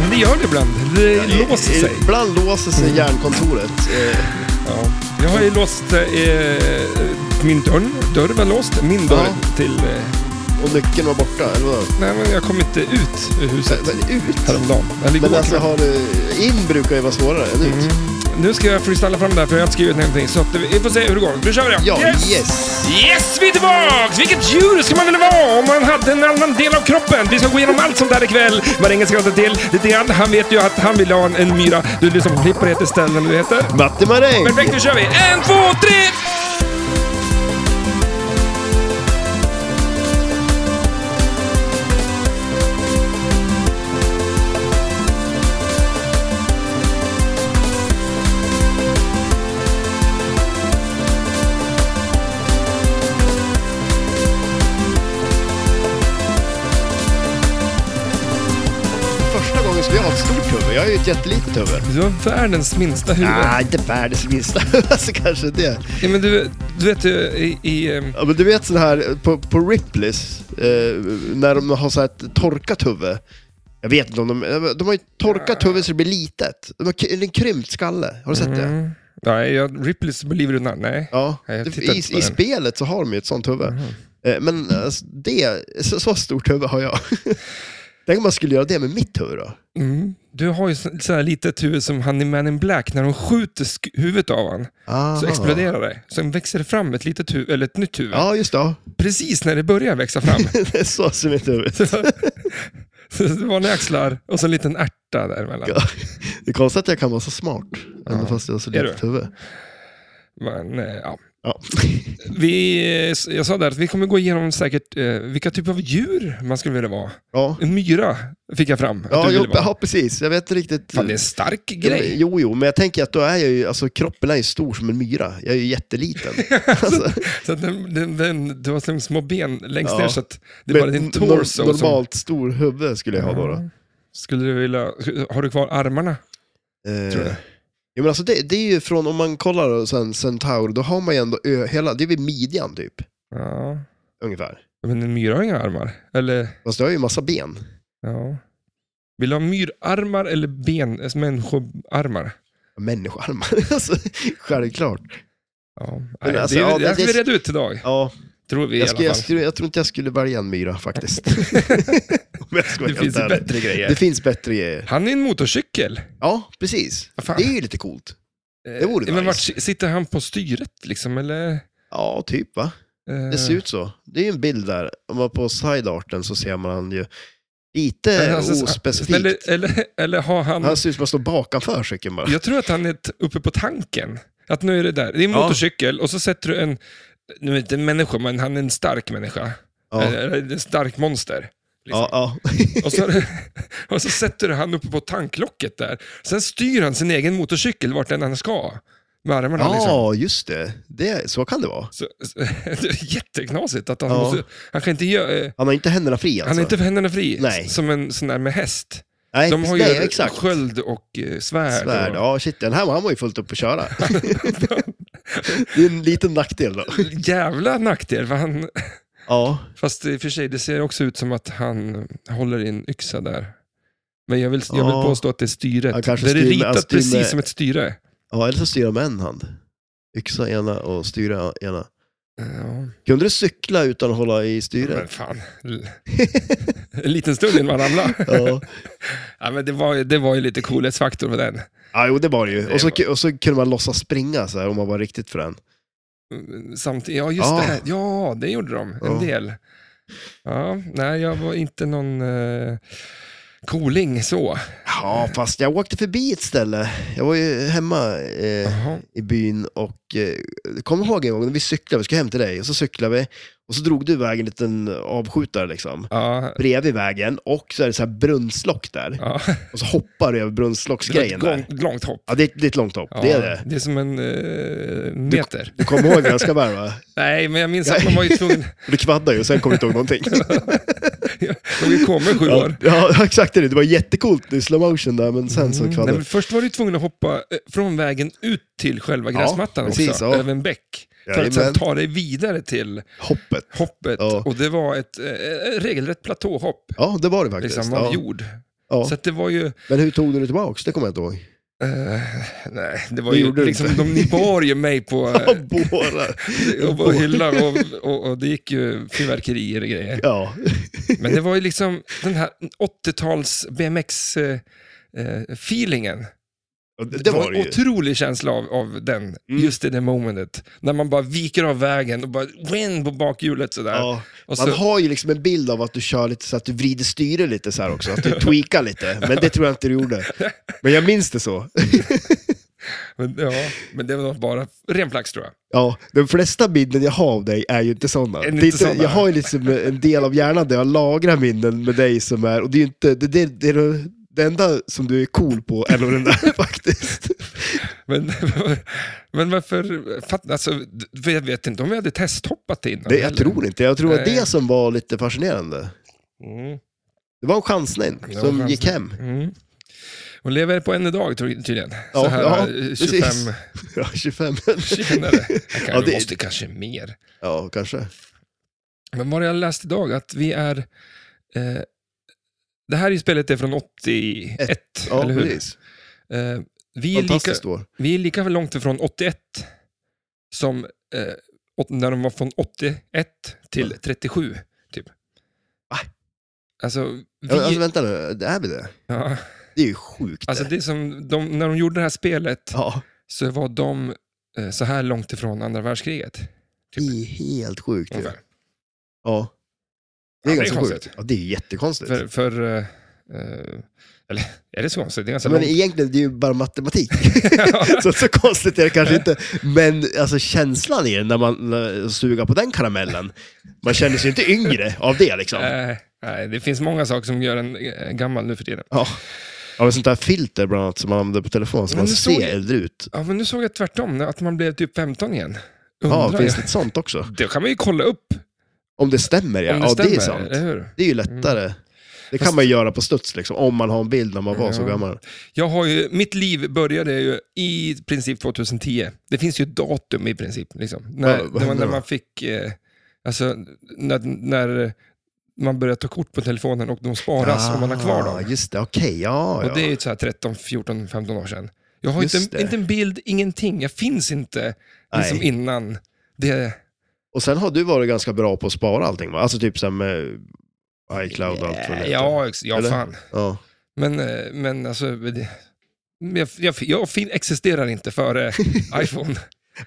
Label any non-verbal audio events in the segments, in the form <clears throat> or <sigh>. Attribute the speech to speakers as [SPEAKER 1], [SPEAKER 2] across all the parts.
[SPEAKER 1] Men det gör det ibland. Det låser sig.
[SPEAKER 2] Ibland låser sig hjärnkontoret. Eh,
[SPEAKER 1] Ja. Jag har ju låst eh, min dörr. Dörren var låst. Min dörr
[SPEAKER 2] Ja.
[SPEAKER 1] till... Eh,
[SPEAKER 2] Och nyckeln var borta, eller vadå?
[SPEAKER 1] nej, men jag kom inte ut ur huset
[SPEAKER 2] Men ut?
[SPEAKER 1] häromdagen. Eller igår
[SPEAKER 2] Men alltså,
[SPEAKER 1] kväll.
[SPEAKER 2] har du... In brukar ju vara svårare än ut.
[SPEAKER 1] Nu ska jag freestyla fram det här för jag har inte skrivit någonting. Så att, vi får se hur det går. Nu kör vi då.
[SPEAKER 2] Ja, yes!
[SPEAKER 1] Yes, vi är tillbaks! Vilket djur skulle man vilja vara om man hade en annan del av kroppen? Vi ska gå igenom allt sånt där ikväll. Marängen skrattar till lite grann. Han vet ju att han vill ha en, en myra. Du lyssnar på Klipp och det heter ställen du heter.
[SPEAKER 2] Matte Maräng!
[SPEAKER 1] Perfekt, nu kör vi! En, två, tre!
[SPEAKER 2] Första gången skulle jag ha ett stort huvud. Jag har ju ett jättelitet huvud.
[SPEAKER 1] Du har världens minsta huvud.
[SPEAKER 2] Nej, inte världens minsta. <laughs> alltså kanske det.
[SPEAKER 1] Ja, men du, du vet ju i... i ehm,
[SPEAKER 2] Ja, men du vet sån här på, på Ripleys, eh, när de har så här ett torkat huvud. Jag vet inte om de... De har ju torkat huvud så det blir litet. De har k- en krympt skalle. Har du sett det?
[SPEAKER 1] mm, nej, jag, Ripley's Believe It Or Not, nej.
[SPEAKER 2] Ja.
[SPEAKER 1] Nej, jag
[SPEAKER 2] Det-
[SPEAKER 1] tittar
[SPEAKER 2] I,
[SPEAKER 1] inte på
[SPEAKER 2] I
[SPEAKER 1] den.
[SPEAKER 2] spelet så har de ju ett sånt huvud. Eh, Men alltså, det... Så, så stort huvud har jag. <laughs> Tänk om man skulle göra det med mitt huvud då.
[SPEAKER 1] Mm. Du har ju så, så här litet huvud som han i Man in Black när de skjuter sk- huvudet av han. Så
[SPEAKER 2] Aha.
[SPEAKER 1] exploderar det. Sen växer det fram ett litet huvud, eller ett nytt huvud.
[SPEAKER 2] Ah. Ja, just det. <laughs> Ja.
[SPEAKER 1] Precis när det börjar växa
[SPEAKER 2] <laughs>
[SPEAKER 1] fram.
[SPEAKER 2] Det är så ser mitt huvud ut.
[SPEAKER 1] så det var en axlar och så en liten ärta däremellan.
[SPEAKER 2] Ja. Det är konstigt att jag kan vara så smart, även
[SPEAKER 1] Ja.
[SPEAKER 2] fast jag har så
[SPEAKER 1] Är
[SPEAKER 2] litet huvud.
[SPEAKER 1] Men, eh, ja. <laughs>
[SPEAKER 2] Ja.
[SPEAKER 1] vi, eh, jag sa där att vi kommer gå igenom säkert eh, vilka typer av djur man skulle vilja vara.
[SPEAKER 2] Ja,
[SPEAKER 1] En myra fick jag fram att
[SPEAKER 2] ja,
[SPEAKER 1] du ville
[SPEAKER 2] jo,
[SPEAKER 1] vara.
[SPEAKER 2] ja precis. Jag vet inte riktigt.
[SPEAKER 1] Fan, det är en stark grej.
[SPEAKER 2] Jo, jo, men jag tänker att då är jag ju, alltså kroppen är ju stor som en myra. Jag är ju jätteliten. Alltså,
[SPEAKER 1] <laughs> Så att den, den, den, du har liksom små ben längst
[SPEAKER 2] Ja.
[SPEAKER 1] ner så att det är bara
[SPEAKER 2] med
[SPEAKER 1] din
[SPEAKER 2] nor-
[SPEAKER 1] torso. som-
[SPEAKER 2] Normalt stor huvud skulle jag ha då. då.
[SPEAKER 1] Ja. Skulle du vilja, har du kvar armarna?
[SPEAKER 2] Eh,
[SPEAKER 1] Tror jag.
[SPEAKER 2] Ja, men alltså det, det är ju från, om man kollar då, sen Centaur, då har man ju ändå ö, hela, det är vid midjan typ,
[SPEAKER 1] Ja.
[SPEAKER 2] ungefär.
[SPEAKER 1] Men en myra har inga armar. Eller,
[SPEAKER 2] Fast det har ju massa ben.
[SPEAKER 1] ja. Vill du ha myrarmar eller ben, alltså människoarmar?
[SPEAKER 2] Människoarmar, <laughs> alltså, självklart.
[SPEAKER 1] Ja.
[SPEAKER 2] Men
[SPEAKER 1] Nej,
[SPEAKER 2] alltså,
[SPEAKER 1] det, är-
[SPEAKER 2] ja,
[SPEAKER 1] det här ska
[SPEAKER 2] det-
[SPEAKER 1] vi reda ut idag,
[SPEAKER 2] Ja,
[SPEAKER 1] tror vi i alla
[SPEAKER 2] Jag,
[SPEAKER 1] fall.
[SPEAKER 2] skulle, jag, skulle, jag tror inte jag skulle välja en
[SPEAKER 1] <laughs>
[SPEAKER 2] myra faktiskt. Om jag ska vara
[SPEAKER 1] det
[SPEAKER 2] helt
[SPEAKER 1] finns ju
[SPEAKER 2] ärlig.
[SPEAKER 1] bättre grejer.
[SPEAKER 2] det finns bättre grejer.
[SPEAKER 1] Han är en motorcykel. Eh,
[SPEAKER 2] Ja, precis.
[SPEAKER 1] Vad fan.
[SPEAKER 2] Det är ju lite coolt.
[SPEAKER 1] Det
[SPEAKER 2] vore
[SPEAKER 1] Men
[SPEAKER 2] nice.
[SPEAKER 1] vart, si- sitter han på styret liksom, eller?
[SPEAKER 2] Ja, typ va?
[SPEAKER 1] eh,
[SPEAKER 2] Det ser ut så. Det är ju en bild där. Om man på sidearten så ser man han ju
[SPEAKER 1] men
[SPEAKER 2] lite
[SPEAKER 1] alltså,
[SPEAKER 2] ospecifikt.
[SPEAKER 1] Eller, eller, eller har han...
[SPEAKER 2] Han ser ut som att han står bakanför cykeln bara.
[SPEAKER 1] Jag tror att han är t- uppe på tanken. Att nu är det där. Det är en
[SPEAKER 2] Ja.
[SPEAKER 1] motorcykel och så sätter du en, nu är det inte en människa, men han är en stark människa.
[SPEAKER 2] Ja,
[SPEAKER 1] Eller en stark monster. Liksom.
[SPEAKER 2] ja, ja.
[SPEAKER 1] Och, så, <laughs> och så sätter du han uppe på tanklocket där. Sen styr han sin egen motorcykel vart den han ska. Med armarna liksom.
[SPEAKER 2] ja just det. det. Så kan det vara.
[SPEAKER 1] Så, så, <laughs> det är jätteknasigt att han
[SPEAKER 2] Ja.
[SPEAKER 1] måste... Han kan inte göra... eh,
[SPEAKER 2] Han har inte händerna fria alltså.
[SPEAKER 1] Han är inte för händerna fri.
[SPEAKER 2] Nej.
[SPEAKER 1] s- Som en sån där med häst.
[SPEAKER 2] nej,
[SPEAKER 1] De har ju
[SPEAKER 2] nej, exakt.
[SPEAKER 1] sköld och eh, svärd.
[SPEAKER 2] Svärd.
[SPEAKER 1] och-
[SPEAKER 2] Ja, shit. Den här han var ju fullt upp att köra. det är en liten nackdel då.
[SPEAKER 1] <laughs> Jävla nackdel, för han,
[SPEAKER 2] Ja.
[SPEAKER 1] Fast i och för sig, det ser också ut som att han håller i en yxa där. Men jag vill, jag
[SPEAKER 2] Ja.
[SPEAKER 1] vill påstå att det är styret.
[SPEAKER 2] Han
[SPEAKER 1] det är
[SPEAKER 2] kanske styr med-
[SPEAKER 1] ritat
[SPEAKER 2] han styr
[SPEAKER 1] precis
[SPEAKER 2] med-
[SPEAKER 1] som ett styre.
[SPEAKER 2] Ja, eller så styra med en hand. Yxa ena och styra ena.
[SPEAKER 1] Ja,
[SPEAKER 2] Kunde du cykla utan att hålla i
[SPEAKER 1] men
[SPEAKER 2] styret? <laughs>
[SPEAKER 1] fan. en liten stund innan man ramlade.
[SPEAKER 2] Ja,
[SPEAKER 1] ja, men det, var, ju- det var ju lite coolhetsfaktor på den.
[SPEAKER 2] ja jo, det var det ju. Och så, och så kunde man låtsas springa så här, om man var riktigt frän.
[SPEAKER 1] Samtidigt, ja just
[SPEAKER 2] Ja.
[SPEAKER 1] det. Ja, det gjorde de. En
[SPEAKER 2] Ja.
[SPEAKER 1] del. Ja, nej, jag var inte någon eh, cooling
[SPEAKER 2] Eh.
[SPEAKER 1] så.
[SPEAKER 2] Ja, fast jag åkte förbi ett ställe. Jag var ju hemma eh,
[SPEAKER 1] Jaha.
[SPEAKER 2] i byn och eh, kom ihåg en gång när vi cyklade, vi skulle hem till dig, och så cyklade vi och så drog du iväg en liten avskjutare liksom.
[SPEAKER 1] Ja,
[SPEAKER 2] Bredvid vägen och så är det så här brunnslock där.
[SPEAKER 1] ja.
[SPEAKER 2] Och så hoppar du över
[SPEAKER 1] Det var ett
[SPEAKER 2] brunnslocksgrejen där.
[SPEAKER 1] långt, långt hopp.
[SPEAKER 2] Ja, det, är- det är ett långt hopp, det är det.
[SPEAKER 1] Det är som en eh, meter.
[SPEAKER 2] Du kommer ihåg ganska väl va?
[SPEAKER 1] Nej, men jag minns att man var ju tvungen.
[SPEAKER 2] Du kvaddar ju och sen kommer du inte ihåg någonting.
[SPEAKER 1] De har ju kommit <laughs> sju
[SPEAKER 2] <laughs> Ja,
[SPEAKER 1] år.
[SPEAKER 2] ja, exakt det. Det var jättecoolt i slow motion där, men sen så
[SPEAKER 1] Mm. Nej,
[SPEAKER 2] kvadrar.
[SPEAKER 1] men först var du tvungen att hoppa eh, från vägen ut till själva
[SPEAKER 2] Ja,
[SPEAKER 1] gräsmattan
[SPEAKER 2] precis,
[SPEAKER 1] också,
[SPEAKER 2] ja.
[SPEAKER 1] över en bäck. För att sen
[SPEAKER 2] Jajamän.
[SPEAKER 1] ta dig vidare till
[SPEAKER 2] Hoppet.
[SPEAKER 1] hoppet.
[SPEAKER 2] Ja.
[SPEAKER 1] Och det var ett eh, regelrätt platåhopp
[SPEAKER 2] Ja, det var det faktiskt.
[SPEAKER 1] liksom,
[SPEAKER 2] ja.
[SPEAKER 1] av jord.
[SPEAKER 2] Ja.
[SPEAKER 1] Så att det var ju...
[SPEAKER 2] Men hur tog du det tillbaks? Det kommer jag inte ihåg.
[SPEAKER 1] Eh, nej, det var
[SPEAKER 2] Det
[SPEAKER 1] ju
[SPEAKER 2] gjorde du
[SPEAKER 1] liksom,
[SPEAKER 2] inte.
[SPEAKER 1] de, ni bar ju mig på,
[SPEAKER 2] <laughs> Ja,
[SPEAKER 1] <laughs>
[SPEAKER 2] båda.
[SPEAKER 1] eh, och på hyllan och, och, och det gick ju fyrverkerier och grejer.
[SPEAKER 2] Ja.
[SPEAKER 1] Men det var ju liksom den här 80-tals eh, BMX-feelingen.
[SPEAKER 2] Ja, Det,
[SPEAKER 1] det,
[SPEAKER 2] det
[SPEAKER 1] var
[SPEAKER 2] var det
[SPEAKER 1] en
[SPEAKER 2] ju. Mm.
[SPEAKER 1] otrolig känsla av, av den, just i det momentet. När man bara viker av vägen och bara win på bakhjulet sådär.
[SPEAKER 2] Ja.
[SPEAKER 1] och så,
[SPEAKER 2] Man har ju liksom en bild av att du kör lite så att du vrider styret lite så här också, att du tweakar lite. Men det tror jag inte du gjorde. Men jag minns det så.
[SPEAKER 1] men, ja, men det var bara ren flax tror jag.
[SPEAKER 2] Ja, de flesta minnen jag har av dig är ju inte sådana.
[SPEAKER 1] Är det
[SPEAKER 2] Det är
[SPEAKER 1] inte
[SPEAKER 2] inte,
[SPEAKER 1] sådana?
[SPEAKER 2] jag har ju liksom en del av hjärnan där jag lagrar minnen med dig som är, och det är ju inte, det, det, det är det- det enda som du är cool på är nog den där <laughs> faktiskt.
[SPEAKER 1] Men, <laughs> men varför, fatt, alltså, d- för jag vet inte om vi hade testhoppat innan.
[SPEAKER 2] Det, jag
[SPEAKER 1] heller.
[SPEAKER 2] tror inte, jag tror att
[SPEAKER 1] Nej.
[SPEAKER 2] det som var lite fascinerande.
[SPEAKER 1] Mm,
[SPEAKER 2] Det var en chansning
[SPEAKER 1] Det var
[SPEAKER 2] som
[SPEAKER 1] en
[SPEAKER 2] gick hem.
[SPEAKER 1] mm. Och lever på än idag tror- tydligen. så
[SPEAKER 2] Ja,
[SPEAKER 1] här
[SPEAKER 2] ja,
[SPEAKER 1] eh, 25
[SPEAKER 2] precis. <laughs> Ja,
[SPEAKER 1] <laughs>
[SPEAKER 2] 25
[SPEAKER 1] senare. Jag kan,
[SPEAKER 2] Ja, det-
[SPEAKER 1] måste kanske mer.
[SPEAKER 2] Ja, kanske.
[SPEAKER 1] Men vad har jag läst idag? Att vi är... Eh, det här är ju spelet är från 81,
[SPEAKER 2] Ja,
[SPEAKER 1] eller hur?
[SPEAKER 2] precis.
[SPEAKER 1] Eh, vi, är lika,
[SPEAKER 2] Fantastiskt år.
[SPEAKER 1] vi är lika långt ifrån 81 som eh, åt- när de var från 81 till 37, typ.
[SPEAKER 2] Va?
[SPEAKER 1] Alltså, vi,
[SPEAKER 2] Ja, alltså, vänta nu, det är vi det?
[SPEAKER 1] ja,
[SPEAKER 2] Det är ju sjukt.
[SPEAKER 1] alltså
[SPEAKER 2] det.
[SPEAKER 1] det är som de, när de gjorde det här spelet
[SPEAKER 2] Ja,
[SPEAKER 1] så var de eh, så här långt ifrån andra världskriget.
[SPEAKER 2] det är helt sjukt ju.
[SPEAKER 1] typ. ungefär.
[SPEAKER 2] Ja. Det
[SPEAKER 1] Ja,
[SPEAKER 2] är
[SPEAKER 1] det är
[SPEAKER 2] ganska
[SPEAKER 1] konstigt.
[SPEAKER 2] sjukt. Ja, det är jättekonstigt.
[SPEAKER 1] För, för eh, eh, eller är det så konstigt? Det är ganska
[SPEAKER 2] Men
[SPEAKER 1] långt. <laughs>
[SPEAKER 2] egentligen, det är ju bara matematik. så, så konstigt är det kanske inte. Men alltså, känslan i det, när man eh, suger på den karamellen, man känner sig inte yngre av det liksom.
[SPEAKER 1] Nej, Eh, nej, det finns många saker som gör en eh, gammal nu för tiden.
[SPEAKER 2] Ja. Ja, men sånt där filter bland annat som man använder på telefon, så
[SPEAKER 1] Men
[SPEAKER 2] man
[SPEAKER 1] det såg
[SPEAKER 2] ser
[SPEAKER 1] jag-
[SPEAKER 2] äldre ut.
[SPEAKER 1] Ja, men nu såg jag tvärtom, att man blev typ 15 igen. Undrar
[SPEAKER 2] Ja, finns
[SPEAKER 1] jag.
[SPEAKER 2] det ett sånt också?
[SPEAKER 1] Det kan man ju kolla upp
[SPEAKER 2] Om det stämmer, ja.
[SPEAKER 1] om det
[SPEAKER 2] ja,
[SPEAKER 1] stämmer.
[SPEAKER 2] det är sant.
[SPEAKER 1] eller hur?
[SPEAKER 2] Det är ju lättare. Det kan
[SPEAKER 1] Fast-
[SPEAKER 2] man ju göra på studs, liksom, om man har en bild när man var så
[SPEAKER 1] Ja.
[SPEAKER 2] gammal.
[SPEAKER 1] Jag har ju, mitt liv började ju i princip 2010. Det finns ju ett datum i princip. Liksom. När,
[SPEAKER 2] vad
[SPEAKER 1] när, man,
[SPEAKER 2] hände
[SPEAKER 1] när
[SPEAKER 2] då?
[SPEAKER 1] man fick... Eh, alltså, när, när man började ta kort på telefonen och de sparas om man har kvar
[SPEAKER 2] Ah,
[SPEAKER 1] dem.
[SPEAKER 2] Just det, okej. ja, ja.
[SPEAKER 1] Och det är ju så här 13, 14, 15 år sedan. Jag har
[SPEAKER 2] Just
[SPEAKER 1] inte,
[SPEAKER 2] det.
[SPEAKER 1] inte en bild, ingenting. Jag finns inte liksom,
[SPEAKER 2] Nej.
[SPEAKER 1] innan det...
[SPEAKER 2] Och sen har du varit ganska bra på att spara allting, va? Alltså typ som med iCloud och allt vad det heter.
[SPEAKER 1] Ja, ex- ja
[SPEAKER 2] Eller?
[SPEAKER 1] fan.
[SPEAKER 2] ja.
[SPEAKER 1] Men, eh, men alltså, det, men jag, jag, jag fin, existerar inte
[SPEAKER 2] <laughs>
[SPEAKER 1] före iPhone.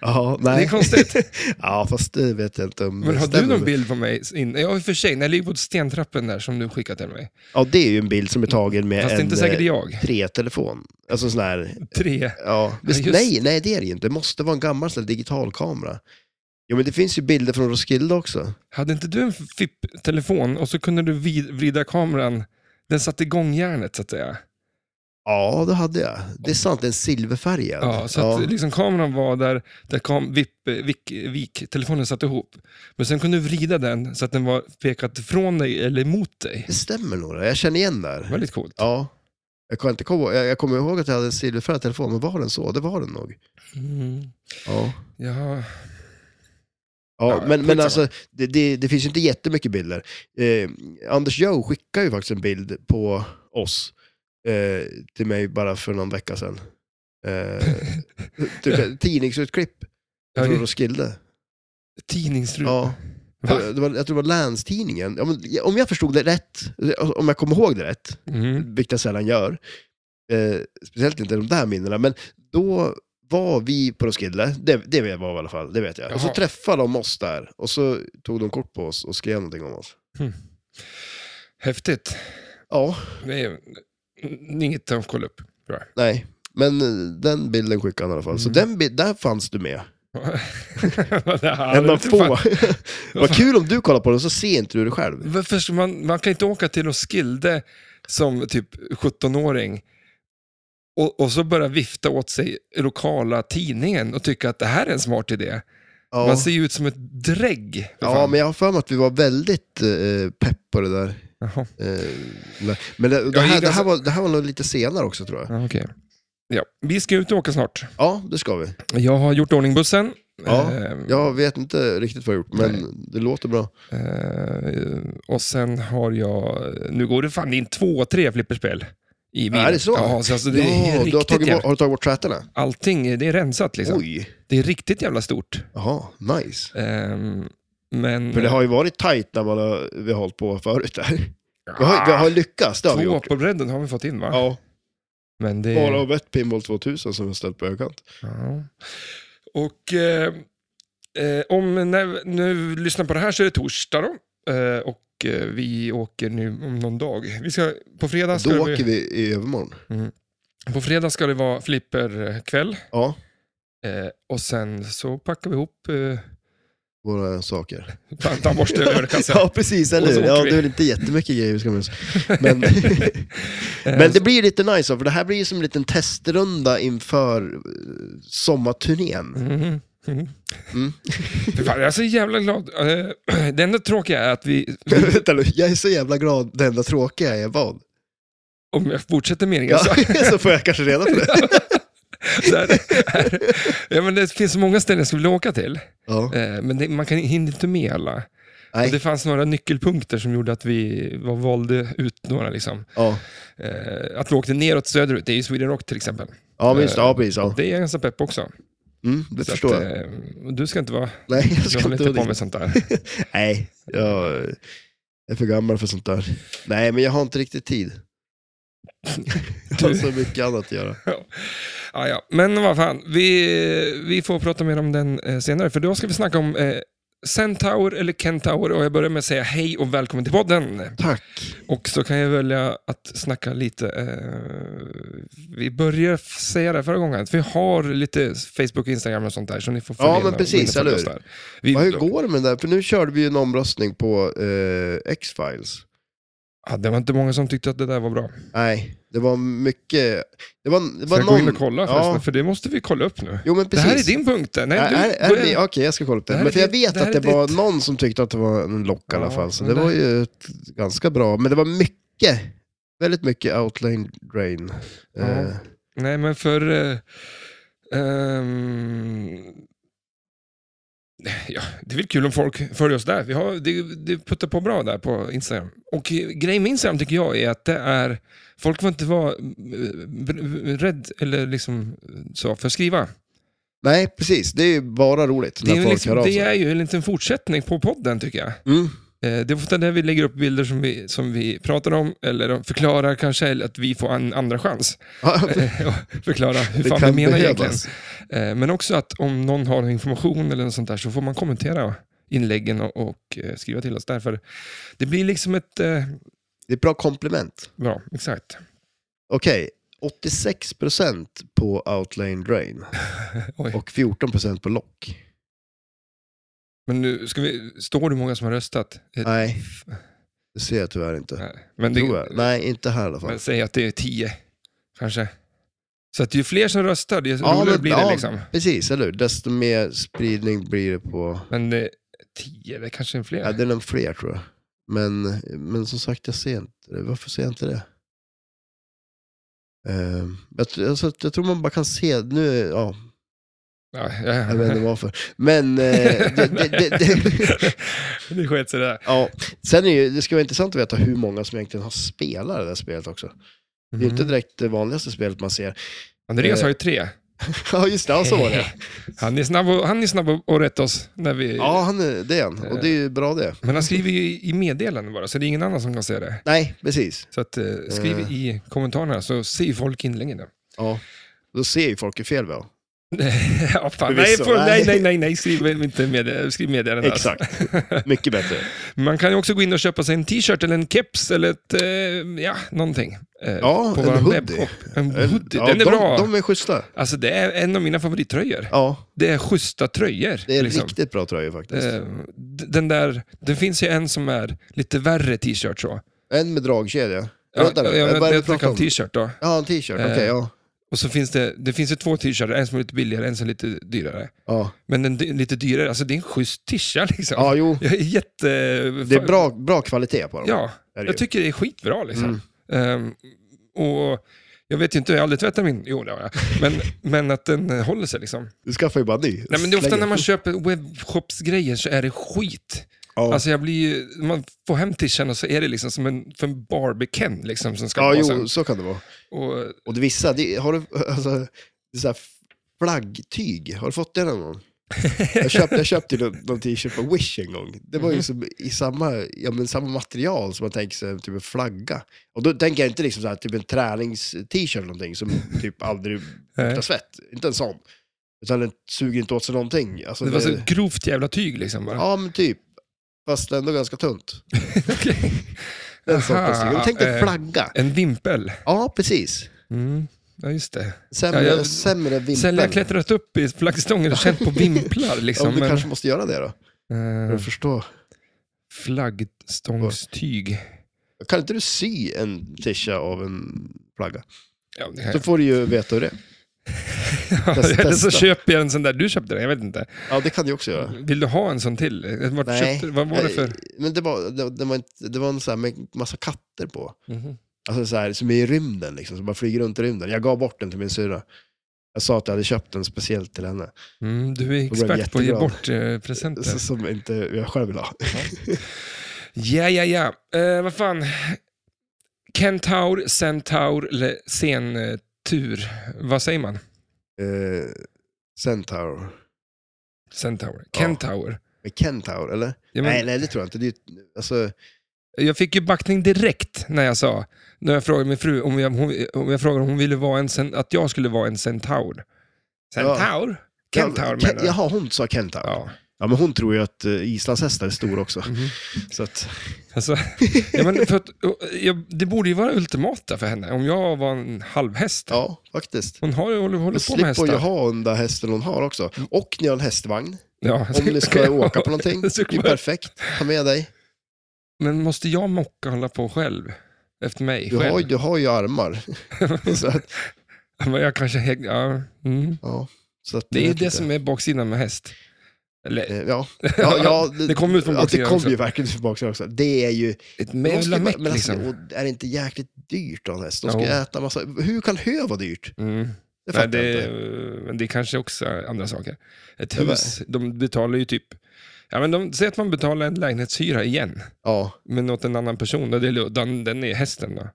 [SPEAKER 2] Ja,
[SPEAKER 1] Det är
[SPEAKER 2] nej.
[SPEAKER 1] konstigt.
[SPEAKER 2] <laughs> Ja, fast det vet jag inte om
[SPEAKER 1] Men
[SPEAKER 2] det
[SPEAKER 1] har du
[SPEAKER 2] stämmer.
[SPEAKER 1] någon bild på mig? In, ja, i och för sig, när jag ligger på stentrappen där som du skickat till mig.
[SPEAKER 2] Ja, det är ju en bild som är tagen med
[SPEAKER 1] Fast det är
[SPEAKER 2] Eh, en eh,
[SPEAKER 1] inte säkert jag.
[SPEAKER 2] tre-telefon. Alltså sån här,
[SPEAKER 1] Tre.
[SPEAKER 2] ja. Visst,
[SPEAKER 1] just-
[SPEAKER 2] nej, nej det är det ju inte. Det måste vara en gammal sån här digital kamera. Jo, men det finns ju bilder från Roskilde också.
[SPEAKER 1] Hade inte du en FIP-telefon och så kunde du vid, vrida kameran? Den satte igång järnet så att säga.
[SPEAKER 2] Ja, det hade jag. Det är sant, en silverfärgad.
[SPEAKER 1] Ja, så att liksom kameran var där, där kom VIP, vik, vik, telefonen satt ihop. Men sen kunde du vrida den så att den var pekat från dig eller mot dig.
[SPEAKER 2] Det stämmer nog, jag känner igen där.
[SPEAKER 1] Väldigt coolt.
[SPEAKER 2] Ja. Jag, kan inte komma, jag, jag kommer ihåg att jag hade en silverfärgad telefon, men var den så? Det var den nog.
[SPEAKER 1] Mm.
[SPEAKER 2] Ja.
[SPEAKER 1] Ja,
[SPEAKER 2] Ja,
[SPEAKER 1] Ja,
[SPEAKER 2] men, men
[SPEAKER 1] skitsamma.
[SPEAKER 2] alltså, det, det, det finns ju inte jättemycket bilder. Eh, Anders Joe skickade ju faktiskt en bild på oss eh, till mig bara för någon vecka sedan. Eh, <laughs> typ ett tidningsutklipp
[SPEAKER 1] Ja,
[SPEAKER 2] från
[SPEAKER 1] det-
[SPEAKER 2] Roskilde.
[SPEAKER 1] tidningsrut.
[SPEAKER 2] Ja,
[SPEAKER 1] Va?
[SPEAKER 2] det var, jag tror det var Länstidningen. Ja, men, om jag förstod det rätt, om jag kommer ihåg det rätt, <clears throat>
[SPEAKER 1] Mm.
[SPEAKER 2] vilket jag sällan gör. Eh, speciellt inte de där minnena, men då var vi på Roskilde, det, det var jag i alla fall, det vet jag. Och så
[SPEAKER 1] Jaha.
[SPEAKER 2] träffade de oss där och så tog de kort på oss och skrev någonting om oss.
[SPEAKER 1] Häftigt.
[SPEAKER 2] Ja,
[SPEAKER 1] Det är mm, inget att kolla upp. <laughs> tror jag.
[SPEAKER 2] nej, men eh, den bilden skickade han i alla fall.
[SPEAKER 1] Mm.
[SPEAKER 2] Så den bi- där fanns du med.
[SPEAKER 1] Det här
[SPEAKER 2] en
[SPEAKER 1] är
[SPEAKER 2] av
[SPEAKER 1] inte
[SPEAKER 2] få. <laughs>
[SPEAKER 1] fan-
[SPEAKER 2] Vad kul om du kollar på den så ser inte du det själv.
[SPEAKER 1] Varför ska man, man kan inte åka till Roskilde som typ 17-åring och, och så börja vifta åt sig lokala tidningen och tycka att det här är en smart idé.
[SPEAKER 2] Ja,
[SPEAKER 1] Man ser ju ut som ett drägg. för
[SPEAKER 2] ja
[SPEAKER 1] fan.
[SPEAKER 2] men jag har för mig att vi var väldigt eh, pepp på det där.
[SPEAKER 1] Jaha,
[SPEAKER 2] Eh, nej. men det, det,
[SPEAKER 1] Jag är
[SPEAKER 2] här, det,
[SPEAKER 1] ganska-
[SPEAKER 2] här var, det här var nog lite senare också tror jag.
[SPEAKER 1] ja, okej. Ja, vi ska ut och åka snart.
[SPEAKER 2] Ja, det ska vi.
[SPEAKER 1] Jag har gjort i ordning bussen.
[SPEAKER 2] Ja,
[SPEAKER 1] Eh,
[SPEAKER 2] Jag vet inte riktigt vad jag gjort, men det låter bra.
[SPEAKER 1] eh, och sen har jag... Nu går det fan in två, tre flipperspel. I min.
[SPEAKER 2] Är det så?
[SPEAKER 1] Ja, så alltså, det
[SPEAKER 2] ja,
[SPEAKER 1] är
[SPEAKER 2] du har,
[SPEAKER 1] riktigt
[SPEAKER 2] tagit bort,
[SPEAKER 1] jävla,
[SPEAKER 2] har du tagit bort trätorna?
[SPEAKER 1] Allting, det är rensat liksom.
[SPEAKER 2] Oj,
[SPEAKER 1] Det är riktigt jävla stort.
[SPEAKER 2] jaha, nice.
[SPEAKER 1] Ehm, men...
[SPEAKER 2] För det har ju varit tajt när man har, vi har hållit på förut där. Vi har, vi har lyckats, det har vi
[SPEAKER 1] Två
[SPEAKER 2] gjort.
[SPEAKER 1] på bredden har vi fått in va?
[SPEAKER 2] Ja,
[SPEAKER 1] Men det...
[SPEAKER 2] bara av ett Pinball 2000 som vi har ställt på högkant.
[SPEAKER 1] Ja. Och eh, eh, om när nu lyssnar på det här så är det torsdag då. Eh, och eh, vi åker nu om någon dag. Vi ska, på, fredag ska
[SPEAKER 2] Då
[SPEAKER 1] det,
[SPEAKER 2] åker vi i övermorgon.
[SPEAKER 1] på fredag ska det vara flipperkväll.
[SPEAKER 2] Ja,
[SPEAKER 1] Eh, och sen så packar vi ihop eh,
[SPEAKER 2] våra saker.
[SPEAKER 1] fan, tandborste och ölkasse.
[SPEAKER 2] <laughs> ja, precis, eller
[SPEAKER 1] Och så
[SPEAKER 2] hur? Ja,
[SPEAKER 1] åker vi.
[SPEAKER 2] det är väl inte jättemycket grejer vi
[SPEAKER 1] <laughs>
[SPEAKER 2] ska med oss. Men,
[SPEAKER 1] Eh,
[SPEAKER 2] men det blir ju lite nice, för det här blir ju som en liten testrunda inför eh, sommarturnén.
[SPEAKER 1] Mhm, mhm.
[SPEAKER 2] Mm.
[SPEAKER 1] <laughs> Fy fan, jag är så jävla glad. Eh, <clears throat> det enda tråkiga är att vi,
[SPEAKER 2] Vänta nu, jag är så jävla glad, det enda tråkiga är vad?
[SPEAKER 1] om jag fortsätter meningen,
[SPEAKER 2] Ja,
[SPEAKER 1] så,
[SPEAKER 2] <laughs> så får jag kanske reda
[SPEAKER 1] <laughs>
[SPEAKER 2] på det.
[SPEAKER 1] så är det, är, ja, men det finns så många ställen som vi vill åka till.
[SPEAKER 2] Ja.
[SPEAKER 1] Eh, Men det, man kan, hinner inte med alla.
[SPEAKER 2] Nej.
[SPEAKER 1] Och det fanns några nyckelpunkter som gjorde att vi var, valde ut några. Liksom.
[SPEAKER 2] Ja.
[SPEAKER 1] Eh, att vi åkte neråt söderut, det är ju Sweden Rock till exempel.
[SPEAKER 2] ja, men just det, ja, precis. Ja.
[SPEAKER 1] Det är jag ganska pepp också.
[SPEAKER 2] Mm, det
[SPEAKER 1] Eh, Så
[SPEAKER 2] förstår
[SPEAKER 1] att,
[SPEAKER 2] jag.
[SPEAKER 1] eh, Du ska inte vara...
[SPEAKER 2] Nej, jag
[SPEAKER 1] Du
[SPEAKER 2] ska
[SPEAKER 1] håller
[SPEAKER 2] inte
[SPEAKER 1] inte på
[SPEAKER 2] vara
[SPEAKER 1] med
[SPEAKER 2] det.
[SPEAKER 1] sånt där. <laughs>
[SPEAKER 2] Nej, jag är för gammal för sånt där. Nej, men jag har inte
[SPEAKER 1] <laughs>
[SPEAKER 2] riktigt tid. Jag har
[SPEAKER 1] Du-
[SPEAKER 2] så mycket annat att göra.
[SPEAKER 1] ja, Ah, ja. Men vad fan, vi, vi får prata mer om den eh, senare. För då ska vi snacka om eh, Centaur eller Kentaur. Och jag börjar med att säga hej och välkommen till podden.
[SPEAKER 2] Tack.
[SPEAKER 1] Och så kan jag välja att snacka lite, eh, vi började f- säga det förra gången, att vi har lite Facebook, Instagram och sånt där, så ni får följa
[SPEAKER 2] Ja,
[SPEAKER 1] in
[SPEAKER 2] men
[SPEAKER 1] och- gå
[SPEAKER 2] precis,
[SPEAKER 1] in och följa
[SPEAKER 2] eller
[SPEAKER 1] oss
[SPEAKER 2] hur?
[SPEAKER 1] där. Vi,
[SPEAKER 2] Vad, hur går det med det där? För nu körde vi ju en omröstning på eh, X-Files.
[SPEAKER 1] ja, det var inte många som tyckte att det där var bra.
[SPEAKER 2] Nej, det var mycket... Det var, det
[SPEAKER 1] Ska
[SPEAKER 2] var
[SPEAKER 1] jag gå in och kolla
[SPEAKER 2] Ja.
[SPEAKER 1] förresten? För det måste vi kolla upp nu.
[SPEAKER 2] Jo, men
[SPEAKER 1] Det
[SPEAKER 2] precis.
[SPEAKER 1] här är din punkt. Nej,
[SPEAKER 2] Är-
[SPEAKER 1] du,
[SPEAKER 2] är- är
[SPEAKER 1] börja-
[SPEAKER 2] det- Okej, jag ska kolla upp
[SPEAKER 1] Det här
[SPEAKER 2] det.
[SPEAKER 1] är
[SPEAKER 2] Men för jag
[SPEAKER 1] ditt-
[SPEAKER 2] vet
[SPEAKER 1] det här
[SPEAKER 2] att
[SPEAKER 1] är
[SPEAKER 2] det var
[SPEAKER 1] ditt.
[SPEAKER 2] någon som tyckte att det var en lock i alla
[SPEAKER 1] Ja,
[SPEAKER 2] fall. Så
[SPEAKER 1] men
[SPEAKER 2] det
[SPEAKER 1] det-
[SPEAKER 2] var ju ett ganska bra. Men det var mycket, väldigt mycket outline drain.
[SPEAKER 1] Ja.
[SPEAKER 2] Eh,
[SPEAKER 1] Nej, men för... eh, ehm, ja, det är väl kul om folk följer oss där. Vi har, det, det puttar på bra där på Instagram. Och eh, grejen med Instagram tycker jag är att det är... Folk får inte vara eh, br- rädd eller liksom så för att skriva.
[SPEAKER 2] Nej, precis. Det är ju bara roligt
[SPEAKER 1] Det
[SPEAKER 2] när
[SPEAKER 1] är,
[SPEAKER 2] folk
[SPEAKER 1] liksom,
[SPEAKER 2] hör av
[SPEAKER 1] det
[SPEAKER 2] sig.
[SPEAKER 1] är ju en liten fortsättning på podden tycker jag.
[SPEAKER 2] Mm. <laughs>
[SPEAKER 1] Eh, Det är ofta där vi lägger upp bilder som vi, som vi pratar om eller förklarar kanske, eller att vi får en andra
[SPEAKER 2] <laughs>
[SPEAKER 1] chans. <laughs>
[SPEAKER 2] Ja,
[SPEAKER 1] Eh, och förklara hur
[SPEAKER 2] det
[SPEAKER 1] fan vi
[SPEAKER 2] kan
[SPEAKER 1] menar egentligen.
[SPEAKER 2] behövas.
[SPEAKER 1] Eh, Men också att om någon har information eller något sånt där så får man kommentera inläggen och, och eh, skriva till oss där. För det blir liksom ett... eh,
[SPEAKER 2] Det är ett bra komplement.
[SPEAKER 1] Ja, exakt.
[SPEAKER 2] Okej, 86% på outline drain
[SPEAKER 1] <laughs> Oj.
[SPEAKER 2] och 14% på lock.
[SPEAKER 1] Men nu ska vi... Står det hur många som har röstat? Eh,
[SPEAKER 2] Nej,
[SPEAKER 1] f-
[SPEAKER 2] det ser jag tyvärr inte.
[SPEAKER 1] nej. Men,
[SPEAKER 2] Tror jag.
[SPEAKER 1] det,
[SPEAKER 2] Nej, inte här i alla fall.
[SPEAKER 1] men säg att det är tio, kanske. Så att ju fler som röstar, desto
[SPEAKER 2] Ja,
[SPEAKER 1] roligare
[SPEAKER 2] men-
[SPEAKER 1] blir det
[SPEAKER 2] ja.
[SPEAKER 1] liksom.
[SPEAKER 2] Precis, eller hur? Desto mer spridning blir det på...
[SPEAKER 1] Men eh, tio, det är kanske är fler.
[SPEAKER 2] Ja, det är nog fler tror jag. Men, men som sagt, jag ser inte det. Varför ser jag inte det? Eh, jag, tr- alltså, jag tror man bara kan se, nu, ja,
[SPEAKER 1] ja,
[SPEAKER 2] jag vet inte varför. Men eh, det, det, det, det,
[SPEAKER 1] <laughs> det sket sig där.
[SPEAKER 2] Ja, sen är ju, det skulle vara intressant att veta hur många som egentligen har spelat det där spelet också. Det är ju inte
[SPEAKER 1] Mm.
[SPEAKER 2] direkt det vanligaste spelet man ser. <laughs>
[SPEAKER 1] Andreas
[SPEAKER 2] eh,
[SPEAKER 1] har ju tre.
[SPEAKER 2] Ja, just det, ja, så var det.
[SPEAKER 1] <laughs> Han är snabb och, han är snabb och- och rätta oss när vi...
[SPEAKER 2] Ja, han är, det är han. Och det är ju bra det.
[SPEAKER 1] Men han skriver ju i i meddelanden bara, så det är ingen annan som kan se det.
[SPEAKER 2] Nej, precis.
[SPEAKER 1] Så att, eh, skriv
[SPEAKER 2] Eh.
[SPEAKER 1] i kommentarerna så ser folk inläggen. där. <laughs>
[SPEAKER 2] Ja. Då ser ju folk hur fel vi har.
[SPEAKER 1] ja, fan. Nej,
[SPEAKER 2] Förvisso,
[SPEAKER 1] för, nej,
[SPEAKER 2] nej.
[SPEAKER 1] nej, nej, nej, skriv inte med, skriv meddelanden. alltså.
[SPEAKER 2] Exakt. Mycket bättre.
[SPEAKER 1] Man kan ju också gå in och köpa sig en t-shirt eller en keps eller ett, eh, ja, någonting. eh,
[SPEAKER 2] Ja,
[SPEAKER 1] på
[SPEAKER 2] en
[SPEAKER 1] vår
[SPEAKER 2] hoodie.
[SPEAKER 1] webbshop. En hoodie, den är
[SPEAKER 2] de,
[SPEAKER 1] bra.
[SPEAKER 2] De är schyssta.
[SPEAKER 1] Alltså det är en av mina favorittröjor.
[SPEAKER 2] Ja,
[SPEAKER 1] Det är schyssta tröjor.
[SPEAKER 2] det är
[SPEAKER 1] liksom.
[SPEAKER 2] riktigt bra tröjor faktiskt.
[SPEAKER 1] Eh, d- den där, det finns ju en som är lite värre t-shirt så.
[SPEAKER 2] En med dragkedja.
[SPEAKER 1] Eh. Ja,
[SPEAKER 2] Vänta nu,
[SPEAKER 1] jag
[SPEAKER 2] vad är det
[SPEAKER 1] jag,
[SPEAKER 2] vi
[SPEAKER 1] jag
[SPEAKER 2] pratar
[SPEAKER 1] snackar om
[SPEAKER 2] om?
[SPEAKER 1] t-shirt då.
[SPEAKER 2] Ja, en t-shirt. Okej,
[SPEAKER 1] Eh.
[SPEAKER 2] ja.
[SPEAKER 1] Och så finns det, det finns ju två t-shirtar, en som är lite billigare, en som är lite dyrare.
[SPEAKER 2] Ja,
[SPEAKER 1] Men den dy- lite dyrare, alltså det är en schysst t-shirt liksom.
[SPEAKER 2] ja jo.
[SPEAKER 1] Jag är jätte...
[SPEAKER 2] Det är bra, bra kvalitet på dem.
[SPEAKER 1] Ja,
[SPEAKER 2] Är det
[SPEAKER 1] Jag
[SPEAKER 2] ju.
[SPEAKER 1] tycker det är skitbra liksom.
[SPEAKER 2] Mm.
[SPEAKER 1] Ehm, och jag vet ju inte, jag har aldrig tvättat min, jo det har jag, men, men att den eh, håller sig liksom.
[SPEAKER 2] Du skaffar ju bara en ny.
[SPEAKER 1] Nej, men det är ofta
[SPEAKER 2] Slänger.
[SPEAKER 1] när man köper webbshopsgrejer så är det skit.
[SPEAKER 2] Ja.
[SPEAKER 1] Alltså jag blir ju, man får hem tishan och så är det liksom som en, för en Barbie-Ken liksom som ska
[SPEAKER 2] ja,
[SPEAKER 1] vara
[SPEAKER 2] jo,
[SPEAKER 1] sen.
[SPEAKER 2] så kan det vara.
[SPEAKER 1] Och,
[SPEAKER 2] Och det vissa, det, har du, alltså, det är så här flaggtyg, har du fått det någon gång? Jag köpte, jag köpte ju någon någon t-shirt på Wish en gång. Det
[SPEAKER 1] Mhm.
[SPEAKER 2] var ju som i samma, ja, men samma material som man tänker sig, typ en flagga. Och då tänker jag inte liksom så här, typ en tränings-t-shirt eller
[SPEAKER 1] <laughs>
[SPEAKER 2] någonting som typ aldrig luktar
[SPEAKER 1] Nej.
[SPEAKER 2] svett. Inte en sån. Utan den suger inte åt sig någonting. Alltså,
[SPEAKER 1] det var så
[SPEAKER 2] det-
[SPEAKER 1] grovt jävla tyg liksom bara.
[SPEAKER 2] Ja, men typ. Fast ändå ganska tunt.
[SPEAKER 1] Okej.
[SPEAKER 2] Den sortens
[SPEAKER 1] Aha,
[SPEAKER 2] tyg. Jag tänkte
[SPEAKER 1] eh.
[SPEAKER 2] en flagga.
[SPEAKER 1] En vimpel.
[SPEAKER 2] Ja, precis.
[SPEAKER 1] Mm. Ja, just det.
[SPEAKER 2] Sämre,
[SPEAKER 1] Ja, jag-
[SPEAKER 2] sämre
[SPEAKER 1] Sen har jag
[SPEAKER 2] vimpel.
[SPEAKER 1] klättrat upp i flaggstången och
[SPEAKER 2] <laughs>
[SPEAKER 1] känt på vimplar
[SPEAKER 2] Ja,
[SPEAKER 1] liksom.
[SPEAKER 2] du
[SPEAKER 1] men,
[SPEAKER 2] kanske måste göra det då. För
[SPEAKER 1] eh,
[SPEAKER 2] att förstå.
[SPEAKER 1] flaggstångstyg.
[SPEAKER 2] Kan inte du sy en tisha av en flagga?
[SPEAKER 1] Ja, det kan <laughs>
[SPEAKER 2] Så
[SPEAKER 1] jag.
[SPEAKER 2] får du ju veta hur det är. test-
[SPEAKER 1] Eller så
[SPEAKER 2] testa.
[SPEAKER 1] köper jag en sån där du köpte den, jag vet inte.
[SPEAKER 2] Ja, det kan du också göra.
[SPEAKER 1] Vill du ha en sån till? Vart
[SPEAKER 2] Nej.
[SPEAKER 1] Köpte, vad var det för?
[SPEAKER 2] Men det var, det, det var, inte, det var en sån här med massa katter på.
[SPEAKER 1] Mhm.
[SPEAKER 2] Alltså så här, som är i rymden liksom, som bara flyger runt i rymden. Jag gav bort den till min syrra. Jag sa att jag hade köpt den speciellt till henne.
[SPEAKER 1] Mm, du är
[SPEAKER 2] Då blev jag
[SPEAKER 1] expert på att ge
[SPEAKER 2] jätteglad.
[SPEAKER 1] bort eh, presenter.
[SPEAKER 2] Så, som inte jag själv vill ha.
[SPEAKER 1] Ja, ja, ja. Eh, vad fan. Kentaur, centaur eller sentur. Vad säger man?
[SPEAKER 2] Eh, Centaur.
[SPEAKER 1] Centaur.
[SPEAKER 2] Ja.
[SPEAKER 1] Kentaur.
[SPEAKER 2] Men Kentaur, eller?
[SPEAKER 1] Ja,
[SPEAKER 2] Nej,
[SPEAKER 1] men,
[SPEAKER 2] nej, det tror jag inte. Det är, ju- alltså,
[SPEAKER 1] jag fick ju backning direkt när jag sa, när jag frågade min fru om jag, hon, om jag frågade om hon ville vara en, cen- att jag skulle vara en centaur. Centaur? Kentaur
[SPEAKER 2] ja,
[SPEAKER 1] menar
[SPEAKER 2] Ken-
[SPEAKER 1] jag.
[SPEAKER 2] Jaha, hon sa Kentaur. Ja.
[SPEAKER 1] Ja.
[SPEAKER 2] men hon tror ju att uh, islandshästar är stora också.
[SPEAKER 1] Mhm.
[SPEAKER 2] Så att,
[SPEAKER 1] Alltså, ja, men för att, och, jag, det borde ju vara ultimata för henne, om jag var en halvhäst.
[SPEAKER 2] ja, faktiskt.
[SPEAKER 1] Hon har, ju- håller, håller
[SPEAKER 2] Då
[SPEAKER 1] på med
[SPEAKER 2] slipper
[SPEAKER 1] hästar. Mm.
[SPEAKER 2] jag ha den där hästen hon har också. Och ni har en hästvagn.
[SPEAKER 1] <laughs> Ja.
[SPEAKER 2] Om ni ska åka
[SPEAKER 1] <laughs>
[SPEAKER 2] på någonting.
[SPEAKER 1] Så
[SPEAKER 2] Det är
[SPEAKER 1] kommer-
[SPEAKER 2] perfekt. Ta med dig.
[SPEAKER 1] Men måste jag mocka och hålla på själv? Efter mig
[SPEAKER 2] Du har,
[SPEAKER 1] själv?
[SPEAKER 2] ju- du har
[SPEAKER 1] <laughs>
[SPEAKER 2] ju armar. så att,
[SPEAKER 1] Men jag kanske... häng- Ja. Mm.
[SPEAKER 2] ja, så att,
[SPEAKER 1] Det är det som är baksidan med häst. Eller,
[SPEAKER 2] Ja, ja,
[SPEAKER 1] <laughs>
[SPEAKER 2] ja
[SPEAKER 1] Det kommer ut från
[SPEAKER 2] ja, Eh, Det
[SPEAKER 1] baksidan
[SPEAKER 2] kommer
[SPEAKER 1] också.
[SPEAKER 2] ju verkligen från baksidan också. Det är ju...
[SPEAKER 1] ett
[SPEAKER 2] måste
[SPEAKER 1] jävla
[SPEAKER 2] ju vara-
[SPEAKER 1] meck
[SPEAKER 2] men alltså,
[SPEAKER 1] liksom.
[SPEAKER 2] och är det inte jäkligt dyrt då en häst? De ska
[SPEAKER 1] Jo.
[SPEAKER 2] ju äta massa... Hur kan hö vara dyrt?
[SPEAKER 1] Mm.
[SPEAKER 2] Det fattar
[SPEAKER 1] Nej,
[SPEAKER 2] jag
[SPEAKER 1] det,
[SPEAKER 2] inte.
[SPEAKER 1] men det är kanske också andra saker. Ett
[SPEAKER 2] Det var-
[SPEAKER 1] hus, de betalar ju typ... Ja, men de säger att man betalar en lägenhetshyra igen,
[SPEAKER 2] Ja,
[SPEAKER 1] men åt en annan person. Och det, är- den, den är hästen då.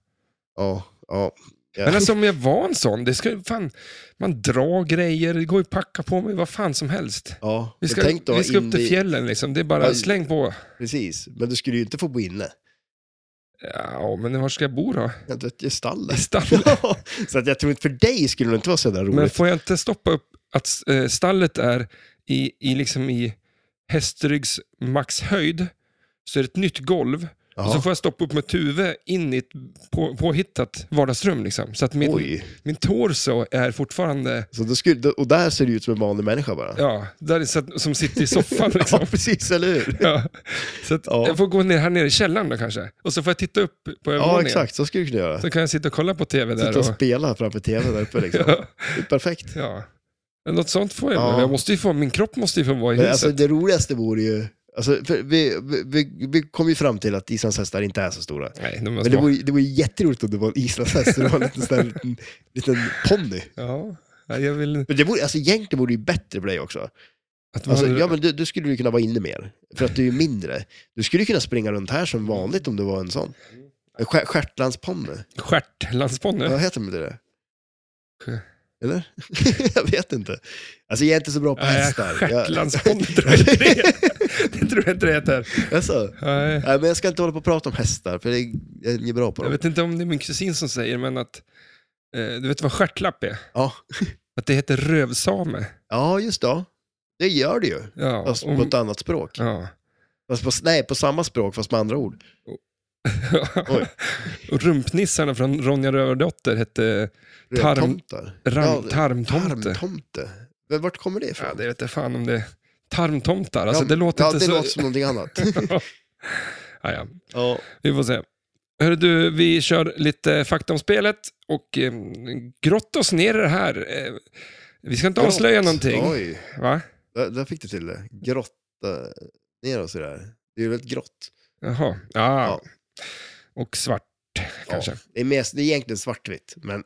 [SPEAKER 2] ja, ja. ja.
[SPEAKER 1] Men alltså om jag var en sån, det ska, ju- fan, man drar grejer, det går ju att packa på mig vad fan som helst.
[SPEAKER 2] ja.
[SPEAKER 1] Vi
[SPEAKER 2] men
[SPEAKER 1] ska,
[SPEAKER 2] tänk då
[SPEAKER 1] vi ska upp
[SPEAKER 2] in
[SPEAKER 1] till
[SPEAKER 2] i-
[SPEAKER 1] fjällen liksom, det är bara
[SPEAKER 2] Ja,
[SPEAKER 1] släng på.
[SPEAKER 2] Precis, men du skulle ju inte få bo inne.
[SPEAKER 1] Ja, men var ska jag bo då?
[SPEAKER 2] Jag vet, I
[SPEAKER 1] I
[SPEAKER 2] stallet.
[SPEAKER 1] stallet?
[SPEAKER 2] <laughs> så att jag tror inte för dig skulle det inte vara så där roligt.
[SPEAKER 1] Men får jag inte stoppa upp att eh, stallet är i, i, liksom i hästryggs maxhöjd, så är det ett nytt golv. Och
[SPEAKER 2] Jaha.
[SPEAKER 1] så får jag stoppa upp mitt huvud in i ett på, påhittat vardagsrum. Liksom. Så att min,
[SPEAKER 2] Oj,
[SPEAKER 1] min torso är fortfarande,
[SPEAKER 2] så då skulle, och där ser du ut som en vanlig människa bara.
[SPEAKER 1] ja, där är, så att, som sitter i soffan. Liksom.
[SPEAKER 2] <laughs> Ja, precis, eller hur?
[SPEAKER 1] Ja. Så att
[SPEAKER 2] Ja.
[SPEAKER 1] jag får gå ner här nere i källaren då kanske. Och så får jag titta upp på
[SPEAKER 2] Ja,
[SPEAKER 1] övervåningen.
[SPEAKER 2] exakt, så skulle du kunna göra.
[SPEAKER 1] så kan jag sitta och kolla på tv där.
[SPEAKER 2] Sitta och
[SPEAKER 1] Och,
[SPEAKER 2] spela framför tvn där uppe liksom.
[SPEAKER 1] <laughs> ja,
[SPEAKER 2] Det är Perfekt.
[SPEAKER 1] ja. Men Något sånt får jag.
[SPEAKER 2] Ja.
[SPEAKER 1] jag måste ju få, min kropp måste ju få vara i
[SPEAKER 2] Men
[SPEAKER 1] huset.
[SPEAKER 2] alltså, det roligaste vore ju... Alltså, för vi, vi- vi, vi kom ju fram till att islandshästar inte är så stora.
[SPEAKER 1] Nej, de är
[SPEAKER 2] Men det
[SPEAKER 1] små.
[SPEAKER 2] vore, det vore jätteroligt om det var en islandshäst och det var en liten, sån här liten, liten ponny.
[SPEAKER 1] Ja, nej, jag vill...
[SPEAKER 2] Men det vore, alltså, egentligen vore det ju bättre för dig också.
[SPEAKER 1] Att
[SPEAKER 2] Alltså,
[SPEAKER 1] man...
[SPEAKER 2] ja, men du, du skulle ju kunna vara inne mer, för att du är ju mindre. Du skulle ju kunna springa runt här som vanligt om du var en sån. En stjär- Stjärtlandsponny,
[SPEAKER 1] Stjärtlandsponny?
[SPEAKER 2] vad heter det? det?
[SPEAKER 1] Stjär-
[SPEAKER 2] Eller? <laughs> jag vet inte. Alltså jag är inte så bra på
[SPEAKER 1] Nej,
[SPEAKER 2] hästar. Jag,
[SPEAKER 1] Stjärtlandsponny tror jag inte det är. Det tror jag inte det heter.
[SPEAKER 2] <laughs> alltså,
[SPEAKER 1] Nej,
[SPEAKER 2] nej, men jag ska inte hålla på och prata om hästar, för det är, jag är inte bra på
[SPEAKER 1] Jag
[SPEAKER 2] dem.
[SPEAKER 1] vet inte om det är min kusin som säger, men att... Eh, du vet vad stjärtlapp är?
[SPEAKER 2] Ja.
[SPEAKER 1] Att det heter rövsame.
[SPEAKER 2] ja, just det. Det gör det ju,
[SPEAKER 1] Ja,
[SPEAKER 2] fast
[SPEAKER 1] om-
[SPEAKER 2] på ett annat språk.
[SPEAKER 1] ja.
[SPEAKER 2] Fast på, nej, på samma språk, fast med andra ord. Oj.
[SPEAKER 1] <laughs> Och rumpnissarna från Ronja Rövardotter hette
[SPEAKER 2] Rödtomtar.
[SPEAKER 1] ram,
[SPEAKER 2] Ja,
[SPEAKER 1] tarmtomte.
[SPEAKER 2] Tarmtomte. Men vart kommer det ifrån?
[SPEAKER 1] ja, det vet jag fan om det... Tarmtomtar, alltså
[SPEAKER 2] Ja,
[SPEAKER 1] det låter
[SPEAKER 2] ja,
[SPEAKER 1] inte
[SPEAKER 2] det
[SPEAKER 1] så...
[SPEAKER 2] låter som någonting annat.
[SPEAKER 1] <laughs> ja, ja.
[SPEAKER 2] ja.
[SPEAKER 1] Vi får se. Hörru du, vi kör lite fakta om spelet och eh, grotta oss ner i det här. Eh, vi ska inte avslöja
[SPEAKER 2] Grått.
[SPEAKER 1] någonting.
[SPEAKER 2] Oj,
[SPEAKER 1] Va?
[SPEAKER 2] där, där fick du till det. Grått eh, ner och sådär. Det är ju väldigt grått.
[SPEAKER 1] Jaha. Ja.
[SPEAKER 2] Ja.
[SPEAKER 1] Och svart, kanske.
[SPEAKER 2] Det är, mest, det är egentligen svartvitt, men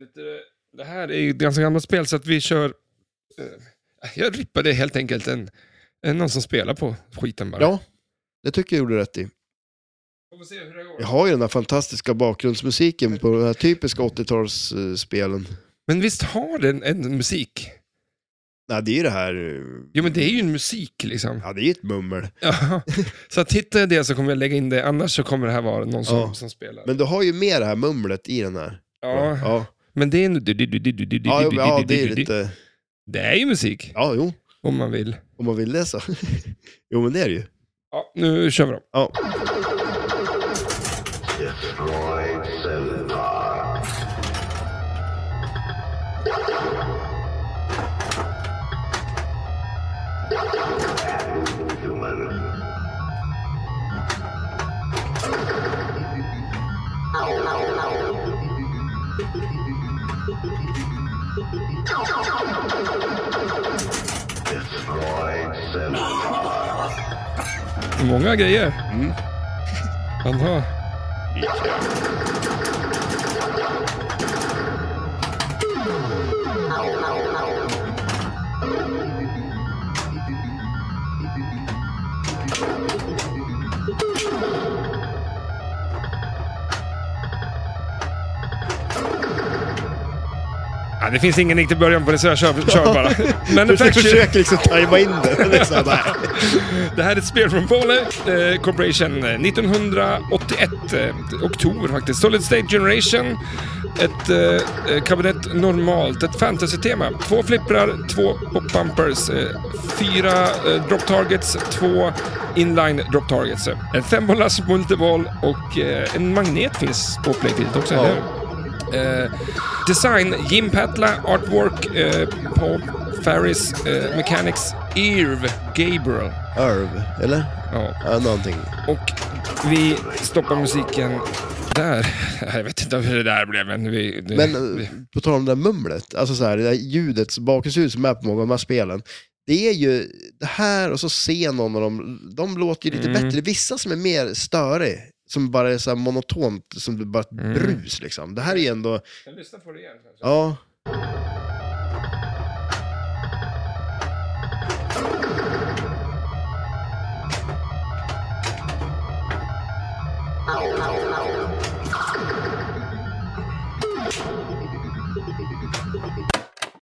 [SPEAKER 1] Lite- Det här är ju ett ganska gammalt spel, så att vi kör... eh, Jag rippade helt enkelt en, en någon som spelar på skiten bara.
[SPEAKER 2] <laughs> ja, det tycker jag gjorde rätt i.
[SPEAKER 1] Vi får se hur det går.
[SPEAKER 2] Jag har ju den här fantastiska bakgrundsmusiken på de här typiska 80-talsspelen.
[SPEAKER 1] Men visst har den en musik?
[SPEAKER 2] Nej, det är ju det här... eh,
[SPEAKER 1] Jo, men det är ju en musik liksom.
[SPEAKER 2] Ja, det är ju ett mummel. <laughs>
[SPEAKER 1] Ja. Så att hittar jag det så kommer jag lägga in det, annars så kommer det här vara någon som,
[SPEAKER 2] Ja.
[SPEAKER 1] som spelar.
[SPEAKER 2] Men du har ju med det här mumlet i den här.
[SPEAKER 1] ja.
[SPEAKER 2] ja.
[SPEAKER 1] men det är en... Ja,
[SPEAKER 2] Ja, jo, ja, det är ju lite...
[SPEAKER 1] Det är ju musik,
[SPEAKER 2] Ja, jo.
[SPEAKER 1] om man vill.
[SPEAKER 2] Om man vill det så. <laughs> Jo, men det är det ju.
[SPEAKER 1] Ja, nu kör vi då.
[SPEAKER 2] Ja.
[SPEAKER 3] Destroyed Cell Park. Human. Destroyed Cell
[SPEAKER 1] Många grejer. Han har... Ja, det finns ingen riktig början på det, så jag kör, kör bara.
[SPEAKER 2] <laughs> Jag
[SPEAKER 1] Manufacture.
[SPEAKER 2] försöker liksom tajma in det. <laughs> Men det är så här, nej.
[SPEAKER 1] Det här är ett spel från Poly eh, Corporation eh, 1981. Eh, oktober faktiskt. Solid State Generation. Ett eh, eh, kabinett normalt. Ett fantasy-tema. Två flipprar, två pop-bumpers, eh, fyra eh, drop targets, två inline drop targets. eh, En fembollars multiboll och eh, en magnet finns på playfield också, eller hur? Eh, design Jim Patla, artwork eh, Paul Farris, eh, Mechanics Irv Gabriel.
[SPEAKER 2] Irv, eller?
[SPEAKER 1] Ja.
[SPEAKER 2] Ja, någonting.
[SPEAKER 1] Och vi stoppar musiken där. <laughs> Jag vet inte hur det där blev, men vi... Det,
[SPEAKER 2] Men eh,
[SPEAKER 1] vi
[SPEAKER 2] på tal om det där mumlet, alltså så här, det där ljudet, bakgrundsljudet som är på många av de här spelen. Det är ju det här och så se någon av dem, de låter ju lite
[SPEAKER 1] Mm.
[SPEAKER 2] bättre. Vissa som är mer störig, som bara är så här monotont, som bara ett
[SPEAKER 1] Mm.
[SPEAKER 2] brus liksom. Det här är ju ändå,
[SPEAKER 1] kan lyssna på det igen. kanske.
[SPEAKER 2] ja,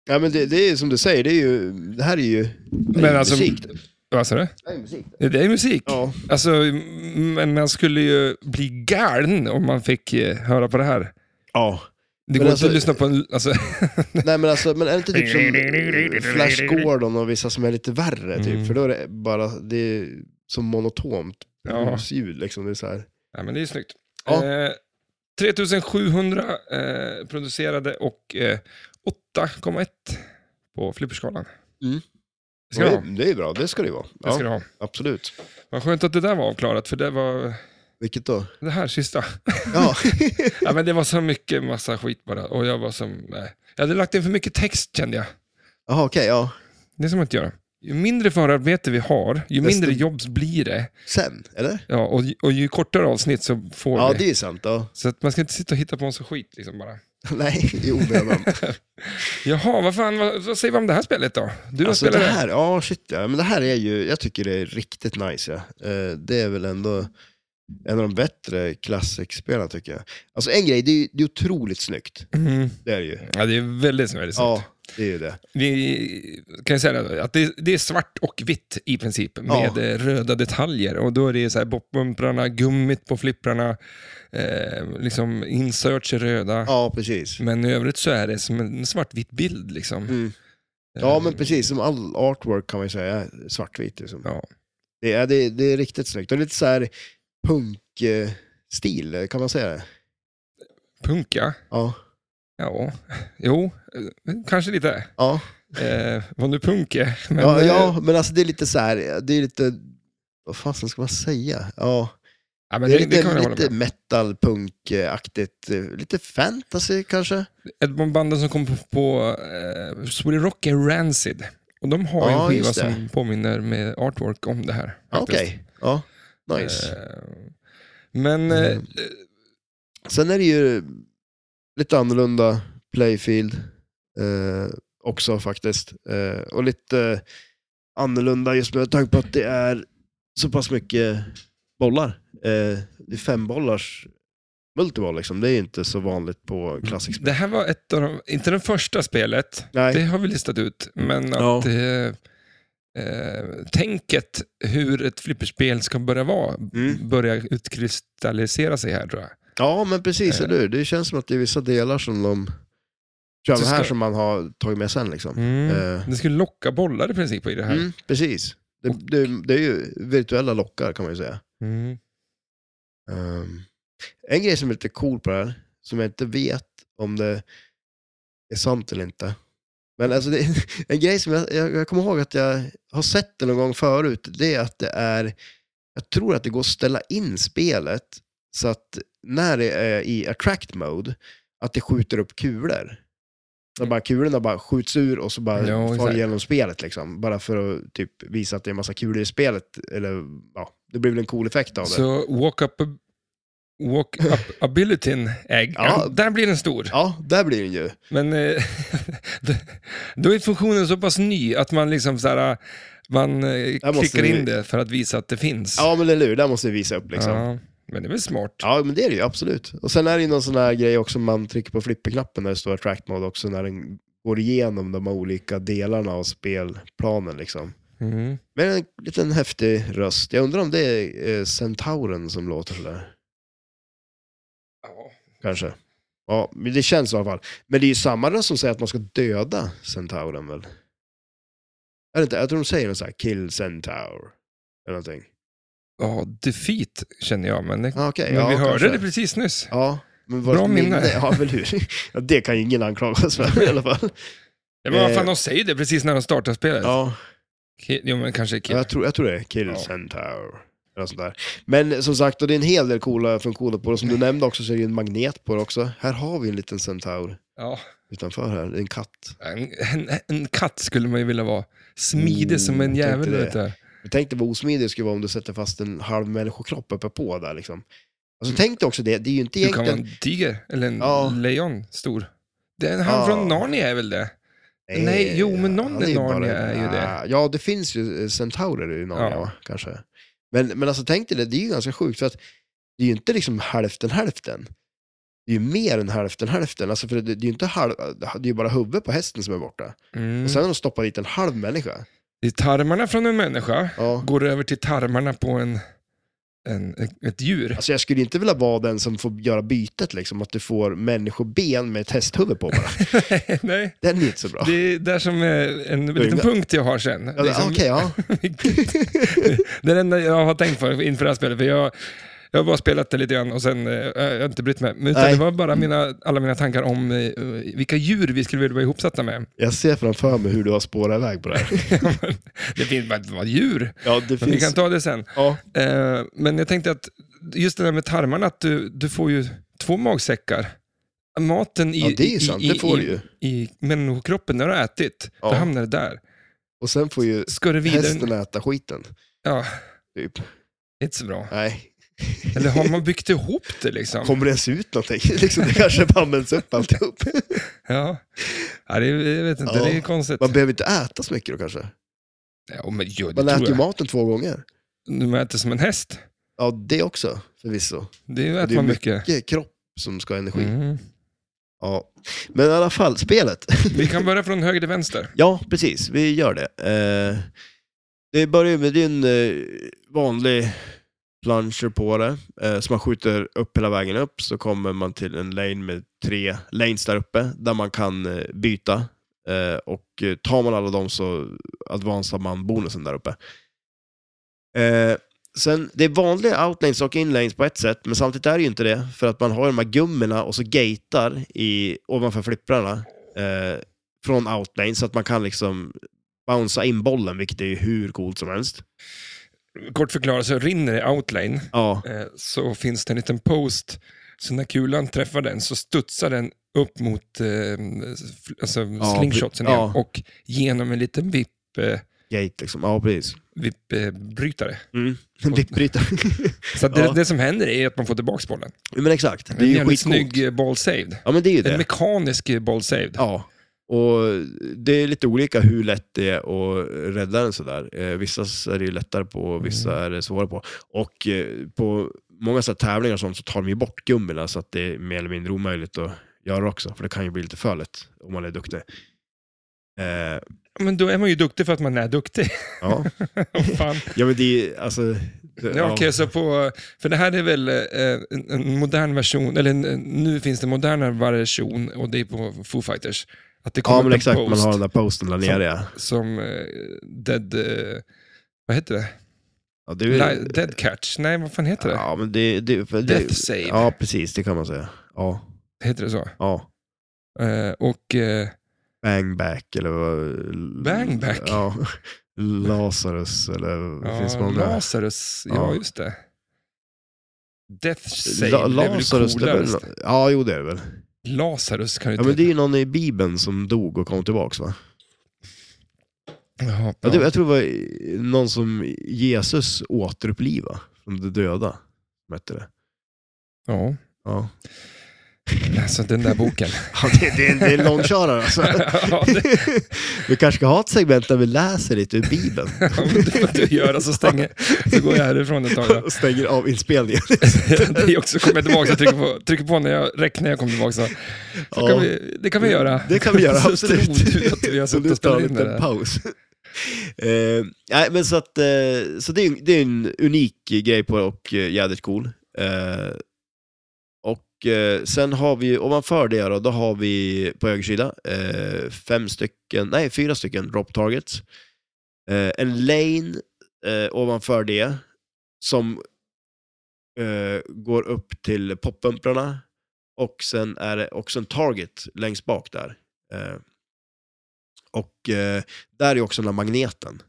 [SPEAKER 2] ja men det, det är ju som du säger, det, är ju, det här är ju det är
[SPEAKER 1] Men
[SPEAKER 2] ju
[SPEAKER 1] alltså-
[SPEAKER 2] musik. Det
[SPEAKER 1] Vad sa du?
[SPEAKER 2] här är musik.
[SPEAKER 1] Det är musik.
[SPEAKER 2] Ja,
[SPEAKER 1] Alltså, m- men man skulle ju bli galen om man fick eh, höra på det här.
[SPEAKER 2] ja.
[SPEAKER 1] Det går
[SPEAKER 2] alltså-
[SPEAKER 1] inte att lyssna på en... Alltså, <laughs>
[SPEAKER 2] Nej men alltså, men är det inte typ som Flash Gordon och vissa som är lite värre typ?
[SPEAKER 1] Mm.
[SPEAKER 2] För då är det bara, det är som monotont
[SPEAKER 1] ja.
[SPEAKER 2] ljud liksom. Det är så här.
[SPEAKER 1] Nej, men det är snyggt.
[SPEAKER 2] Ja.
[SPEAKER 1] Eh, 3700 eh, producerade och eh, 8,1 på flipperskalan.
[SPEAKER 2] Mm.
[SPEAKER 1] Det ska det vara.
[SPEAKER 2] det, det är bra, det ska det ju vara.
[SPEAKER 1] Det ska
[SPEAKER 2] Ja,
[SPEAKER 1] det ha.
[SPEAKER 2] absolut.
[SPEAKER 1] Vad skönt att det där var avklarat, för det var
[SPEAKER 2] Vilket då?
[SPEAKER 1] det här sista.
[SPEAKER 2] Ja, <laughs>
[SPEAKER 1] Ja, men det var så mycket massa skit bara. Och jag var som, nej. Jag hade lagt in för mycket text kände jag.
[SPEAKER 2] Jaha, okej, ja.
[SPEAKER 1] Det ska man inte göra. Ju mindre förarbete vi har, ju
[SPEAKER 2] Desto-
[SPEAKER 1] mindre jobb blir det.
[SPEAKER 2] Sen, eller?
[SPEAKER 1] Ja, och, ju- och ju kortare avsnitt så får
[SPEAKER 2] Ja,
[SPEAKER 1] vi.
[SPEAKER 2] det är ju sant. Ja.
[SPEAKER 1] Så att man ska inte sitta och hitta på en så skit liksom bara.
[SPEAKER 2] <laughs> Nej, i onödan.
[SPEAKER 1] Jaha, vad fan, vad, vad säger vi om det här spelet då? Du har
[SPEAKER 2] Alltså
[SPEAKER 1] spelat <laughs>
[SPEAKER 2] det
[SPEAKER 1] det
[SPEAKER 2] här, ja shit ja. Men det här är ju, jag tycker det är riktigt nice ja. Eh, Det är väl ändå en av de bättre klassikspelen tycker jag. Alltså en grej, det är ju det är otroligt snyggt.
[SPEAKER 1] Mm.
[SPEAKER 2] Det är det ju.
[SPEAKER 1] Ja, det är väldigt snyggt.
[SPEAKER 2] Ja, det är ju det.
[SPEAKER 1] Vi kan ju säga det, att det, det är svart och vitt i princip med
[SPEAKER 2] Ja.
[SPEAKER 1] eh, röda detaljer. Och då är det så här boppumprarna, gummit på flipprarna, eh, liksom inserts är röda.
[SPEAKER 2] Ja, precis.
[SPEAKER 1] Men i övrigt så är det som en svartvit bild. Liksom.
[SPEAKER 2] Mm. Ja,
[SPEAKER 1] Eh,
[SPEAKER 2] men precis. Som all artwork kan man ju säga är svartvit. Liksom.
[SPEAKER 1] Ja.
[SPEAKER 2] Det, är, det, är- det är riktigt snyggt. Det är lite så här punkstil, kan man säga det?
[SPEAKER 1] Punka?
[SPEAKER 2] Ja.
[SPEAKER 1] Eh, Ja, jo, eh, kanske lite.
[SPEAKER 2] Ja.
[SPEAKER 1] Eh, vad nu punk är. <laughs> Men,
[SPEAKER 2] ja,
[SPEAKER 1] eh,
[SPEAKER 2] ja, men alltså det är lite så här, det är lite, vad fasen ska man säga? Ja,
[SPEAKER 1] ja,
[SPEAKER 2] det
[SPEAKER 1] men
[SPEAKER 2] är
[SPEAKER 1] det, det,
[SPEAKER 2] lite,
[SPEAKER 1] kan jag hålla
[SPEAKER 2] lite
[SPEAKER 1] med
[SPEAKER 2] metal, punkaktigt, eh, lite fantasy kanske?
[SPEAKER 1] Ett av banden som kom på, på eh, Sweden Rock är Rancid. Och de har ju
[SPEAKER 2] Ja,
[SPEAKER 1] en skiva
[SPEAKER 2] just det.
[SPEAKER 1] som påminner med artwork om det här.
[SPEAKER 2] Ja,
[SPEAKER 1] faktiskt.
[SPEAKER 2] Okej, ja, nice.
[SPEAKER 1] Eh, Men eh,
[SPEAKER 2] Mm. Sen är det ju lite annorlunda playfield eh, också faktiskt. Eh, och lite annorlunda just med tanke på att det är så pass mycket bollar. Eh, det är fem bollars multiboll liksom. Det är ju inte så vanligt på classic spel.
[SPEAKER 1] det här var ett av de, inte det första spelet,
[SPEAKER 2] Nej.
[SPEAKER 1] det har vi listat ut, men att
[SPEAKER 2] Ja.
[SPEAKER 1] eh, eh, tänket hur ett flipperspel ska börja vara
[SPEAKER 2] Mm.
[SPEAKER 1] börjar utkristallisera sig här tror jag.
[SPEAKER 2] Ja, men precis,
[SPEAKER 1] Eh.
[SPEAKER 2] eller hur? Det känns som att det är vissa delar som de kör
[SPEAKER 1] Så
[SPEAKER 2] med här
[SPEAKER 1] ska-
[SPEAKER 2] som man har tagit med sen liksom. Eh.
[SPEAKER 1] Mm. Det skulle locka bollar i princip i det här.
[SPEAKER 2] Mm, precis. Det, det, det är ju virtuella lockar kan man ju säga.
[SPEAKER 1] Mm.
[SPEAKER 2] Ehm, en grej som är lite cool på det här, som jag inte vet om det är sant eller inte. Men alltså det, <laughs> en grej som jag, jag, jag kommer ihåg att jag har sett det någon gång förut, det är att det är, jag tror att det går att ställa in spelet så att när det är i attract mode, att det skjuter upp kulor. Så bara, kulorna bara skjuts ur och så bara
[SPEAKER 1] Ja,
[SPEAKER 2] far
[SPEAKER 1] exakt.
[SPEAKER 2] igenom spelet liksom. Bara för att typ visa att det är en massa kulor i spelet. Eller, ja, det blir väl en cool effekt av det.
[SPEAKER 1] Så walk up, walk up
[SPEAKER 2] <laughs>
[SPEAKER 1] abilityn ägg, ja.
[SPEAKER 2] Ja.
[SPEAKER 1] där blir den stor.
[SPEAKER 2] Ja, där blir den ju.
[SPEAKER 1] Men eh, <laughs> då- då är funktionen så pass ny att man liksom så här, man eh,
[SPEAKER 2] måste
[SPEAKER 1] klickar
[SPEAKER 2] vi-
[SPEAKER 1] in det för att visa att det finns.
[SPEAKER 2] Ja, men eller hur, där måste vi visa upp liksom. Ja.
[SPEAKER 1] Ja, men det är väl smart.
[SPEAKER 2] men det är det ju absolut. Och sen är det ju någon sån här grej också, man trycker på flipperknappen när det står attract mode också, när den går igenom de här olika delarna av spelplanen liksom.
[SPEAKER 1] Mm.
[SPEAKER 2] Men en liten häftig röst. Jag undrar om det är eh, Centauren som låter sådär,
[SPEAKER 1] Ja.
[SPEAKER 2] kanske. Ja, men det känns så i alla fall. Men det är ju samma röst som säger att man ska döda Centauren väl? Är det inte? Jag tror de säger något så här, kill Centaur. Eller någonting.
[SPEAKER 1] ja, defeat känner jag, men, det,
[SPEAKER 2] Ah, okay,
[SPEAKER 1] men
[SPEAKER 2] ja,
[SPEAKER 1] vi hörde
[SPEAKER 2] kanske.
[SPEAKER 1] det precis nyss.
[SPEAKER 2] Ja, men var
[SPEAKER 1] Bra
[SPEAKER 2] Bra minne.
[SPEAKER 1] minne.
[SPEAKER 2] Ja, väl hur? Ja, det kan ju ingen anklaga oss för i alla fall.
[SPEAKER 1] Ja, men vad
[SPEAKER 2] Eh.
[SPEAKER 1] fan, de säger det precis när de startar spelet.
[SPEAKER 2] Ja,
[SPEAKER 1] Ki- Jo, men kanske kill.
[SPEAKER 2] jag tror, jag tror det. är Kill
[SPEAKER 1] Ja.
[SPEAKER 2] Centaur. Eller något sånt där. Men som sagt, och det är en hel del coola funktioner på det. Som du nämnde också så är det ju en magnet på det också. Här har vi en liten Centaur
[SPEAKER 1] Ja.
[SPEAKER 2] utanför här. Det är En katt.
[SPEAKER 1] En, en, en katt skulle man ju vilja vara. Smidig
[SPEAKER 2] Mm,
[SPEAKER 1] som en
[SPEAKER 2] jag
[SPEAKER 1] jävel,
[SPEAKER 2] tänkte det.
[SPEAKER 1] vet du.
[SPEAKER 2] Men Tänk dig vad osmidigt det skulle vara om du sätter fast en halv människokropp uppe på där liksom. Alltså tänk dig också det, det är ju inte
[SPEAKER 1] Du kan vara
[SPEAKER 2] egentligen...
[SPEAKER 1] en tiger, eller en
[SPEAKER 2] Ja.
[SPEAKER 1] lejon, stor. Det är han
[SPEAKER 2] Ja.
[SPEAKER 1] från Narnia är väl det? Nej, jo, men någon
[SPEAKER 2] Eh, han
[SPEAKER 1] i
[SPEAKER 2] ju
[SPEAKER 1] Narnia
[SPEAKER 2] bara- Ah,
[SPEAKER 1] är ju det.
[SPEAKER 2] Ja, det finns ju eh, centaurer i Narnia,
[SPEAKER 1] Ja.
[SPEAKER 2] va, kanske. Men, men alltså tänk dig det, det är ju ganska sjukt för att det är ju inte liksom hälften hälften. Det är ju mer än hälften hälften. Alltså för det, det är ju inte halv, det är ju bara huvudet på hästen som är borta.
[SPEAKER 1] Mm.
[SPEAKER 2] Och sen har de stoppat dit en halv människa.
[SPEAKER 1] Det är tarmarna från en människa,
[SPEAKER 2] Ja.
[SPEAKER 1] går över till tarmarna på en, en, ett
[SPEAKER 2] <laughs>
[SPEAKER 1] djur.
[SPEAKER 2] Alltså jag skulle inte vilja vara den som får göra bytet liksom, att du får människoben med ett hästhuvud på bara.
[SPEAKER 1] <laughs> Nej,
[SPEAKER 2] Den är inte så bra.
[SPEAKER 1] det är där som eh, en liten punkt jag har sen.
[SPEAKER 2] Ja,
[SPEAKER 1] Liksom-
[SPEAKER 2] Okej, ja.
[SPEAKER 1] <laughs> det är det enda jag har tänkt på inför det här spelet, för jag, jag har bara spelat det lite grann och sen, eh, jag har inte brytt mig. Men Utan
[SPEAKER 2] Nej. Mm.
[SPEAKER 1] det var bara mina, alla mina tankar om eh, vilka djur vi skulle vilja vara ihopsatta med. <laughs>
[SPEAKER 2] Jag ser framför mig hur du har spårat iväg på det här.
[SPEAKER 1] det finns bara vad djur,
[SPEAKER 2] Ja,
[SPEAKER 1] men
[SPEAKER 2] det
[SPEAKER 1] vi kan
[SPEAKER 2] finns...
[SPEAKER 1] ta det sen.
[SPEAKER 2] Ja,
[SPEAKER 1] Eh, men jag tänkte att just det där med tarmarna, att du, du får ju två magsäckar. Maten i,
[SPEAKER 2] ja, det är
[SPEAKER 1] i-
[SPEAKER 2] ju sant,
[SPEAKER 1] i,
[SPEAKER 2] det får
[SPEAKER 1] i,
[SPEAKER 2] du ju.
[SPEAKER 1] i människokroppen när du har ätit, då
[SPEAKER 2] Ja.
[SPEAKER 1] hamnar det där.
[SPEAKER 2] Och sen får ju
[SPEAKER 1] Ska det vidare?
[SPEAKER 2] hästen äta skiten.
[SPEAKER 1] Ja,
[SPEAKER 2] Typ.
[SPEAKER 1] inte så bra.
[SPEAKER 2] Nej.
[SPEAKER 1] Eller har man byggt ihop det liksom?
[SPEAKER 2] Kommer det ens ut någonting? <laughs> Liksom, det kanske bara används upp alltihop.
[SPEAKER 1] Ja, ja det, jag vet inte,
[SPEAKER 2] Ja.
[SPEAKER 1] det är konstigt.
[SPEAKER 2] Man behöver inte äta så mycket då kanske.
[SPEAKER 1] Ja, men, jo, det
[SPEAKER 2] Man
[SPEAKER 1] tror
[SPEAKER 2] äter ju
[SPEAKER 1] jag.
[SPEAKER 2] maten två gånger.
[SPEAKER 1] Du äter som en häst.
[SPEAKER 2] Ja, det också förvisso.
[SPEAKER 1] Det
[SPEAKER 2] är
[SPEAKER 1] äter
[SPEAKER 2] ju
[SPEAKER 1] man mycket.
[SPEAKER 2] Det är kropp som ska ha energi.
[SPEAKER 1] Mm.
[SPEAKER 2] Ja. Men i alla fall, spelet.
[SPEAKER 1] Vi kan börja från höger till vänster.
[SPEAKER 2] Ja, precis. Vi gör det. Eh, det börjar med din eh, vanlig plunger på det, eh, som man skjuter upp hela vägen upp. Så kommer man till en lane med tre lanes där uppe, där man kan eh, byta. Eh, och eh, tar man alla dem så advansar man bonusen där uppe. Eh, sen, det är vanliga outlanes och inlanes på ett sätt, men samtidigt är det ju inte det. För att man har ju de här gummorna och så gatar i, ovanför flipprarna. Eh, från outlane så att man kan liksom bouncea in bollen, vilket är ju hur coolt som helst.
[SPEAKER 1] Kort förklarat, så rinner det outlane,
[SPEAKER 2] Ja,
[SPEAKER 1] eh, så finns det en liten post. Så när kulan träffar den så studsar den upp mot eh, fl- alltså
[SPEAKER 2] Ja,
[SPEAKER 1] slingshotsen
[SPEAKER 2] pre-
[SPEAKER 1] igen
[SPEAKER 2] ja.
[SPEAKER 1] och genom en liten vipp eh,
[SPEAKER 2] Gate liksom. Ja, precis. <laughs>
[SPEAKER 1] vippbrytare.
[SPEAKER 2] Mm. Vippbryta.
[SPEAKER 1] Så att det,
[SPEAKER 2] Ja.
[SPEAKER 1] det som händer är att man får tillbaka bollen.
[SPEAKER 2] <laughs> men exakt. Det är
[SPEAKER 1] en
[SPEAKER 2] ju
[SPEAKER 1] jävligt
[SPEAKER 2] skitcoolt.
[SPEAKER 1] snygg eh, ball saved.
[SPEAKER 2] Ja, men det är ju
[SPEAKER 1] En
[SPEAKER 2] det.
[SPEAKER 1] mekanisk eh, ball saved.
[SPEAKER 2] Ja. Och det är lite olika hur lätt det är att rädda den sådär. Eh, vissa är det ju lättare på, och vissa
[SPEAKER 1] Mm.
[SPEAKER 2] är det svårare på. Och eh, på många så här tävlingar och sånt så tar de ju bort gummorna så att det är mer eller mindre omöjligt att göra också. För det kan ju bli lite för lätt om man är duktig. Eh,
[SPEAKER 1] Men då är man ju duktig för att man är duktig. <laughs>
[SPEAKER 2] ja.
[SPEAKER 1] Åh, fan.
[SPEAKER 2] ja, men det är alltså... det-
[SPEAKER 1] Ja, okej, så på, för det här är väl eh, en, en modern version, eller en, en- nu finns det en modernare version och det är på Foo Fighters. Att det kommer
[SPEAKER 2] ja
[SPEAKER 1] upp
[SPEAKER 2] men
[SPEAKER 1] en
[SPEAKER 2] exakt.
[SPEAKER 1] post
[SPEAKER 2] Man har den där posten där
[SPEAKER 1] Som-
[SPEAKER 2] nere. Ja.
[SPEAKER 1] som eh, Dead... Eh, vad heter det?
[SPEAKER 2] Ja, det är,
[SPEAKER 1] Li- dead Catch? Nej, vad fan heter det?
[SPEAKER 2] ja, men det, det, för det,
[SPEAKER 1] Death Save,
[SPEAKER 2] Ja, precis. Det kan man säga. Ja,
[SPEAKER 1] heter det så?
[SPEAKER 2] ja.
[SPEAKER 1] Eh, och... Eh,
[SPEAKER 2] Bang back eller vad...
[SPEAKER 1] Bang back?
[SPEAKER 2] Ja. <laughs> Lazarus eller
[SPEAKER 1] ja,
[SPEAKER 2] finns det många?
[SPEAKER 1] Lazarus, ja.
[SPEAKER 2] Ja.
[SPEAKER 1] just det. Death Save,
[SPEAKER 2] La-
[SPEAKER 1] det är väl
[SPEAKER 2] Lazarus, det är
[SPEAKER 1] coolare?
[SPEAKER 2] väl Ja, jo det är det väl.
[SPEAKER 1] Lazarus kan det
[SPEAKER 2] Ja,
[SPEAKER 1] inte
[SPEAKER 2] men det är
[SPEAKER 1] heta.
[SPEAKER 2] ju någon i Bibeln som dog och kom tillbaks va?
[SPEAKER 1] Jaha,
[SPEAKER 2] Ja.
[SPEAKER 1] ja.
[SPEAKER 2] det- Jag tror det var eh, någon som Jesus återuppliva från de döda. som hette det.
[SPEAKER 1] ja.
[SPEAKER 2] Ja.
[SPEAKER 1] Alltså den där boken.
[SPEAKER 2] Ja, det, det, är- det är en långkörare alltså.
[SPEAKER 1] ja, det,
[SPEAKER 2] Vi kanske ska ha ett segment där vi läser lite ur
[SPEAKER 1] <laughs>
[SPEAKER 2] Bibeln.
[SPEAKER 1] Ja, men det får du göra, så stänger, så går jag härifrån ett tag. då.
[SPEAKER 2] Och stänger av inspelningen.
[SPEAKER 1] Det är också, kommer jag tillbaka så trycker på, trycker på när jag räcker när jag kommer tillbaka. Så, så
[SPEAKER 2] Ja.
[SPEAKER 1] kan vi, det kan vi göra.
[SPEAKER 2] Det kan vi göra,
[SPEAKER 1] <laughs> Så tror
[SPEAKER 2] absolut.
[SPEAKER 1] du att vi har
[SPEAKER 2] Så
[SPEAKER 1] suttit
[SPEAKER 2] nu
[SPEAKER 1] och
[SPEAKER 2] tar
[SPEAKER 1] spelat
[SPEAKER 2] vi
[SPEAKER 1] in det
[SPEAKER 2] en
[SPEAKER 1] där.
[SPEAKER 2] paus. Eh, nej, men så att, eh, så det är, ju- det är en unik grej på det och eh, jädrigt cool. Eh, och eh, sen har vi, ovanför det då, då har vi på höger sida eh, fem stycken, nej fyra stycken drop targets. Eh, en lane eh, ovanför det som eh, går upp till poppumprarna och sen är det också en target längst bak där. Eh, och eh, där är också den där magneten.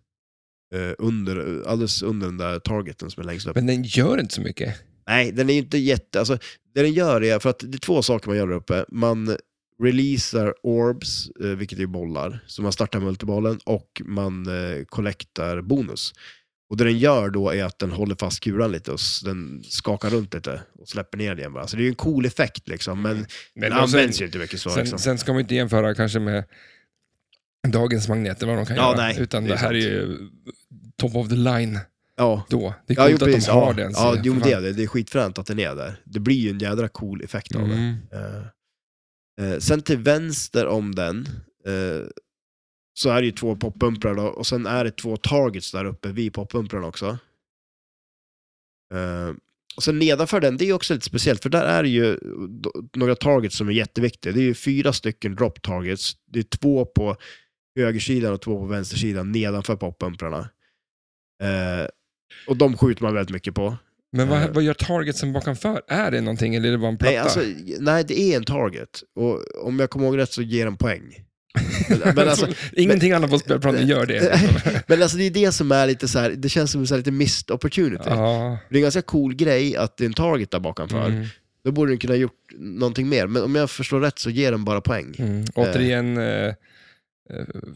[SPEAKER 2] Eh, under, alldeles under den där targeten som är längst upp.
[SPEAKER 1] Men den gör inte så mycket.
[SPEAKER 2] Nej, den är ju inte jätte... Alltså, det den gör är, för att det är två saker man gör där uppe. Man releasar orbs, eh, vilket är bollar, så man startar multibollen och man eh, collectar bonus. Och det den gör då är att den håller fast kulan lite och s- den skakar runt lite och släpper ner den igen. bara. Så det är ju en cool effekt liksom, men
[SPEAKER 1] Mm. Men
[SPEAKER 2] den
[SPEAKER 1] och sen,
[SPEAKER 2] används ju inte mycket så. liksom.
[SPEAKER 1] sen, sen ska man inte jämföra kanske med dagens magneter, vad de kan
[SPEAKER 2] Ja,
[SPEAKER 1] göra.
[SPEAKER 2] nej,
[SPEAKER 1] Utan
[SPEAKER 2] det
[SPEAKER 1] det,
[SPEAKER 2] är
[SPEAKER 1] här är
[SPEAKER 2] sant.
[SPEAKER 1] ju top of the line
[SPEAKER 2] ja.
[SPEAKER 1] då. Det är
[SPEAKER 2] Ja,
[SPEAKER 1] coolt
[SPEAKER 2] jo,
[SPEAKER 1] att
[SPEAKER 2] precis.
[SPEAKER 1] de har
[SPEAKER 2] Ja,
[SPEAKER 1] den. så
[SPEAKER 2] ja,
[SPEAKER 1] för
[SPEAKER 2] jo, men
[SPEAKER 1] fan.
[SPEAKER 2] det, är det. det är skitfränt att den är där. Det blir ju en jädra cool effekt av det.
[SPEAKER 1] Mm.
[SPEAKER 2] Eh, eh, sen till vänster om den eh, så är det ju två poppumprar då, och sen är det två targets där uppe vid poppumprarna också. Eh, och sen nedanför den, det är ju också lite speciellt för där är det ju d- några targets som är jätteviktiga. Det är ju fyra stycken drop targets. Det är två på högersidan och två på vänstersidan nedanför poppumprarna. Eh, och de skjuter man väldigt mycket på.
[SPEAKER 1] Men vad,
[SPEAKER 2] Eh.
[SPEAKER 1] vad gör targetsen bakomför? Är det någonting eller är det bara en platta?
[SPEAKER 2] Nej, alltså, nej, det är en target. Och om jag kommer ihåg rätt så ger den poäng. Men, men,
[SPEAKER 1] <laughs>
[SPEAKER 2] alltså,
[SPEAKER 1] Ingenting annat på spelplanen gör det.
[SPEAKER 2] <laughs> men alltså det är det som är lite så här, det känns som en så här lite missed opportunity.
[SPEAKER 1] ja.
[SPEAKER 2] Det är en ganska cool grej att det är en target där bakanför.
[SPEAKER 1] Mm,
[SPEAKER 2] Då borde den kunna ha gjort någonting mer. Men om jag förstår rätt så ger den bara poäng.
[SPEAKER 1] mm. Återigen, eh, eh,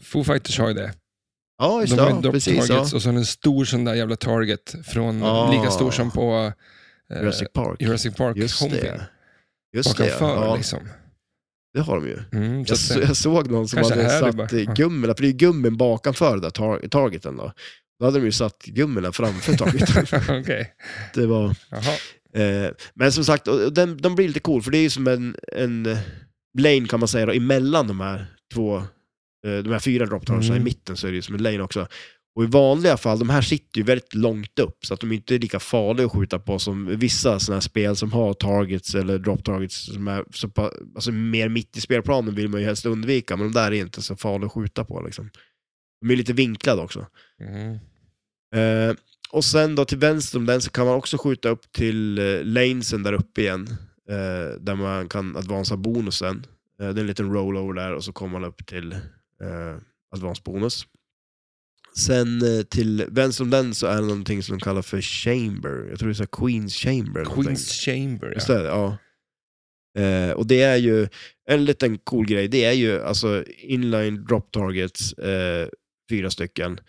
[SPEAKER 1] Foo Fighters har ju det.
[SPEAKER 2] Ja, just
[SPEAKER 1] De
[SPEAKER 2] det.
[SPEAKER 1] har ju
[SPEAKER 2] Ja,
[SPEAKER 1] drop
[SPEAKER 2] precis. Ja.
[SPEAKER 1] targets och så en stor sån där jävla target. Från,
[SPEAKER 2] Ah.
[SPEAKER 1] Lika stor som på eh, Jurassic,
[SPEAKER 2] Jurassic Park.
[SPEAKER 1] Parks
[SPEAKER 2] Just
[SPEAKER 1] homepin.
[SPEAKER 2] det. Just det.
[SPEAKER 1] Bakanför
[SPEAKER 2] Ja,
[SPEAKER 1] liksom.
[SPEAKER 2] det har de ju.
[SPEAKER 1] Mm, så
[SPEAKER 2] Jag,
[SPEAKER 1] att,
[SPEAKER 2] så,
[SPEAKER 1] eh,
[SPEAKER 2] jag såg någon som
[SPEAKER 1] Kanske
[SPEAKER 2] hade
[SPEAKER 1] här är
[SPEAKER 2] satt eh,
[SPEAKER 1] det bara-
[SPEAKER 2] gummorna, för det är ju gummen bakanför det där tar- targeten då. Då hade de ju satt gummorna
[SPEAKER 1] <laughs>
[SPEAKER 2] framför targeten.
[SPEAKER 1] Okej,
[SPEAKER 2] det var...
[SPEAKER 1] jaha.
[SPEAKER 2] Eh, men som sagt, och- och den, de blir lite cool, för det är ju som en, en eh, lane kan man säga då, emellan de här två, eh, de här fyra dropptarna, så här i
[SPEAKER 1] Mm.
[SPEAKER 2] mitten så är det ju som en lane också. Och i vanliga fall, de här sitter ju väldigt långt upp, så att de inte är lika farliga att skjuta på som vissa sådana här spel som har targets eller drop targets som är så pa, alltså mer mitt i spelplanen vill man ju helst undvika, men de där är inte så farliga att skjuta på liksom. De är lite vinklade också.
[SPEAKER 1] Mm.
[SPEAKER 2] Eh, och sen då till vänster om den så kan man också skjuta upp till eh, lanesen där uppe igen. Eh, där man kan advansa bonusen. Eh, det är en liten rollover där och så kommer man upp till eh, advance bonus. Sen eh, till vänster om den så är det någonting som de kallar för chamber. Jag tror det är så här Queens chamber. eller någonting.
[SPEAKER 1] Queens Chamber,
[SPEAKER 2] Just
[SPEAKER 1] ja.
[SPEAKER 2] det, ja. Eh, och det är ju en liten cool grej. Det är ju alltså inline drop targets, eh, fyra stycken.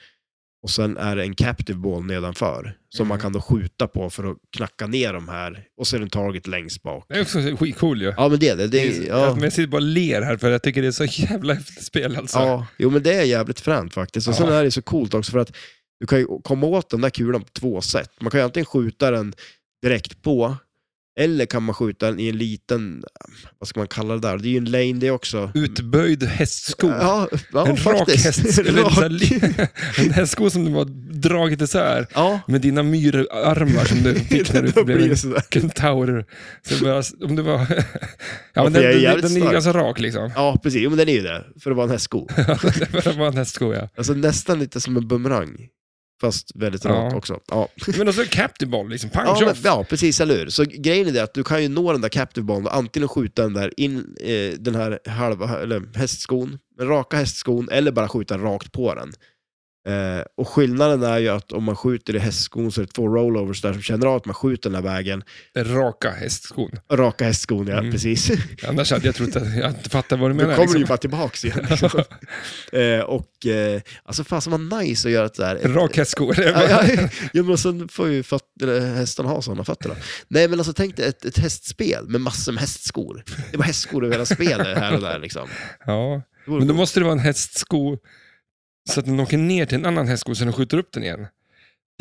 [SPEAKER 2] Och sen är det en captive ball nedanför. Som man
[SPEAKER 1] Mm.
[SPEAKER 2] kan då skjuta på för att knacka ner de här. Och så är det en target längst bak.
[SPEAKER 1] Det är också skitcool ju.
[SPEAKER 2] Ja men det är det. det
[SPEAKER 1] Jag-
[SPEAKER 2] är, ja.
[SPEAKER 1] Men jag sitter bara och ler här för jag tycker det är så jävla häftigt spel alltså.
[SPEAKER 2] Ja, jo men det är jävligt fränt faktiskt. Och sen
[SPEAKER 1] Ja.
[SPEAKER 2] är det så coolt också för att du kan ju komma åt den där kulan på två sätt. Man kan ju antingen skjuta den direkt på, eller kan man skjuta den i en liten, vad ska man kalla det där? Det är ju en lane det också.
[SPEAKER 1] Utböjd hästsko.
[SPEAKER 2] Ja, ja
[SPEAKER 1] en rak
[SPEAKER 2] faktiskt. <laughs>
[SPEAKER 1] häst, eller
[SPEAKER 2] Rak.
[SPEAKER 1] så här li- <laughs> en hästsko som du har dragit isär
[SPEAKER 2] Ja,
[SPEAKER 1] med dina myrarmar som du
[SPEAKER 2] <laughs>
[SPEAKER 1] fick när du
[SPEAKER 2] då blir
[SPEAKER 1] blev
[SPEAKER 2] det sådär.
[SPEAKER 1] kentaurer. Så det bara- om det var... <laughs> Ja, men den,
[SPEAKER 2] för jag är
[SPEAKER 1] den,
[SPEAKER 2] jävligt
[SPEAKER 1] den är ju
[SPEAKER 2] stark.
[SPEAKER 1] ganska rak liksom. <laughs>
[SPEAKER 2] Ja, precis. Jo, men den är ju det. För att vara en hästsko.
[SPEAKER 1] det var en hästsko ja.
[SPEAKER 2] Alltså nästan lite som en bumerang. Fast väldigt
[SPEAKER 1] Ja.
[SPEAKER 2] rak också. Ja.
[SPEAKER 1] Men också captive ball liksom, punch
[SPEAKER 2] Ja, men,
[SPEAKER 1] off.
[SPEAKER 2] ja, precis, eller hur? Så grejen är det att du kan ju nå den där captive ballen och antingen skjuta den där in eh, den här halva, eller hästskon, den raka hästskon, eller bara skjuta rakt på den. Eh, och skillnaden är ju att om man skjuter i hästskon så är det två rollovers där som känner av att man skjuter den här vägen.
[SPEAKER 1] Raka hästskon.
[SPEAKER 2] Raka hästskon, ja,
[SPEAKER 1] Mm.
[SPEAKER 2] precis.
[SPEAKER 1] Annars hade jag trott att jag inte fattar vad du
[SPEAKER 2] Då
[SPEAKER 1] menar.
[SPEAKER 2] kommer du ju
[SPEAKER 1] liksom.
[SPEAKER 2] bara
[SPEAKER 1] <laughs>
[SPEAKER 2] tillbaks igen. Liksom. eh, och eh, alltså fan så vad nice att göra ett sådär...
[SPEAKER 1] Rak hästsko. det är bara- <laughs>
[SPEAKER 2] ja, ja, ja, men sen får ju föt- eller hästarna ha sådana fötter då. Nej, men alltså tänk dig ett, ett hästspel med massor med hästskor. Det var hästskor över hela spelet här och där liksom.
[SPEAKER 1] Ja,
[SPEAKER 2] Det vore
[SPEAKER 1] men då
[SPEAKER 2] coolt.
[SPEAKER 1] måste det vara en hästsko så att den åker ner till en annan hästsko så den skjuter upp den igen.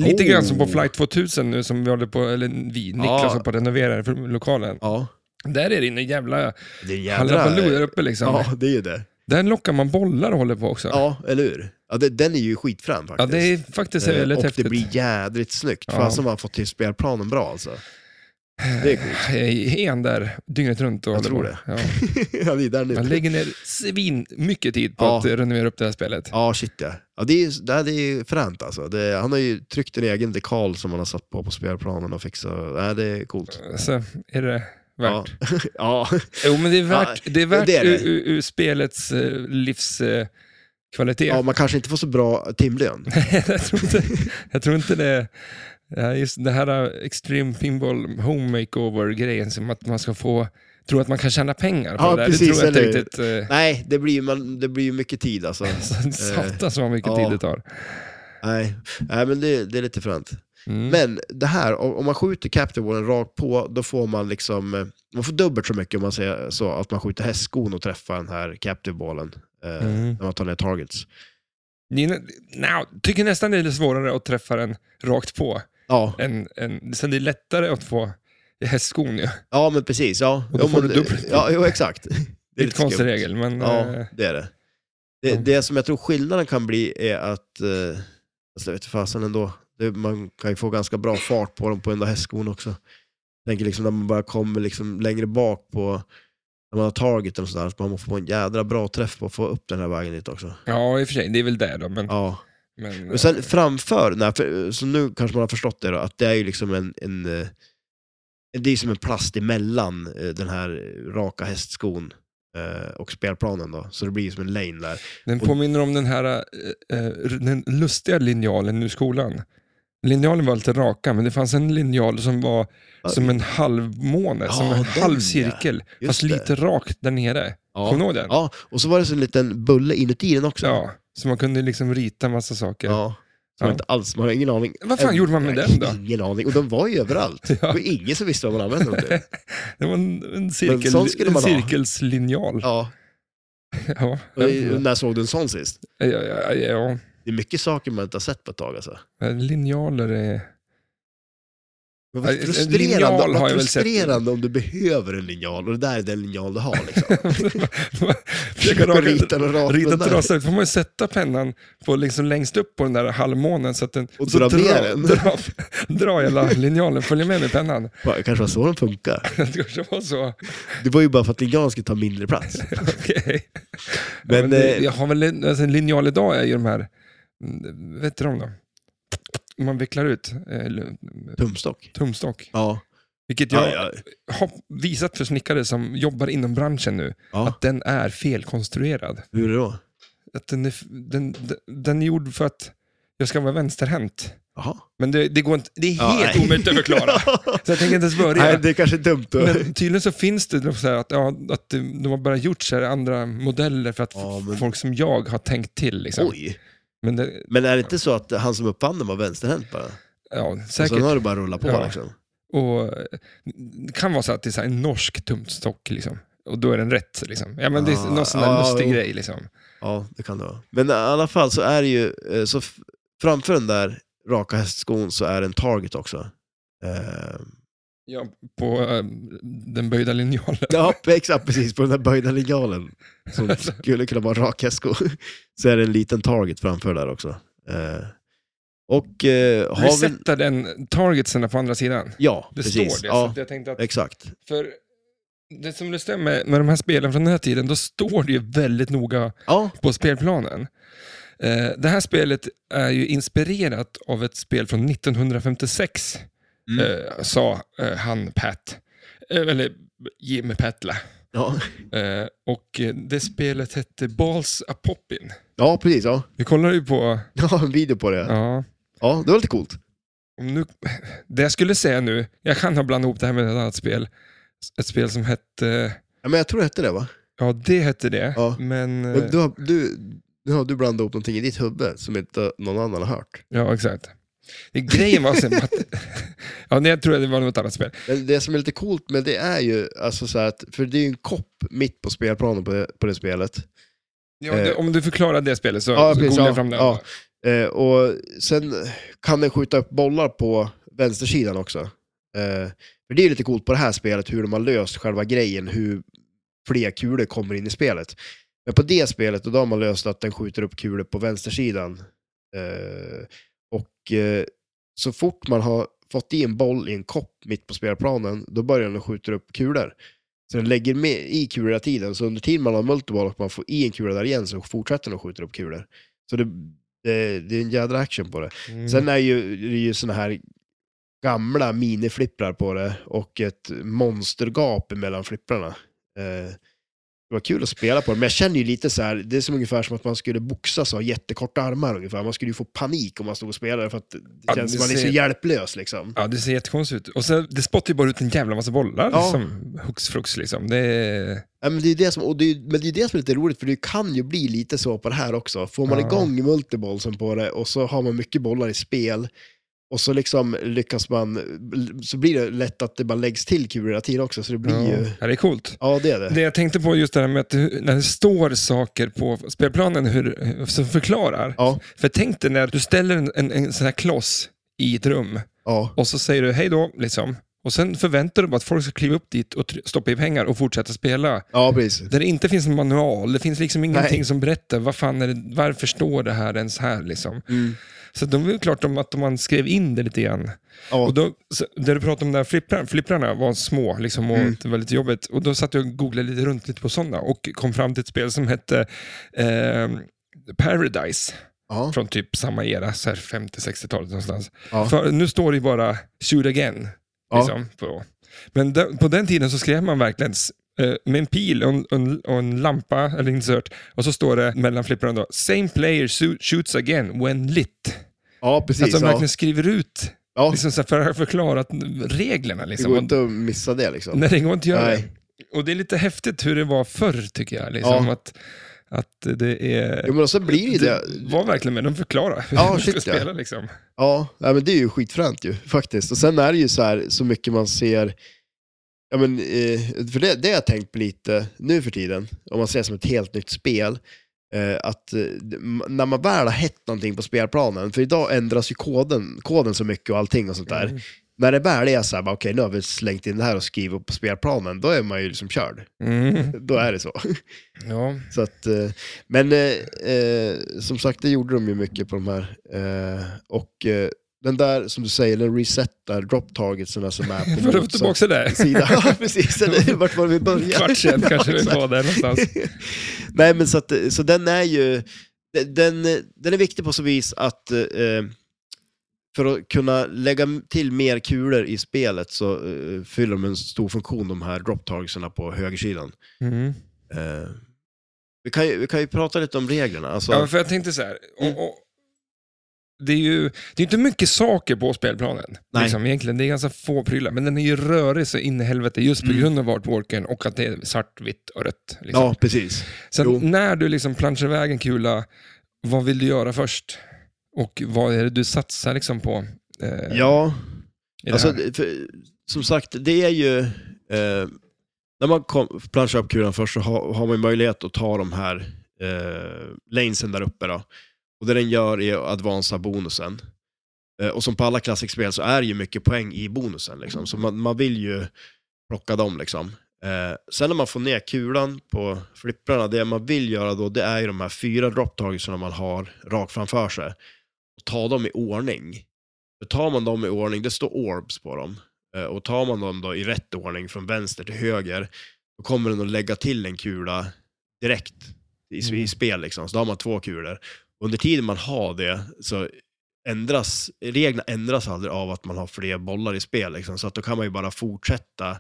[SPEAKER 1] Lite
[SPEAKER 2] Oh.
[SPEAKER 1] grann som på Flight 2000 nu som vi håller på, eller vi, Niklas
[SPEAKER 2] Ja.
[SPEAKER 1] håller på att renovera här för lokalen.
[SPEAKER 2] Ja,
[SPEAKER 1] Där är det en jävla
[SPEAKER 2] det är en jävla...
[SPEAKER 1] hallabaloo där uppe liksom.
[SPEAKER 2] Ja, det är ju det.
[SPEAKER 1] Där lockar man bollar och håller på också. Ja,
[SPEAKER 2] Ja, eller hur? Ja, det, den är ju skitfrän faktiskt.
[SPEAKER 1] det är faktiskt
[SPEAKER 2] Eh,
[SPEAKER 1] väldigt
[SPEAKER 2] och
[SPEAKER 1] häftigt.
[SPEAKER 2] det blir jädrigt snyggt.
[SPEAKER 1] Ja.
[SPEAKER 2] Fasen vad han fått till spelplanen bra alltså. Det
[SPEAKER 1] <laughs>
[SPEAKER 2] är coolt.
[SPEAKER 1] Eh, Är han där dygnet runt och
[SPEAKER 2] Jag
[SPEAKER 1] håller
[SPEAKER 2] tror
[SPEAKER 1] på?
[SPEAKER 2] det.
[SPEAKER 1] Ja.
[SPEAKER 2] Han är där nu.
[SPEAKER 1] Han lägger ner svin mycket tid på
[SPEAKER 2] Typ. Ja.
[SPEAKER 1] att eh, renovera upp det här spelet.
[SPEAKER 2] Ja, shit ja. ja det, är, det, här, det är fränt alltså. Det, han har ju tryckt en egen dekal som han har satt på på spelplanen och fixat. Ja, det är coolt.
[SPEAKER 1] Så är det värt.
[SPEAKER 2] Ja. <laughs> ja,
[SPEAKER 1] Jo, men det är värt, det är värt
[SPEAKER 2] det är det.
[SPEAKER 1] Ur, ur, ur spelets eh, livskvalitet.
[SPEAKER 2] Ja, man kanske inte får så bra timlön.
[SPEAKER 1] <laughs> jag, tror inte, jag tror inte det. ja, Just det här eh, Extreme Pinball Home Makeover-grejen, som att man ska få tro att man kan tjäna pengar på
[SPEAKER 2] Ja,
[SPEAKER 1] det där.
[SPEAKER 2] precis,
[SPEAKER 1] det tror jag inte
[SPEAKER 2] eller hur?
[SPEAKER 1] riktigt. eh, <laughs>
[SPEAKER 2] Nej, det blir ju man- det blir ju mycket tid alltså.
[SPEAKER 1] så- Satan så mycket
[SPEAKER 2] ja.
[SPEAKER 1] tid det tar.
[SPEAKER 2] Nej, Nej men det, det är lite fränt.
[SPEAKER 1] Mm.
[SPEAKER 2] Men det här, om om man skjuter Captain Wallen rakt på, då får man liksom, eh, man får dubbelt så mycket om man säger så, att man skjuter hästskon och träffar den här Captive Ballen eh,
[SPEAKER 1] Mm.
[SPEAKER 2] när man tar ner targets.
[SPEAKER 1] Ni- nja, tycker nästan det är lite svårare att träffa den rakt på.
[SPEAKER 2] Ja,
[SPEAKER 1] Än, än, sen det är lättare att få i hästskon. Ja.
[SPEAKER 2] ja men precis. Ja.
[SPEAKER 1] Och då
[SPEAKER 2] Ja,
[SPEAKER 1] får
[SPEAKER 2] men-
[SPEAKER 1] du dubbelt.
[SPEAKER 2] Ja, jo, exakt.
[SPEAKER 1] Det är en
[SPEAKER 2] lite skumt.
[SPEAKER 1] konstig regel, men eh,
[SPEAKER 2] Ja, det är det. Det,
[SPEAKER 1] Mm.
[SPEAKER 2] det som jag tror skillnaden kan bli är att, eh, alltså jag vet inte fasen ändå, det, man kan ju få ganska bra fart på dem på den där hästskon också. Jag tänker liksom när man bara kommer liksom längre bak på, när man har targeten och sådär, att man får en jädra bra träff på att få upp den här vägen dit också.
[SPEAKER 1] ja, i och för sig, det är väl det då. Men,
[SPEAKER 2] Ja.
[SPEAKER 1] men, eh,
[SPEAKER 2] Och sen framför, nej, för, så nu kanske man har förstått det då, att det är ju liksom en, en eh, det är som en plast emellan eh, den här raka hästskon eh, och spelplanen då, så det blir ju som en lane där.
[SPEAKER 1] Den
[SPEAKER 2] Och-
[SPEAKER 1] påminner om den här eh, eh, den lustiga linjalen ur skolan. Linjalen var alltid raka, men det fanns en linjal som var som en halvmåne,
[SPEAKER 2] Ja,
[SPEAKER 1] som en
[SPEAKER 2] den,
[SPEAKER 1] halv cirkel,
[SPEAKER 2] Just
[SPEAKER 1] fast
[SPEAKER 2] det.
[SPEAKER 1] lite rakt där nere.
[SPEAKER 2] Ja.
[SPEAKER 1] Kommer du ihåg den?
[SPEAKER 2] Ja, och så var det så en liten bulle inuti den också.
[SPEAKER 1] Ja, Så man kunde liksom rita massa saker.
[SPEAKER 2] Ja. Som
[SPEAKER 1] Ja.
[SPEAKER 2] inte alls, man har ingen aning.
[SPEAKER 1] Vad fan gjorde man med
[SPEAKER 2] <laughs>
[SPEAKER 1] den då?
[SPEAKER 2] Ingen aning, och de var ju överallt. Det
[SPEAKER 1] Ja.
[SPEAKER 2] var ingen som visste vad man använde dem
[SPEAKER 1] <laughs>
[SPEAKER 2] till.
[SPEAKER 1] Det var en, en, cirkel,
[SPEAKER 2] sån skulle
[SPEAKER 1] en
[SPEAKER 2] man ha.
[SPEAKER 1] cirkelslinjal.
[SPEAKER 2] Ja.
[SPEAKER 1] Ja.
[SPEAKER 2] Och, och när såg du en sån sist?
[SPEAKER 1] Ja, ja, ja,
[SPEAKER 2] Det är mycket saker man inte har sett på ett tag alltså.
[SPEAKER 1] ja. Linjaler är...
[SPEAKER 2] <laughs> Men vad
[SPEAKER 1] Ja, en
[SPEAKER 2] frustrerande,
[SPEAKER 1] linjal har
[SPEAKER 2] vad
[SPEAKER 1] jag väl sett.
[SPEAKER 2] frustrerande om du behöver en linjal och det där är den linjal du har.
[SPEAKER 1] <laughs>
[SPEAKER 2] Liksom.
[SPEAKER 1] Försöka
[SPEAKER 2] Och
[SPEAKER 1] raka,
[SPEAKER 2] rita den rakt
[SPEAKER 1] Rita
[SPEAKER 2] med den där.
[SPEAKER 1] trasor, får man ju sätta pennan på, liksom längst upp på den där halvmånen så att den...
[SPEAKER 2] Och
[SPEAKER 1] så
[SPEAKER 2] dra ner den.
[SPEAKER 1] Dra, dra hela linjalen, följer med med pennan. <laughs>
[SPEAKER 2] Det kanske var så den funkar.
[SPEAKER 1] Det kanske var så.
[SPEAKER 2] Det var ju bara för att linjalen skulle ta
[SPEAKER 1] <laughs>
[SPEAKER 2] mindre plats.
[SPEAKER 1] Okej.
[SPEAKER 2] Men,
[SPEAKER 1] Men, det,
[SPEAKER 2] eh,
[SPEAKER 1] jag har väl en, alltså, en linjal idag är ju de här, mm, vet du dem då? Man vecklar ut eh, l-
[SPEAKER 2] Tumstock.
[SPEAKER 1] tumstock.
[SPEAKER 2] Ja.
[SPEAKER 1] Vilket jag
[SPEAKER 2] Ja, ja.
[SPEAKER 1] har visat för snickare som jobbar inom branschen nu,
[SPEAKER 2] ja.
[SPEAKER 1] att den är felkonstruerad.
[SPEAKER 2] Hur då?
[SPEAKER 1] Att den, är, f- den, den- den är gjord för att jag ska vara vänsterhänt.
[SPEAKER 2] Jaha.
[SPEAKER 1] Men det, det, går inte, det är
[SPEAKER 2] Ja,
[SPEAKER 1] helt
[SPEAKER 2] nej.
[SPEAKER 1] omöjligt att
[SPEAKER 2] <laughs>
[SPEAKER 1] förklara. Så jag tänker inte ens börja.
[SPEAKER 2] Nej, det är kanske är dumt. Då.
[SPEAKER 1] Men tydligen så finns det nog så här att, ja, att de de har bara gjort så här andra modeller för att
[SPEAKER 2] Ja,
[SPEAKER 1] f-
[SPEAKER 2] men-
[SPEAKER 1] folk som jag har tänkt till. Liksom.
[SPEAKER 2] Oj.
[SPEAKER 1] Men det,
[SPEAKER 2] Men är det inte så att han som uppfann den var vänsterhänt bara?
[SPEAKER 1] ja,
[SPEAKER 2] Och
[SPEAKER 1] säkert.
[SPEAKER 2] sen har det bara rullat på
[SPEAKER 1] Ja.
[SPEAKER 2] liksom.
[SPEAKER 1] Och det kan vara så att det är så här en norsk tumstock liksom. Och då är den rätt liksom. Ja men det är
[SPEAKER 2] Ah,
[SPEAKER 1] någon sån där
[SPEAKER 2] ah,
[SPEAKER 1] lustig
[SPEAKER 2] jo.
[SPEAKER 1] grej liksom.
[SPEAKER 2] Ja, det kan det vara. Men i alla fall så är det ju, eh, så f- framför den där raka hästskon så är det en target också. Eh,
[SPEAKER 1] Ja, på eh, den böjda linjalen.
[SPEAKER 2] ja, <laughs> exakt precis, på den där böjda linjalen
[SPEAKER 1] <laughs>
[SPEAKER 2] som skulle kunna vara rak hästsko, <laughs> så är det en liten target framför där också. Eh, och eh,
[SPEAKER 1] Vi
[SPEAKER 2] har vi...
[SPEAKER 1] sätter den targetsen på andra sidan.
[SPEAKER 2] Ja,
[SPEAKER 1] Det
[SPEAKER 2] precis.
[SPEAKER 1] står det. Så
[SPEAKER 2] ja,
[SPEAKER 1] att jag tänkte att,
[SPEAKER 2] Exakt.
[SPEAKER 1] för det som det stämmer med de här spelen från den här tiden, då står det ju väldigt noga
[SPEAKER 2] Ja,
[SPEAKER 1] på spelplanen. Eh, det här spelet är ju inspirerat av ett spel från 1956,
[SPEAKER 2] Mm.
[SPEAKER 1] eh, sa eh, han Pat, eh, eller Jim Patla.
[SPEAKER 2] ja.
[SPEAKER 1] Eh, och eh, det spelet hette Balls a Poppin.
[SPEAKER 2] ja precis. Ja. <laughs>
[SPEAKER 1] Vi kollar ju på...
[SPEAKER 2] Jag har en video på det. Ja,
[SPEAKER 1] Ja,
[SPEAKER 2] det var lite coolt.
[SPEAKER 1] om nu, det jag skulle säga nu, jag kan ha blandat ihop det här med ett annat spel. Ett spel som hette...
[SPEAKER 2] Ja, men jag tror det hette det va?
[SPEAKER 1] Ja, det hette det,
[SPEAKER 2] Ja.
[SPEAKER 1] men... eh,
[SPEAKER 2] Men Du har, du, nu har du blandat ihop någonting i ditt huvud som inte någon annan har hört.
[SPEAKER 1] Ja, exakt. Det, grejen var sen att...
[SPEAKER 2] <laughs>
[SPEAKER 1] ja, nej, jag tror att det var något annat spel.
[SPEAKER 2] Men det som är lite coolt med det är ju, alltså så här att, för det är ju en kopp mitt på spelplanen på det, på det spelet.
[SPEAKER 1] Ja, det, om du förklarar det spelet så,
[SPEAKER 2] Eh. Ja,
[SPEAKER 1] så
[SPEAKER 2] precis,
[SPEAKER 1] googlar
[SPEAKER 2] ja,
[SPEAKER 1] jag fram det.
[SPEAKER 2] ja. Eh, och sen kan den skjuta upp bollar på vänstersidan också. Eh, för det är ju lite coolt på det här spelet hur de har löst själva grejen, hur fler kulor kommer in i spelet. Men på det spelet, då har man löst att den skjuter upp kulor på vänstersidan. Eh, och eh, så fort man har fått i en boll i en kopp mitt på spelplanen, då börjar den skjuta upp kulor. Så den lägger med i kulor hela tiden, så under tiden man har multiboll och man får i en kula där igen så fortsätter den att skjuta upp kulor. Så det, det, det är en jädra action på det.
[SPEAKER 1] Mm.
[SPEAKER 2] Sen är ju, det är ju såna här gamla miniflipprar på det och ett monstergap mellan flipprarna. Eh, det var kul att spela på det, men jag känner ju lite så här, det är som ungefär som att man skulle boxas och ha jättekorta armar ungefär. Man skulle ju få panik om man stod och spelade för att det
[SPEAKER 1] Ja,
[SPEAKER 2] känns
[SPEAKER 1] det
[SPEAKER 2] som man är så
[SPEAKER 1] ser-
[SPEAKER 2] hjälplös liksom.
[SPEAKER 1] Ja, det ser jättekonstigt ut. Och sen, det spottar ju bara ut en jävla massa bollar,
[SPEAKER 2] Ja.
[SPEAKER 1] som hux flux liksom. Det är...
[SPEAKER 2] Ja, men det är ju det som, och det är, ju- men det är ju det som är lite roligt, för det kan ju bli lite så på det här också. Får man
[SPEAKER 1] Ja.
[SPEAKER 2] igång multibollsen på det och så har man mycket bollar i spel, och så liksom lyckas man, så blir det lätt att det bara läggs till kulor hela tiden också, så det blir ju...
[SPEAKER 1] Ja, det är coolt.
[SPEAKER 2] Ja, det är det.
[SPEAKER 1] Det jag tänkte på just det här med att hur- när det står saker på spelplanen hur, som förklarar.
[SPEAKER 2] Ja,
[SPEAKER 1] För tänk dig när du ställer en, en, en sån här kloss i ett rum
[SPEAKER 2] ja,
[SPEAKER 1] och så säger du hej då, liksom. Och sen förväntar du dig att folk ska kliva upp dit och try- stoppa i pengar och fortsätta spela.
[SPEAKER 2] ja precis.
[SPEAKER 1] Där det inte finns en manual, det finns liksom ingenting
[SPEAKER 2] Nej.
[SPEAKER 1] som berättar vad fan är det, varför står det här ens här liksom.
[SPEAKER 2] Mm.
[SPEAKER 1] Så de är ju klart om att man skrev in det lite grann.
[SPEAKER 2] Ja,
[SPEAKER 1] Och då, så, där du pratade om där flipprar, flipprarna var små liksom, och
[SPEAKER 2] Mm.
[SPEAKER 1] det var lite jobbigt. Och då satt jag och googlade lite runt lite på sådana och kom fram till ett spel som hette eh, Paradise
[SPEAKER 2] ja,
[SPEAKER 1] från typ samma era, så här 50-60-talet någonstans.
[SPEAKER 2] ja,
[SPEAKER 1] För nu står det ju bara shoot again.
[SPEAKER 2] ja,
[SPEAKER 1] Liksom, på. Men de, på den tiden så skrev man verkligen s- eh, med en pil och en, och en, och en lampa eller insert och så står det mellan flipprarna då, same player su- shoots again when lit.
[SPEAKER 2] ja
[SPEAKER 1] Att
[SPEAKER 2] precis.
[SPEAKER 1] de
[SPEAKER 2] Ja,
[SPEAKER 1] verkligen skriver ut
[SPEAKER 2] ja.
[SPEAKER 1] liksom, så här, för att förklara att reglerna.
[SPEAKER 2] Det
[SPEAKER 1] Liksom.
[SPEAKER 2] går
[SPEAKER 1] Och,
[SPEAKER 2] inte att missa det liksom.
[SPEAKER 1] nej, det går inte att göra
[SPEAKER 2] Nej.
[SPEAKER 1] det. Och det är lite häftigt hur det var förr tycker jag. Liksom,
[SPEAKER 2] Ja.
[SPEAKER 1] att, att det är...
[SPEAKER 2] Jo, men och så blir det ju det.
[SPEAKER 1] var verkligen med, de förklarar hur
[SPEAKER 2] Ja,
[SPEAKER 1] man ska
[SPEAKER 2] shit, ja.
[SPEAKER 1] spela. Liksom.
[SPEAKER 2] Ja, nej, men det är ju skitfränt ju faktiskt. Och sen är det ju så här, så mycket man ser, ja men, eh, för det, det har jag tänkt på lite nu för tiden, om man ser som ett helt nytt spel, eh, att eh, m- när man väl har hett någonting på spelplanen, för idag ändras ju koden, koden så mycket och allting och sånt där.
[SPEAKER 1] Mm.
[SPEAKER 2] När det väl är så här, bara, okej nu har vi slängt in det här och skrivit upp på spelplanen, då är man ju liksom körd.
[SPEAKER 1] Mm.
[SPEAKER 2] Då är det så.
[SPEAKER 1] Ja.
[SPEAKER 2] Så att, eh, men eh, eh, som sagt, det gjorde de ju mycket på de här. Eh, och eh, den där, som du säger, den resetar drop targetsen
[SPEAKER 1] <laughs>
[SPEAKER 2] som är på
[SPEAKER 1] För att
[SPEAKER 2] motsatt
[SPEAKER 1] tillbaka till det. <laughs>
[SPEAKER 2] sida. Ja, precis. Eller vart var vi började?
[SPEAKER 1] Kvart sen kanske vi
[SPEAKER 2] Ja, <laughs> exakt.
[SPEAKER 1] var där någonstans.
[SPEAKER 2] Nej, men så, att, så den är ju, den, den är viktig på så vis att eh, för att kunna lägga till mer kulor i spelet så eh, fyller de en stor funktion, de här drop targetsen på högersidan.
[SPEAKER 1] Mm.
[SPEAKER 2] Eh, vi, kan ju, vi kan ju prata lite om reglerna. Alltså,
[SPEAKER 1] Ja, för jag tänkte så här.
[SPEAKER 2] Mm.
[SPEAKER 1] Och, och, det är ju det är inte mycket saker på spelplanen.
[SPEAKER 2] Nej.
[SPEAKER 1] Liksom, egentligen. Det är ganska få prylar, men den är ju rörig så in i helvete just på
[SPEAKER 2] Mm.
[SPEAKER 1] grund av artworken och att det är svart, vitt och rött. Liksom.
[SPEAKER 2] ja, precis.
[SPEAKER 1] Sen
[SPEAKER 2] jo.
[SPEAKER 1] när du liksom planschar iväg en kula vad vill du göra först? Och vad är det du satsar liksom på? eh,
[SPEAKER 2] Ja,
[SPEAKER 1] i det
[SPEAKER 2] alltså,
[SPEAKER 1] här?
[SPEAKER 2] för, som sagt, det är ju... Eh, när man kom- planschar upp kulan först så har, har man ju möjlighet att ta de här eh, lanesen där uppe. Då. Och det den gör är att avansa bonusen. Eh, och som på alla klassikspel så är det ju mycket poäng i bonusen. Liksom. Så man, man vill ju plocka dem. Liksom. Eh, sen när man får ner kulan på flipprarna, det man vill göra då det är ju de här fyra dropptagelserna man har rakt framför sig. Och ta dem i ordning. För tar man dem i ordning, det står orbs på dem, eh, och tar man dem då i rätt ordning från vänster till höger, då kommer den att lägga till en kula direkt i, s-
[SPEAKER 1] Mm.
[SPEAKER 2] i spel. Liksom. Så då har man två kulor. Under tiden man har det så ändras, reglerna ändras aldrig av att man har fler bollar i spel. Liksom. Så att då kan man ju bara fortsätta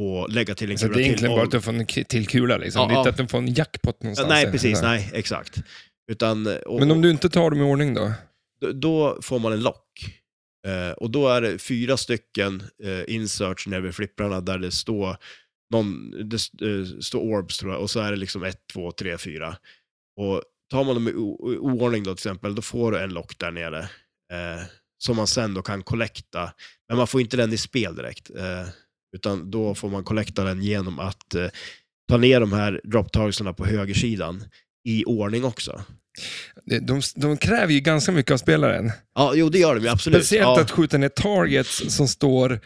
[SPEAKER 2] och lägga till en
[SPEAKER 1] Så Alltså,
[SPEAKER 2] kula
[SPEAKER 1] det är
[SPEAKER 2] till.
[SPEAKER 1] egentligen bara
[SPEAKER 2] om-
[SPEAKER 1] att du får en k- till kula liksom.
[SPEAKER 2] Ja,
[SPEAKER 1] det är inte
[SPEAKER 2] ja.
[SPEAKER 1] att du får en jackpot
[SPEAKER 2] Ja,
[SPEAKER 1] någonstans.
[SPEAKER 2] nej, precis.
[SPEAKER 1] Eller-
[SPEAKER 2] Nej, exakt. Utan, och,
[SPEAKER 1] Men om du inte tar dem i ordning då?
[SPEAKER 2] d- då får man en lock. Eh, och då är det fyra stycken eh, inserts nere vid flipprarna där det står någon, det st- eh, står orbs tror jag, och så är det liksom ett, två, tre, fyra. Och tar man dem i o- i oordning då till exempel, då får du en lock där nere. Eh, som man sen då kan kollekta. Men man får inte den i spel direkt. Eh, utan då får man kollekta den genom att eh, ta ner de här dropptagelserna på högersidan i ordning också.
[SPEAKER 1] De, de, de kräver ju ganska mycket av spelaren.
[SPEAKER 2] Ja, jo det gör de ju absolut.
[SPEAKER 1] Speciellt
[SPEAKER 2] ja.
[SPEAKER 1] att skjuta ner targets som står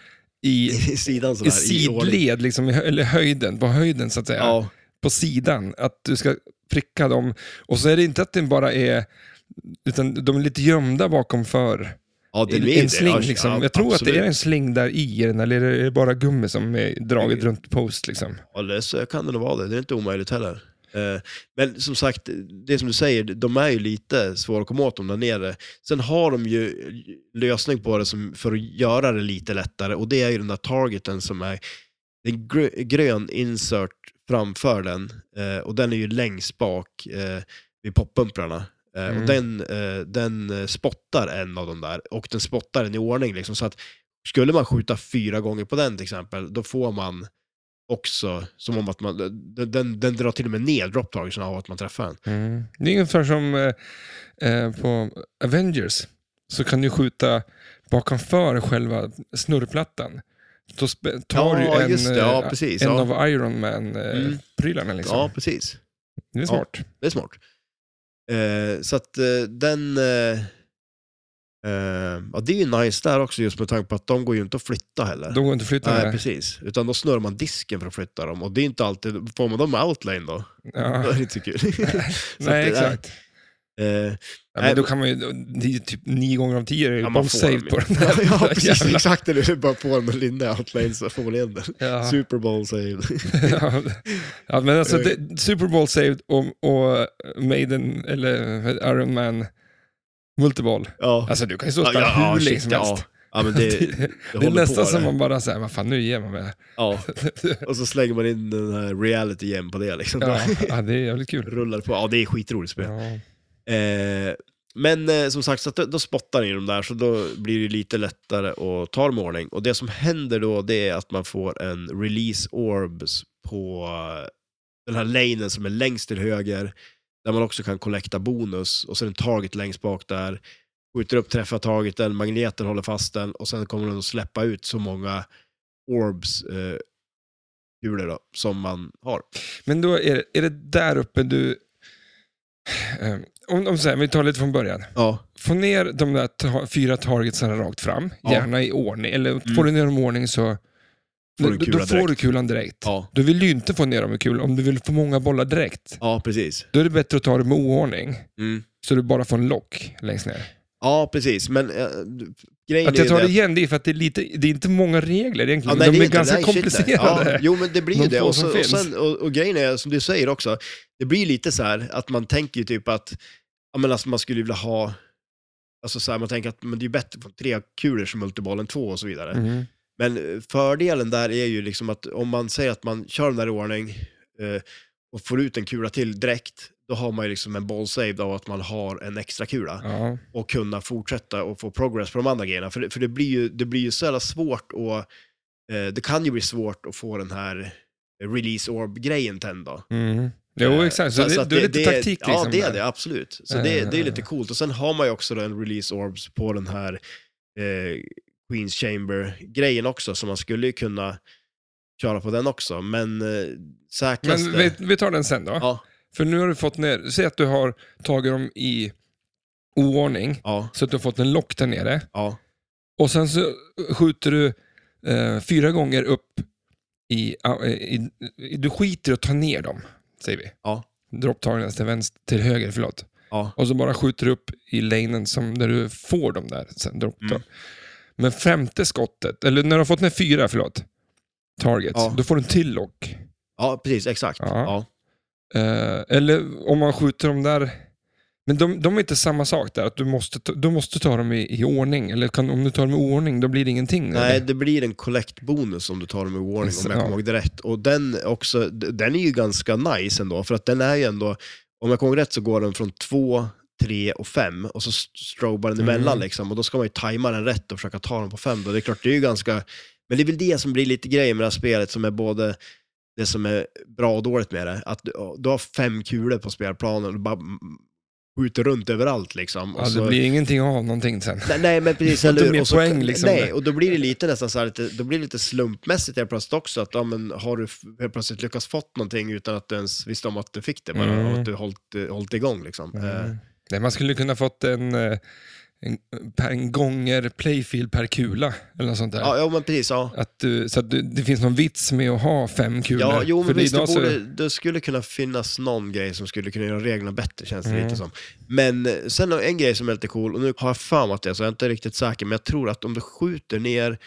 [SPEAKER 1] i,
[SPEAKER 2] i sidan sådär.
[SPEAKER 1] i
[SPEAKER 2] ordning.
[SPEAKER 1] sidled, liksom, i hö- eller höjden, på höjden så att säga.
[SPEAKER 2] Ja,
[SPEAKER 1] På sidan, att du ska pricka dem. Och så är det inte att den bara är, utan de är lite gömda bakom för
[SPEAKER 2] ja det blir
[SPEAKER 1] en
[SPEAKER 2] det.
[SPEAKER 1] sling.
[SPEAKER 2] Ja,
[SPEAKER 1] liksom.
[SPEAKER 2] ja,
[SPEAKER 1] Jag tror att det är
[SPEAKER 2] absolut.
[SPEAKER 1] en sling där i den, eller är det bara gummi som är draget runt post. Liksom.
[SPEAKER 2] Ja, det så kan det nog vara det. Det är inte omöjligt heller. Eh, Men som sagt, det som du säger, de är ju lite svåra att komma åt de där nere. Sen har de ju eh, lösning på det som, för att göra det lite lättare och det är ju den där targeten som är en grö- grön insert framför den eh, och den är ju längst bak eh, vid poppumprarna. Eh,
[SPEAKER 1] Mm.
[SPEAKER 2] Och den, eh, den eh, spottar en av de där och den spottar den i ordning. Liksom, så att skulle man skjuta fyra gånger på den till exempel, då får man också, som om att man, den, den, den drar till och med ner dropptagelsen av att man träffar den.
[SPEAKER 1] Mm. Det är ungefär som eh, eh, på Avengers. Så kan du skjuta bakomför själva snurrplattan. Då sp- tar
[SPEAKER 2] Ja,
[SPEAKER 1] du en,
[SPEAKER 2] just det. Ja,
[SPEAKER 1] eh,
[SPEAKER 2] precis.
[SPEAKER 1] en
[SPEAKER 2] Ja. Mm.
[SPEAKER 1] av Iron Man-prylarna. liksom.
[SPEAKER 2] Ja, precis.
[SPEAKER 1] det är smart.
[SPEAKER 2] Det är smart. Eh, så att eh, den... Eh, eh, ja, det är ju nice där också just med tanke på att de går ju inte att flytta heller.
[SPEAKER 1] De går inte att flytta
[SPEAKER 2] Nej,
[SPEAKER 1] med.
[SPEAKER 2] precis. Utan då snurrar man disken för att flytta dem och det är inte alltid, får man dem med outlane då?
[SPEAKER 1] Ja.
[SPEAKER 2] Då är det inte så kul. <laughs> Så att
[SPEAKER 1] <laughs> Nej,
[SPEAKER 2] det-
[SPEAKER 1] exakt.
[SPEAKER 2] Eh,
[SPEAKER 1] Ja,
[SPEAKER 2] nej.
[SPEAKER 1] men då kan man ju, det är ju typ nio gånger av tio är det ju
[SPEAKER 2] ja,
[SPEAKER 1] ja,
[SPEAKER 2] man får
[SPEAKER 1] save
[SPEAKER 2] dem
[SPEAKER 1] på
[SPEAKER 2] ju.
[SPEAKER 1] den där.
[SPEAKER 2] <laughs> ja, precis.
[SPEAKER 1] <laughs> jävla-
[SPEAKER 2] Exakt det du bara på dem och linda outlane så får man igen den.
[SPEAKER 1] Ja.
[SPEAKER 2] Super Eh. Bowl save.
[SPEAKER 1] <laughs>
[SPEAKER 2] <laughs>
[SPEAKER 1] Ja. ja, men alltså det, Super Bowl saved och, och Maiden, eller Iron Man, multiball.
[SPEAKER 2] Ja.
[SPEAKER 1] Alltså du kan ju stå och spela hur länge
[SPEAKER 2] shit,
[SPEAKER 1] som
[SPEAKER 2] ja.
[SPEAKER 1] helst.
[SPEAKER 2] ja, men
[SPEAKER 1] <laughs>
[SPEAKER 2] det, det,
[SPEAKER 1] det, det är
[SPEAKER 2] håller på
[SPEAKER 1] nästan som
[SPEAKER 2] det.
[SPEAKER 1] man bara säger, vad fan nu ger man
[SPEAKER 2] <laughs>
[SPEAKER 1] mig.
[SPEAKER 2] Ja. Och så slänger man in den här reality igen på det liksom.
[SPEAKER 1] Ja, ja, det är jävligt kul.
[SPEAKER 2] Rullar på. Ja, det är skitroligt spel.
[SPEAKER 1] Ja.
[SPEAKER 2] Eh, men eh, som sagt, så att då, då spottar ni dem där, så då blir det lite lättare att ta dem i ordning. Och det som händer då, det är att man får en release orbs på eh, den här lanen som är längst till höger, där man också kan kollekta bonus, och sen en target längst bak där, skjuter upp träffar targeten, magneten håller fast den, och sen kommer den att släppa ut så många orbs, eh, kulor då, som man har.
[SPEAKER 1] Men då är, det- är det där uppe du... Eh, Om, om så här, vi tar lite från början.
[SPEAKER 2] Ja,
[SPEAKER 1] Få ner de där ta, fyra targetsarna rakt fram,
[SPEAKER 2] Ja.
[SPEAKER 1] gärna i ordning. Eller får
[SPEAKER 2] Mm.
[SPEAKER 1] du ner dem i ordning så
[SPEAKER 2] Får du
[SPEAKER 1] då, då
[SPEAKER 2] kulan
[SPEAKER 1] får du
[SPEAKER 2] direkt.
[SPEAKER 1] kulan direkt.
[SPEAKER 2] ja,
[SPEAKER 1] Du vill ju inte få ner dem i kulan. Om du vill få många bollar direkt,
[SPEAKER 2] ja precis.
[SPEAKER 1] då är det bättre att ta dem i oordning.
[SPEAKER 2] Mm.
[SPEAKER 1] Så du bara får en lock längst ner.
[SPEAKER 2] Ja, precis, men eh, du- grejen
[SPEAKER 1] Att
[SPEAKER 2] är ju
[SPEAKER 1] jag tar
[SPEAKER 2] det
[SPEAKER 1] det
[SPEAKER 2] att-
[SPEAKER 1] igen, det är för att det är, lite, det är inte många regler
[SPEAKER 2] Ja,
[SPEAKER 1] egentligen.
[SPEAKER 2] nej,
[SPEAKER 1] De
[SPEAKER 2] det
[SPEAKER 1] är,
[SPEAKER 2] inte-
[SPEAKER 1] ganska
[SPEAKER 2] nej, shit, nej.
[SPEAKER 1] komplicerade.
[SPEAKER 2] Ja, jo, men det blir ju
[SPEAKER 1] De
[SPEAKER 2] det.
[SPEAKER 1] få
[SPEAKER 2] Och,
[SPEAKER 1] som
[SPEAKER 2] så, och,
[SPEAKER 1] finns.
[SPEAKER 2] sen, och, och grejen är, som du säger också, det blir lite så här att man tänker ju typ att, ja men alltså man skulle vilja ha, alltså så här, man tänker att men det är ju bättre på tre kulor som multiball än två och så vidare.
[SPEAKER 1] <laughs> Mm.
[SPEAKER 2] Men eh, fördelen där är ju liksom att om man säger att man kör den där i ordning eh, och får ut en kula till direkt, då har man ju liksom en ball saved av att man har en extra kula
[SPEAKER 1] Ja.
[SPEAKER 2] och kunna fortsätta och få progress på de andra grejerna. För, det- för det, blir ju, det blir ju så jävla svårt och eh, det kan ju bli svårt att få den här release orb-grejen tänd då.
[SPEAKER 1] Mm. Jo, exakt. Så, det,
[SPEAKER 2] att
[SPEAKER 1] då är det lite taktik
[SPEAKER 2] Ja,
[SPEAKER 1] liksom.
[SPEAKER 2] det är
[SPEAKER 1] där.
[SPEAKER 2] det, absolut. Så
[SPEAKER 1] Eh.
[SPEAKER 2] det, det är lite coolt. Och sen har man ju också då en release orbs på den här eh, Queens Chamber-grejen också, så man skulle ju kunna köra på den också, men eh, säkraste...
[SPEAKER 1] Men vi, vi tar den sen då.
[SPEAKER 2] Ja,
[SPEAKER 1] För nu har du fått ner, säg att du har tagit dem i oordning,
[SPEAKER 2] ja,
[SPEAKER 1] så att du har fått en lock där nere.
[SPEAKER 2] ja,
[SPEAKER 1] Och sen så skjuter du eh, fyra gånger upp i, eh, i, i... Du skiter i att ta ner dem, säger vi.
[SPEAKER 2] Ja.
[SPEAKER 1] Dropptagningen till, vänster, till höger, förlåt.
[SPEAKER 2] ja,
[SPEAKER 1] Och så bara skjuter du upp i lanen som, där du får dem där. Sen dropp,
[SPEAKER 2] Mm.
[SPEAKER 1] Men femte skottet, eller när du har fått ner fyra, förlåt, targets,
[SPEAKER 2] Ja.
[SPEAKER 1] då får du en till lock.
[SPEAKER 2] ja, precis, exakt.
[SPEAKER 1] Ja.
[SPEAKER 2] Ja.
[SPEAKER 1] Eh, eller om man skjuter dem där... Men de, de är inte samma sak där, att du måste, ta- du måste ta dem i, i ordning. Eller kan, om du tar dem i ordning, då blir det ingenting.
[SPEAKER 2] Nej,
[SPEAKER 1] eller?
[SPEAKER 2] det blir en collect-bonus om du tar dem i warning, om jag
[SPEAKER 1] Ja.
[SPEAKER 2] kommer ihåg det rätt. Och den, också, d- den är ju ganska nice ändå, för att den är ju ändå, om jag kommer ihåg rätt så går den från två, tre och fem, och så st- strobar den
[SPEAKER 1] Mm.
[SPEAKER 2] emellan liksom, och då ska man ju tajma den rätt och försöka ta den på fem. Då. Det är klart, det är ju ganska, men det är väl det som blir lite grejen med det här spelet, som är både det som är bra och dåligt med det, att du, du har fem kulor på spelplanen och du bara mm, skjuter runt överallt liksom. Och
[SPEAKER 1] Ja,
[SPEAKER 2] så-
[SPEAKER 1] Alltså, det blir ingenting av någonting sen.
[SPEAKER 2] Nej, nej men precis,
[SPEAKER 1] Får inte
[SPEAKER 2] eller hur?
[SPEAKER 1] mer
[SPEAKER 2] Och så-
[SPEAKER 1] poäng, liksom.
[SPEAKER 2] Nej, och då blir det lite nästan så här, lite, då blir det lite slumpmässigt helt plötsligt också, att ja, men, har du f- helt plötsligt lyckats fått någonting utan att du ens visste om att du fick det bara,
[SPEAKER 1] Mm.
[SPEAKER 2] och att du hållit, eh, hållit igång liksom. Eh,
[SPEAKER 1] Nej, man skulle kunna fått en, eh, en, per, en gånger playfield per kula, eller något sånt där.
[SPEAKER 2] ja, ja, men precis, ja.
[SPEAKER 1] Att du, så att du, det finns någon vits med att ha fem kulor.
[SPEAKER 2] Ja, jo men
[SPEAKER 1] För
[SPEAKER 2] visst, det,
[SPEAKER 1] idag så-
[SPEAKER 2] borde, det skulle kunna finnas någon grej som skulle kunna göra reglerna bättre, känns det
[SPEAKER 1] Mm.
[SPEAKER 2] lite som. Men eh, sen har- en grej som är lite cool, och nu har jag fan att det är så jag är inte riktigt säker, men jag tror att om du skjuter ner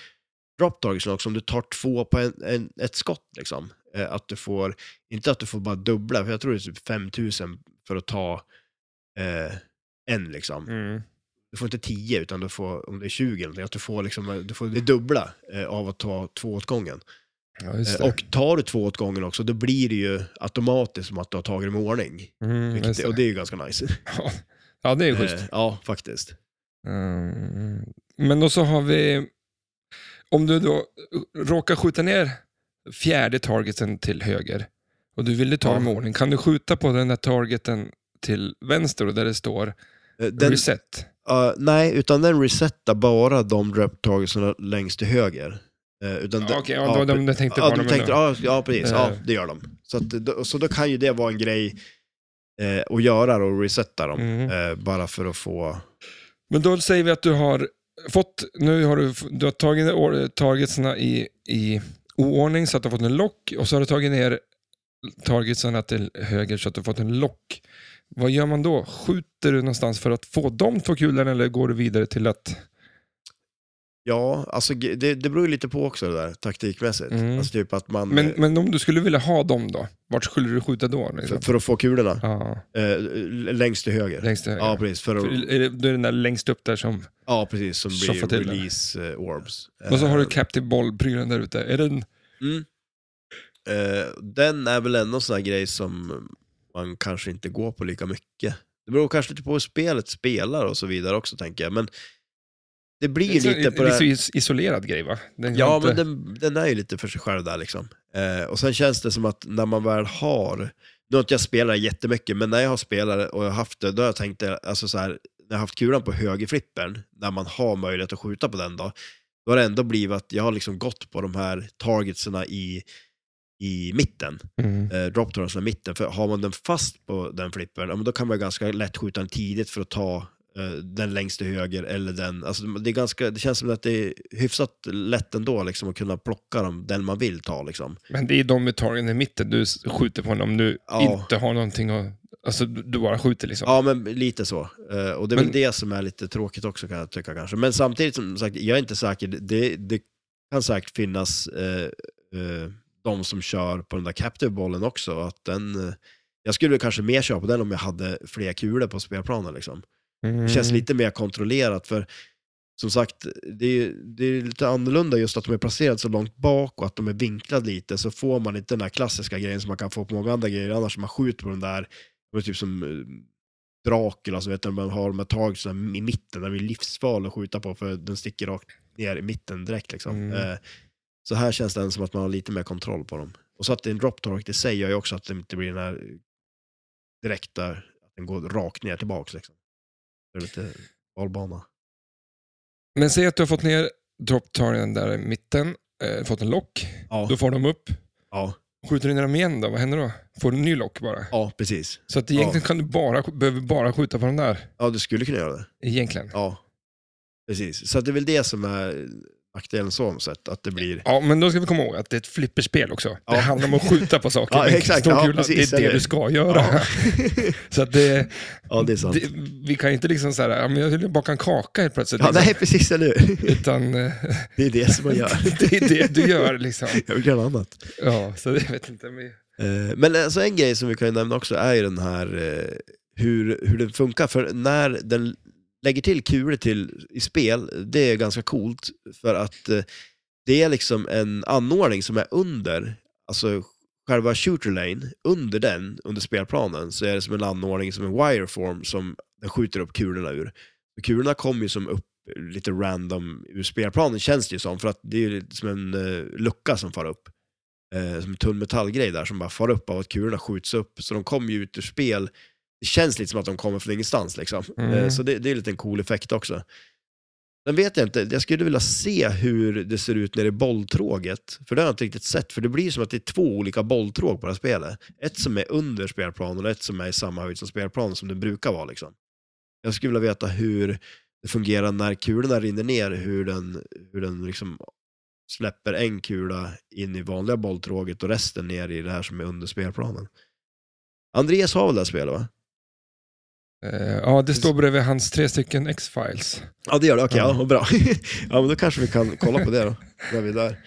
[SPEAKER 2] drop targets också, om du tar två på en, en, ett skott, liksom, eh, att du får, inte att du får bara dubbla, för jag tror det är typ 5000 för att ta eh, en liksom
[SPEAKER 1] Mm.
[SPEAKER 2] du får inte 10 utan du får, om det är 20 eller någonting, att du får liksom, du får det dubbla eh, av att ta två åt gången.
[SPEAKER 1] Ja, just det.
[SPEAKER 2] Eh, Och tar du två åt gången också, då blir det ju automatiskt som att du har tagit dem i ordning.
[SPEAKER 1] Mm,
[SPEAKER 2] Vilket,
[SPEAKER 1] just det.
[SPEAKER 2] Och det är ju ganska nice.
[SPEAKER 1] <laughs> ja, det är schysst.
[SPEAKER 2] Eh, ja, faktiskt. Eh.
[SPEAKER 1] Mm. Men då så har vi, om du då råkar skjuta ner fjärde targeten till höger och du ville ta
[SPEAKER 2] Ja.
[SPEAKER 1] dem i ordning, kan du skjuta på den där targeten till vänster och där det står
[SPEAKER 2] Eh, Den,
[SPEAKER 1] reset?
[SPEAKER 2] eh, nej, utan den resetar bara de reptagelserna längst till höger. Eh, utan
[SPEAKER 1] Ja,
[SPEAKER 2] den-
[SPEAKER 1] Ah, Okej, ja, det var de jag tänkte
[SPEAKER 2] ja,
[SPEAKER 1] på.
[SPEAKER 2] de
[SPEAKER 1] men
[SPEAKER 2] tänkte,
[SPEAKER 1] då-
[SPEAKER 2] ja, ja, precis. Ja,
[SPEAKER 1] Eh.
[SPEAKER 2] det gör de. Så, att, då- så då kan ju det vara en grej eh, att göra då, och resetta dem.
[SPEAKER 1] Mm.
[SPEAKER 2] Eh, bara för att få...
[SPEAKER 1] Men då säger vi att du har fått, nu har du, f- du har tagit or- targetsarna i, i oordning så att du har fått en lock och så har du tagit ner targetsarna till höger så att du har fått en lock. Vad gör man då? Skjuter du någonstans för att få de två kulorna eller går du vidare till att...
[SPEAKER 2] Mm. Ja, alltså g- det, det beror ju lite på också det där taktikmässigt.
[SPEAKER 1] Mm.
[SPEAKER 2] Alltså typ att man...
[SPEAKER 1] Men, men om du skulle vilja ha dem då, vart skulle du skjuta då? Liksom?
[SPEAKER 2] för, för att få kulorna.
[SPEAKER 1] Ja,
[SPEAKER 2] Eh, längst till höger.
[SPEAKER 1] längst till höger.
[SPEAKER 2] Ja, precis. För,
[SPEAKER 1] För är det- Då är det den där längst upp där som...
[SPEAKER 2] ja, precis. Som
[SPEAKER 1] Tjoffa
[SPEAKER 2] blir
[SPEAKER 1] till den.
[SPEAKER 2] release eh, orbs.
[SPEAKER 1] Och så har du
[SPEAKER 2] Eh,
[SPEAKER 1] Captive Ball-prylen där ute. Är den...
[SPEAKER 2] mm. Eh, Den är väl ändå en sån här grej som man kanske inte går på lika mycket. Det beror kanske lite på hur spelet spelar och så vidare också, tänker jag. Men det blir ju
[SPEAKER 1] Det är
[SPEAKER 2] lite
[SPEAKER 1] en
[SPEAKER 2] på det här...
[SPEAKER 1] liksom is- isolerad grej va? Den har
[SPEAKER 2] Ja,
[SPEAKER 1] inte-
[SPEAKER 2] men den, den är ju lite för sig själv där liksom. Eh, och sen känns det som att när man väl har, nu har inte jag spelat jättemycket, men när jag har spelat och jag har haft det, då har jag tänkt, det, alltså så här, när jag har haft kulan på högerflippern, när man har möjlighet att skjuta på den då, då har det ändå blivit att jag har liksom gått på de här targetserna i, i mitten,
[SPEAKER 1] Mm.
[SPEAKER 2] eh, drop targetsna i mitten, för har man den fast på den flippern, ja, men då kan man ganska lätt skjuta den tidigt för att ta eh, den längst till höger eller den, alltså det, är ganska, det känns som att det är hyfsat lätt ändå liksom, att kunna plocka dem, den man vill ta. Liksom.
[SPEAKER 1] Men det är de med targen i mitten du s- skjuter på om du
[SPEAKER 2] Ja.
[SPEAKER 1] inte har någonting att... Alltså du du bara skjuter liksom.
[SPEAKER 2] Ja, men lite så. Eh, och det är
[SPEAKER 1] Men-
[SPEAKER 2] väl det som är lite tråkigt också kan jag tycka kanske. Men samtidigt som sagt, jag är inte säker, det, det kan säkert finnas eh, eh, de som kör på den där captive-bollen också, att den eh, jag skulle väl kanske mer köra på den om jag hade fler kulor på spelplanen. Liksom.
[SPEAKER 1] Mm.
[SPEAKER 2] Det känns lite mer kontrollerat för som sagt, det är, ju- det är lite annorlunda just att de är placerade så långt bak och att de är vinklade lite så får man inte den här klassiska grejen som man kan få på många andra grejer annars man skjuter på den där, det var typ som eh, Dracula, så vet du, man har de här targetsen i mitten, där blir livsfarlig att skjuta på för den sticker rakt ner i mitten direkt liksom.
[SPEAKER 1] Mm.
[SPEAKER 2] Eh, Så här känns det ändå som att man har lite mer kontroll på dem. Och så att det är en drop target i sig gör ju också att det inte blir den här direkt där. Att den går rakt ner tillbaks liksom. Det är lite valbana.
[SPEAKER 1] Men säg att du har fått ner dropptargen där i mitten, eh, fått en lock,
[SPEAKER 2] Ja,
[SPEAKER 1] då får de upp.
[SPEAKER 2] ja,
[SPEAKER 1] Skjuter du ner dem igen då, vad händer då? Får du en ny lock bara?
[SPEAKER 2] ja, precis.
[SPEAKER 1] Så att egentligen kan du bara, behöver bara skjuta på den där.
[SPEAKER 2] Ja, du skulle kunna göra det.
[SPEAKER 1] Egentligen.
[SPEAKER 2] Ja, precis. Så att det är väl det som är nackdelen så sett, att det blir...
[SPEAKER 1] Ja, men då ska vi komma ihåg att det är ett flipperspel också.
[SPEAKER 2] Ja.
[SPEAKER 1] Det handlar om att skjuta
[SPEAKER 2] <laughs>
[SPEAKER 1] på saker.
[SPEAKER 2] Ja,
[SPEAKER 1] med
[SPEAKER 2] exakt.
[SPEAKER 1] stor
[SPEAKER 2] Ja,
[SPEAKER 1] kula.
[SPEAKER 2] precis,
[SPEAKER 1] det är det
[SPEAKER 2] eller-
[SPEAKER 1] du ska göra.
[SPEAKER 2] Ja,
[SPEAKER 1] Så att det,
[SPEAKER 2] ja det är sant.
[SPEAKER 1] det, vi kan ju inte liksom så här, ja, men jag vill baka en kaka helt plötsligt.
[SPEAKER 2] Ja,
[SPEAKER 1] liksom.
[SPEAKER 2] nej, precis, eller hur?
[SPEAKER 1] Utan
[SPEAKER 2] <laughs>
[SPEAKER 1] eh,
[SPEAKER 2] Det är det som man gör.
[SPEAKER 1] <laughs> det är det du gör liksom.
[SPEAKER 2] <laughs> Jag vill göra något annat.
[SPEAKER 1] Ja, så jag vet inte. Men...
[SPEAKER 2] Eh, Men alltså en grej som vi kan nämna också är ju den här eh, hur, hur den funkar. För när den lägger till kulor till, i spel, det är ganska coolt. För att eh, det är liksom en anordning som är under, alltså själva shooter lane, under den, under spelplanen, så är det som en anordning som en wireform som den skjuter upp kulorna ur. Och kulorna kommer ju som upp lite random ur spelplanen känns det ju som, för att det är ju lite som en eh, lucka som far upp eh, som en tunn metallgrej där som bara far upp av att kulorna skjuts upp. Så de kommer ju ut ur spel. Det känns lite som att de kommer från ingenstans liksom.
[SPEAKER 1] Mm.
[SPEAKER 2] Eh, så det, det är lite en cool effekt också. Sen vet jag inte, jag skulle vilja se hur det ser ut när det är bolltråget. För det har jag inte riktigt sett, för det blir som att det är två olika bolltråg på det här spelet. Ett som är under spelplanen och ett som är i samma höjd som spelplanen som det brukar vara liksom. Jag skulle vilja veta hur det fungerar när kulorna rinner ner, hur den, hur den liksom släpper en kula in i vanliga bolltråget och resten ner i det här som är under spelplanen. Andreas har väl det här spelet va?
[SPEAKER 1] Eh, ja, det står bredvid hans tre stycken X-Files.
[SPEAKER 2] Ja det gör det, okej,
[SPEAKER 1] Ja.
[SPEAKER 2] ja. vad bra. <laughs> ja men då kanske vi kan kolla på det då, när vi är där.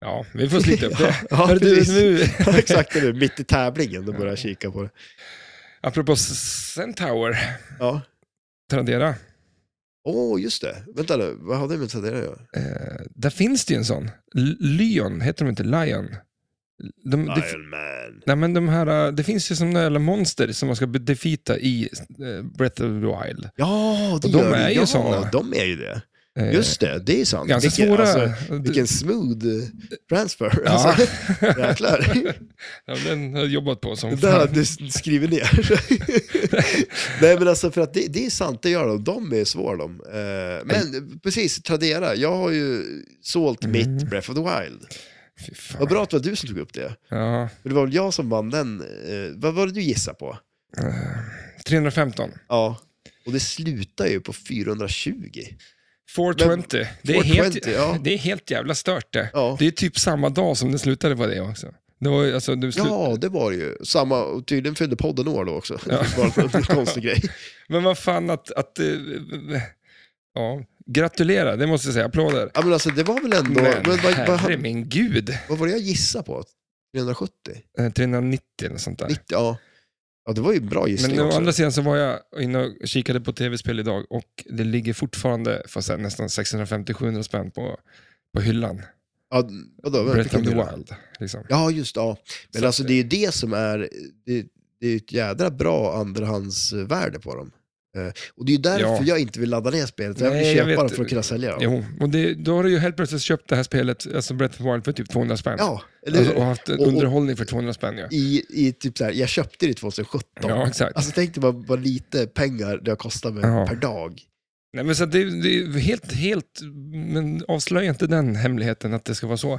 [SPEAKER 1] Ja, vi får slita upp det.
[SPEAKER 2] <laughs> Ja,
[SPEAKER 1] Hör du,
[SPEAKER 2] precis.
[SPEAKER 1] nu,
[SPEAKER 2] <laughs> Ja, Exakt, nu, mitt i tävlingen, då börjar jag kika på det.
[SPEAKER 1] apropå S- Centaur,
[SPEAKER 2] Ja.
[SPEAKER 1] Tradera,
[SPEAKER 2] Åh, just det. Vänta nu, vad har det med Tradera att göra?
[SPEAKER 1] eh, där finns det ju en sån. L- Lion, heter de inte Lion? De, det,
[SPEAKER 2] Iron Man.
[SPEAKER 1] nej, men de här, eh, det finns ju sådana jävla monster som man ska be- defeata i eh, Breath of the Wild.
[SPEAKER 2] Ja, det
[SPEAKER 1] Och de
[SPEAKER 2] gör
[SPEAKER 1] är
[SPEAKER 2] det.
[SPEAKER 1] ju
[SPEAKER 2] ja,
[SPEAKER 1] såna.
[SPEAKER 2] de är ju det.
[SPEAKER 1] Eh,
[SPEAKER 2] Just det, det är sant.
[SPEAKER 1] Ganska
[SPEAKER 2] Vilken-
[SPEAKER 1] svåra.
[SPEAKER 2] Alltså,
[SPEAKER 1] Det-
[SPEAKER 2] <laughs> vilken smooth eh, transfer.
[SPEAKER 1] ja. Mm.
[SPEAKER 2] Alltså, jäklar.
[SPEAKER 1] <laughs> ja, den har jag jobbat på som
[SPEAKER 2] Det där har
[SPEAKER 1] fan.
[SPEAKER 2] du s- skriver ner. <laughs> Nej men alltså för att det, det är sant, det gör de. De är svåra de. Eh, Men precis, Tradera. Jag har ju
[SPEAKER 1] Mm.
[SPEAKER 2] sålt mitt Breath of the Wild.
[SPEAKER 1] Fy fan.
[SPEAKER 2] Vad bra att det var du som tog upp det.
[SPEAKER 1] Ja,
[SPEAKER 2] För det var väl jag som vann den. eh, Vad var det du gissade på?
[SPEAKER 1] 315.
[SPEAKER 2] Ja. Och det slutar ju på 420.
[SPEAKER 1] 420. det, är
[SPEAKER 2] 420,
[SPEAKER 1] helt,
[SPEAKER 2] ja.
[SPEAKER 1] det är helt jävla stört det.
[SPEAKER 2] Ja.
[SPEAKER 1] Det är typ samma dag som det slutade på det också. Det var, ju- alltså, det slut...
[SPEAKER 2] Ja, det var det ju. Samma, och tydligen fyllde podden år då också. <laughs>
[SPEAKER 1] Ja.
[SPEAKER 2] Det var en konstig grej.
[SPEAKER 1] Men vad fan att... att eh, ja. Gratulera, det måste jag säga. Applåder.
[SPEAKER 2] Ja, men alltså det var väl ändå...
[SPEAKER 1] Men
[SPEAKER 2] Men, vad,
[SPEAKER 1] herre
[SPEAKER 2] vad,
[SPEAKER 1] min gud.
[SPEAKER 2] vad var det jag gissade på? 370?
[SPEAKER 1] Eh, 390 eller sånt där.
[SPEAKER 2] 90? Ja. Ja, det var ju en bra gissning
[SPEAKER 1] Men å
[SPEAKER 2] också.
[SPEAKER 1] andra sidan så var jag inne och kikade på tv-spel idag och det ligger fortfarande för så här, nästan 650-700 spänn på, på hyllan.
[SPEAKER 2] Ja, vadå, vänta,
[SPEAKER 1] Breath of the
[SPEAKER 2] vilken del?
[SPEAKER 1] Wild. Liksom.
[SPEAKER 2] Ja, just det, ja. Men
[SPEAKER 1] Så
[SPEAKER 2] alltså
[SPEAKER 1] att-
[SPEAKER 2] det är ju det som är, det, det är ju ett jädra bra andrahandsvärde på dem. Eh, Och det är ju därför
[SPEAKER 1] Ja.
[SPEAKER 2] jag inte vill ladda ner spelet, jag vill
[SPEAKER 1] Nej, jag
[SPEAKER 2] köpa
[SPEAKER 1] vet.
[SPEAKER 2] dem för att kunna sälja dem.
[SPEAKER 1] Jo, och det, då har du ju helt plötsligt köpt det här spelet, alltså Breath of the Wild, för typ 200 spänn.
[SPEAKER 2] Ja, eller
[SPEAKER 1] Alltså,
[SPEAKER 2] hur?
[SPEAKER 1] och haft en
[SPEAKER 2] Och- och-
[SPEAKER 1] underhållning för 200 spänn. Ja,
[SPEAKER 2] I, i typ så här, jag köpte det 2017.
[SPEAKER 1] ja exakt.
[SPEAKER 2] Alltså tänk dig vad, vad lite pengar det har kostat mig
[SPEAKER 1] Ja.
[SPEAKER 2] per dag.
[SPEAKER 1] Nej, men så att det, det är ju helt, helt, men avslöja inte den hemligheten att det ska vara så.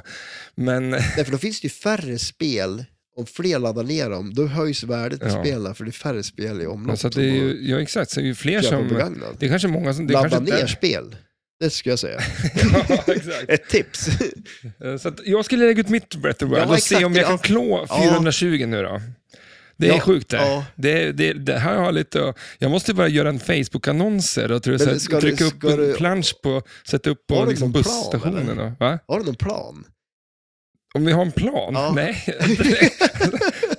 [SPEAKER 1] Men
[SPEAKER 2] Därför då finns det ju färre spel, om fler laddar ner dem, då höjs värdet på
[SPEAKER 1] Ja.
[SPEAKER 2] spelen, för det är färre spel i omlopp.
[SPEAKER 1] så att
[SPEAKER 2] som
[SPEAKER 1] det är
[SPEAKER 2] man
[SPEAKER 1] ju, ja, exakt, så det är ju fler
[SPEAKER 2] köper
[SPEAKER 1] som,
[SPEAKER 2] begagnat.
[SPEAKER 1] det är kanske många som, det är
[SPEAKER 2] Ladda
[SPEAKER 1] kanske
[SPEAKER 2] ner
[SPEAKER 1] inte-
[SPEAKER 2] spel, det skulle
[SPEAKER 1] <laughs>
[SPEAKER 2] jag säga.
[SPEAKER 1] ja, exakt.
[SPEAKER 2] Ett <laughs> tips.
[SPEAKER 1] Eh, Så att jag skulle lägga ut mitt Breath of the Wild
[SPEAKER 2] Ja,
[SPEAKER 1] och
[SPEAKER 2] exakt,
[SPEAKER 1] se om jag
[SPEAKER 2] ja.
[SPEAKER 1] kan klå
[SPEAKER 2] Ja.
[SPEAKER 1] 420 nu då. Det är
[SPEAKER 2] Ja,
[SPEAKER 1] sjukt det.
[SPEAKER 2] ja.
[SPEAKER 1] Det, det. Det här har jag lite att- Jag måste bara göra en Facebook-annonser och tror jag,
[SPEAKER 2] Men
[SPEAKER 1] så här,
[SPEAKER 2] ska du-
[SPEAKER 1] trycka upp
[SPEAKER 2] ska
[SPEAKER 1] en
[SPEAKER 2] du-
[SPEAKER 1] plansch på, sätta upp
[SPEAKER 2] Har
[SPEAKER 1] på
[SPEAKER 2] du
[SPEAKER 1] liksom
[SPEAKER 2] någon plan,
[SPEAKER 1] busstationen.
[SPEAKER 2] eller?
[SPEAKER 1] och- Va?
[SPEAKER 2] Har du någon plan?
[SPEAKER 1] Eh, Om vi har en plan?
[SPEAKER 2] Ja.
[SPEAKER 1] Nej. <laughs>
[SPEAKER 2] <laughs>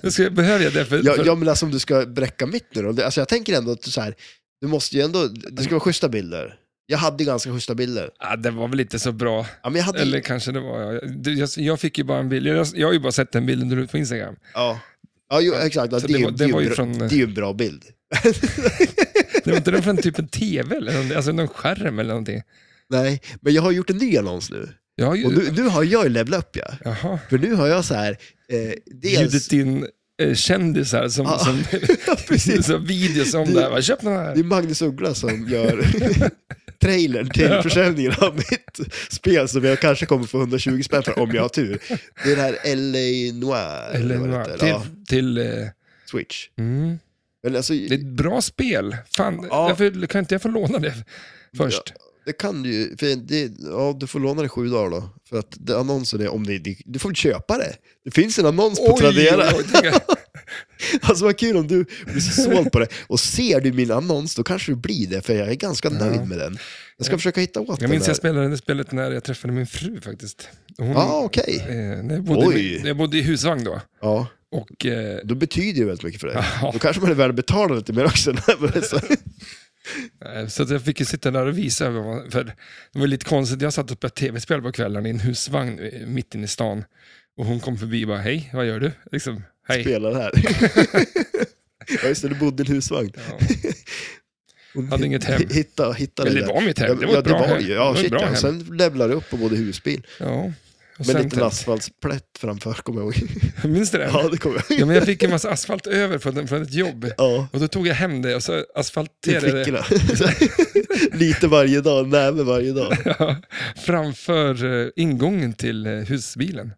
[SPEAKER 1] Då ska, behöver jag det för...
[SPEAKER 2] Ja,
[SPEAKER 1] för
[SPEAKER 2] ja men alltså om du ska bräcka mitt nu då. Det- Alltså jag tänker ändå att du så här, du måste ju ändå, det ska vara schyssta bilder. Jag hade ju ganska schyssta bilder.
[SPEAKER 1] Ah, det var väl inte så bra.
[SPEAKER 2] Ja, men jag hade,
[SPEAKER 1] Eller kanske det var... Jag, det- jag, jag fick ju bara en bild. Jag, jag har ju bara sett den bilden du la ut på Instagram.
[SPEAKER 2] ja. ja jo, exakt. Ja,
[SPEAKER 1] Så
[SPEAKER 2] det, är
[SPEAKER 1] det
[SPEAKER 2] ju-
[SPEAKER 1] var-
[SPEAKER 2] det,
[SPEAKER 1] det var
[SPEAKER 2] är
[SPEAKER 1] ju
[SPEAKER 2] ju bra-
[SPEAKER 1] från-
[SPEAKER 2] det är ju en bra bild.
[SPEAKER 1] Det var inte den från typ en TV eller någon, alltså någon skärm eller någonting.
[SPEAKER 2] Nej, men jag har gjort en ny annons nu.
[SPEAKER 1] Jag har ju...
[SPEAKER 2] Och nu, nu har jag ju levlat upp ja.
[SPEAKER 1] Jaha.
[SPEAKER 2] För nu har jag så här, eh, dels...
[SPEAKER 1] Bjudit in eh, kändisar som,
[SPEAKER 2] Ja. <laughs>
[SPEAKER 1] som, <laughs>
[SPEAKER 2] Precis.
[SPEAKER 1] som videos om det här. Va, Köp den
[SPEAKER 2] Det är
[SPEAKER 1] här.
[SPEAKER 2] Magnus Uggla som gör <laughs> trailern till försäljningen av mitt spel som jag kanske kommer få 120 spänn för om jag har tur. Det är det här LA Noir.
[SPEAKER 1] Eller,
[SPEAKER 2] eller vad det
[SPEAKER 1] va,
[SPEAKER 2] heter.
[SPEAKER 1] till,
[SPEAKER 2] Ja,
[SPEAKER 1] till, eh,
[SPEAKER 2] Switch.
[SPEAKER 1] mm.
[SPEAKER 2] Men alltså,
[SPEAKER 1] Det är ett bra spel. Fan,
[SPEAKER 2] Ja.
[SPEAKER 1] därför kan inte jag få låna det först?
[SPEAKER 2] det kan du ju. För det, ja, du får låna det sju dagar då. För att det, annonsen är om det, det, du får väl köpa det. Det finns en annons på Tradera.
[SPEAKER 1] oj, tänk
[SPEAKER 2] <laughs>
[SPEAKER 1] jag.
[SPEAKER 2] Alltså vad kul om du blir så såld på det. Och ser du min annons, då kanske du blir det, för jag är ganska nöjd med den. Jag ska försöka hitta åt
[SPEAKER 1] Jag
[SPEAKER 2] den
[SPEAKER 1] minns
[SPEAKER 2] där.
[SPEAKER 1] jag spelade det spelet när jag träffade min fru faktiskt. Hon,
[SPEAKER 2] Ja, okej.
[SPEAKER 1] eh, när jag, bodde,
[SPEAKER 2] Oj.
[SPEAKER 1] i- när jag bodde i husvagn då.
[SPEAKER 2] Ja,
[SPEAKER 1] Och, eh,
[SPEAKER 2] då betyder ju väldigt mycket för dig.
[SPEAKER 1] Ja.
[SPEAKER 2] Då kanske man är värd att betala lite mer också. Så-
[SPEAKER 1] eh, så att jag fick ju sitta där och visa. vad man- För det var lite konstigt, jag satt och spelade tv-spel på kvällen i en husvagn eh, mitt inne i stan. Och hon kom förbi och bara, hej, vad gör du? Liksom, hej.
[SPEAKER 2] Spela det här. ja, just det, du bodde i en husvagn.
[SPEAKER 1] Ja. Hade inget hem.
[SPEAKER 2] H- Hitta, hitta
[SPEAKER 1] Men
[SPEAKER 2] det
[SPEAKER 1] det
[SPEAKER 2] där.
[SPEAKER 1] var mitt hem, det var
[SPEAKER 2] ja,
[SPEAKER 1] ett bra
[SPEAKER 2] det var
[SPEAKER 1] hem.
[SPEAKER 2] ju.
[SPEAKER 1] Det
[SPEAKER 2] Ja,
[SPEAKER 1] var ett
[SPEAKER 2] shit
[SPEAKER 1] bra
[SPEAKER 2] ja.
[SPEAKER 1] hem.
[SPEAKER 2] Sen levlade du upp och bodde husbil. <laughs>
[SPEAKER 1] Ja. Och
[SPEAKER 2] Med en
[SPEAKER 1] sen-
[SPEAKER 2] liten asfaltsplätt framför, kommer jag ihåg.
[SPEAKER 1] <laughs> Minns du det?
[SPEAKER 2] Ja, det kommer jag
[SPEAKER 1] Ja,
[SPEAKER 2] ihåg.
[SPEAKER 1] men jag fick en massa asfalt över från, från ett jobb.
[SPEAKER 2] Ja.
[SPEAKER 1] Och då tog jag hem det och så
[SPEAKER 2] Till
[SPEAKER 1] asfalterade jag det
[SPEAKER 2] flickorna. <laughs> Lite varje dag, näve varje dag.
[SPEAKER 1] <laughs> ja, framför eh, ingången till eh, husbilen.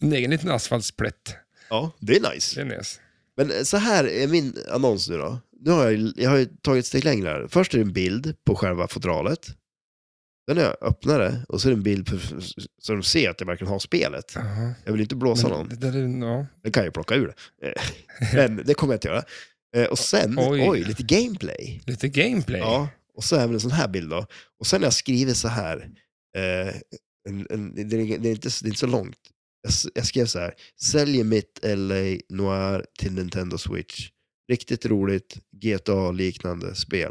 [SPEAKER 1] En egen liten asfaltsplätt.
[SPEAKER 2] Ja, det är nice.
[SPEAKER 1] Det är nice.
[SPEAKER 2] Men eh, så här är min annons nu då. Nu har jag, ju- jag har ju tagit ett steg längre här. Först är det en bild på själva fodralet. Sen när jag öppnar det och så är det en bild på, så de ser att jag verkligen har spelet.
[SPEAKER 1] Jaha.
[SPEAKER 2] Jag vill inte blåsa
[SPEAKER 1] Men
[SPEAKER 2] någon.
[SPEAKER 1] det där är, ja.
[SPEAKER 2] Den kan jag ju plocka ur det. Eh, Men det kommer jag inte göra. Eh, Och sen,
[SPEAKER 1] Oj.
[SPEAKER 2] oj, lite gameplay.
[SPEAKER 1] Lite gameplay.
[SPEAKER 2] Ja, och så även en sån här bild då. Och sen har jag skrivit så här, eh, en, en, det, är, det, är inte, det är inte så långt. Jag, s- jag skrev så här, säljer mitt LA Noir till Nintendo Switch. Riktigt roligt GTA-liknande spel.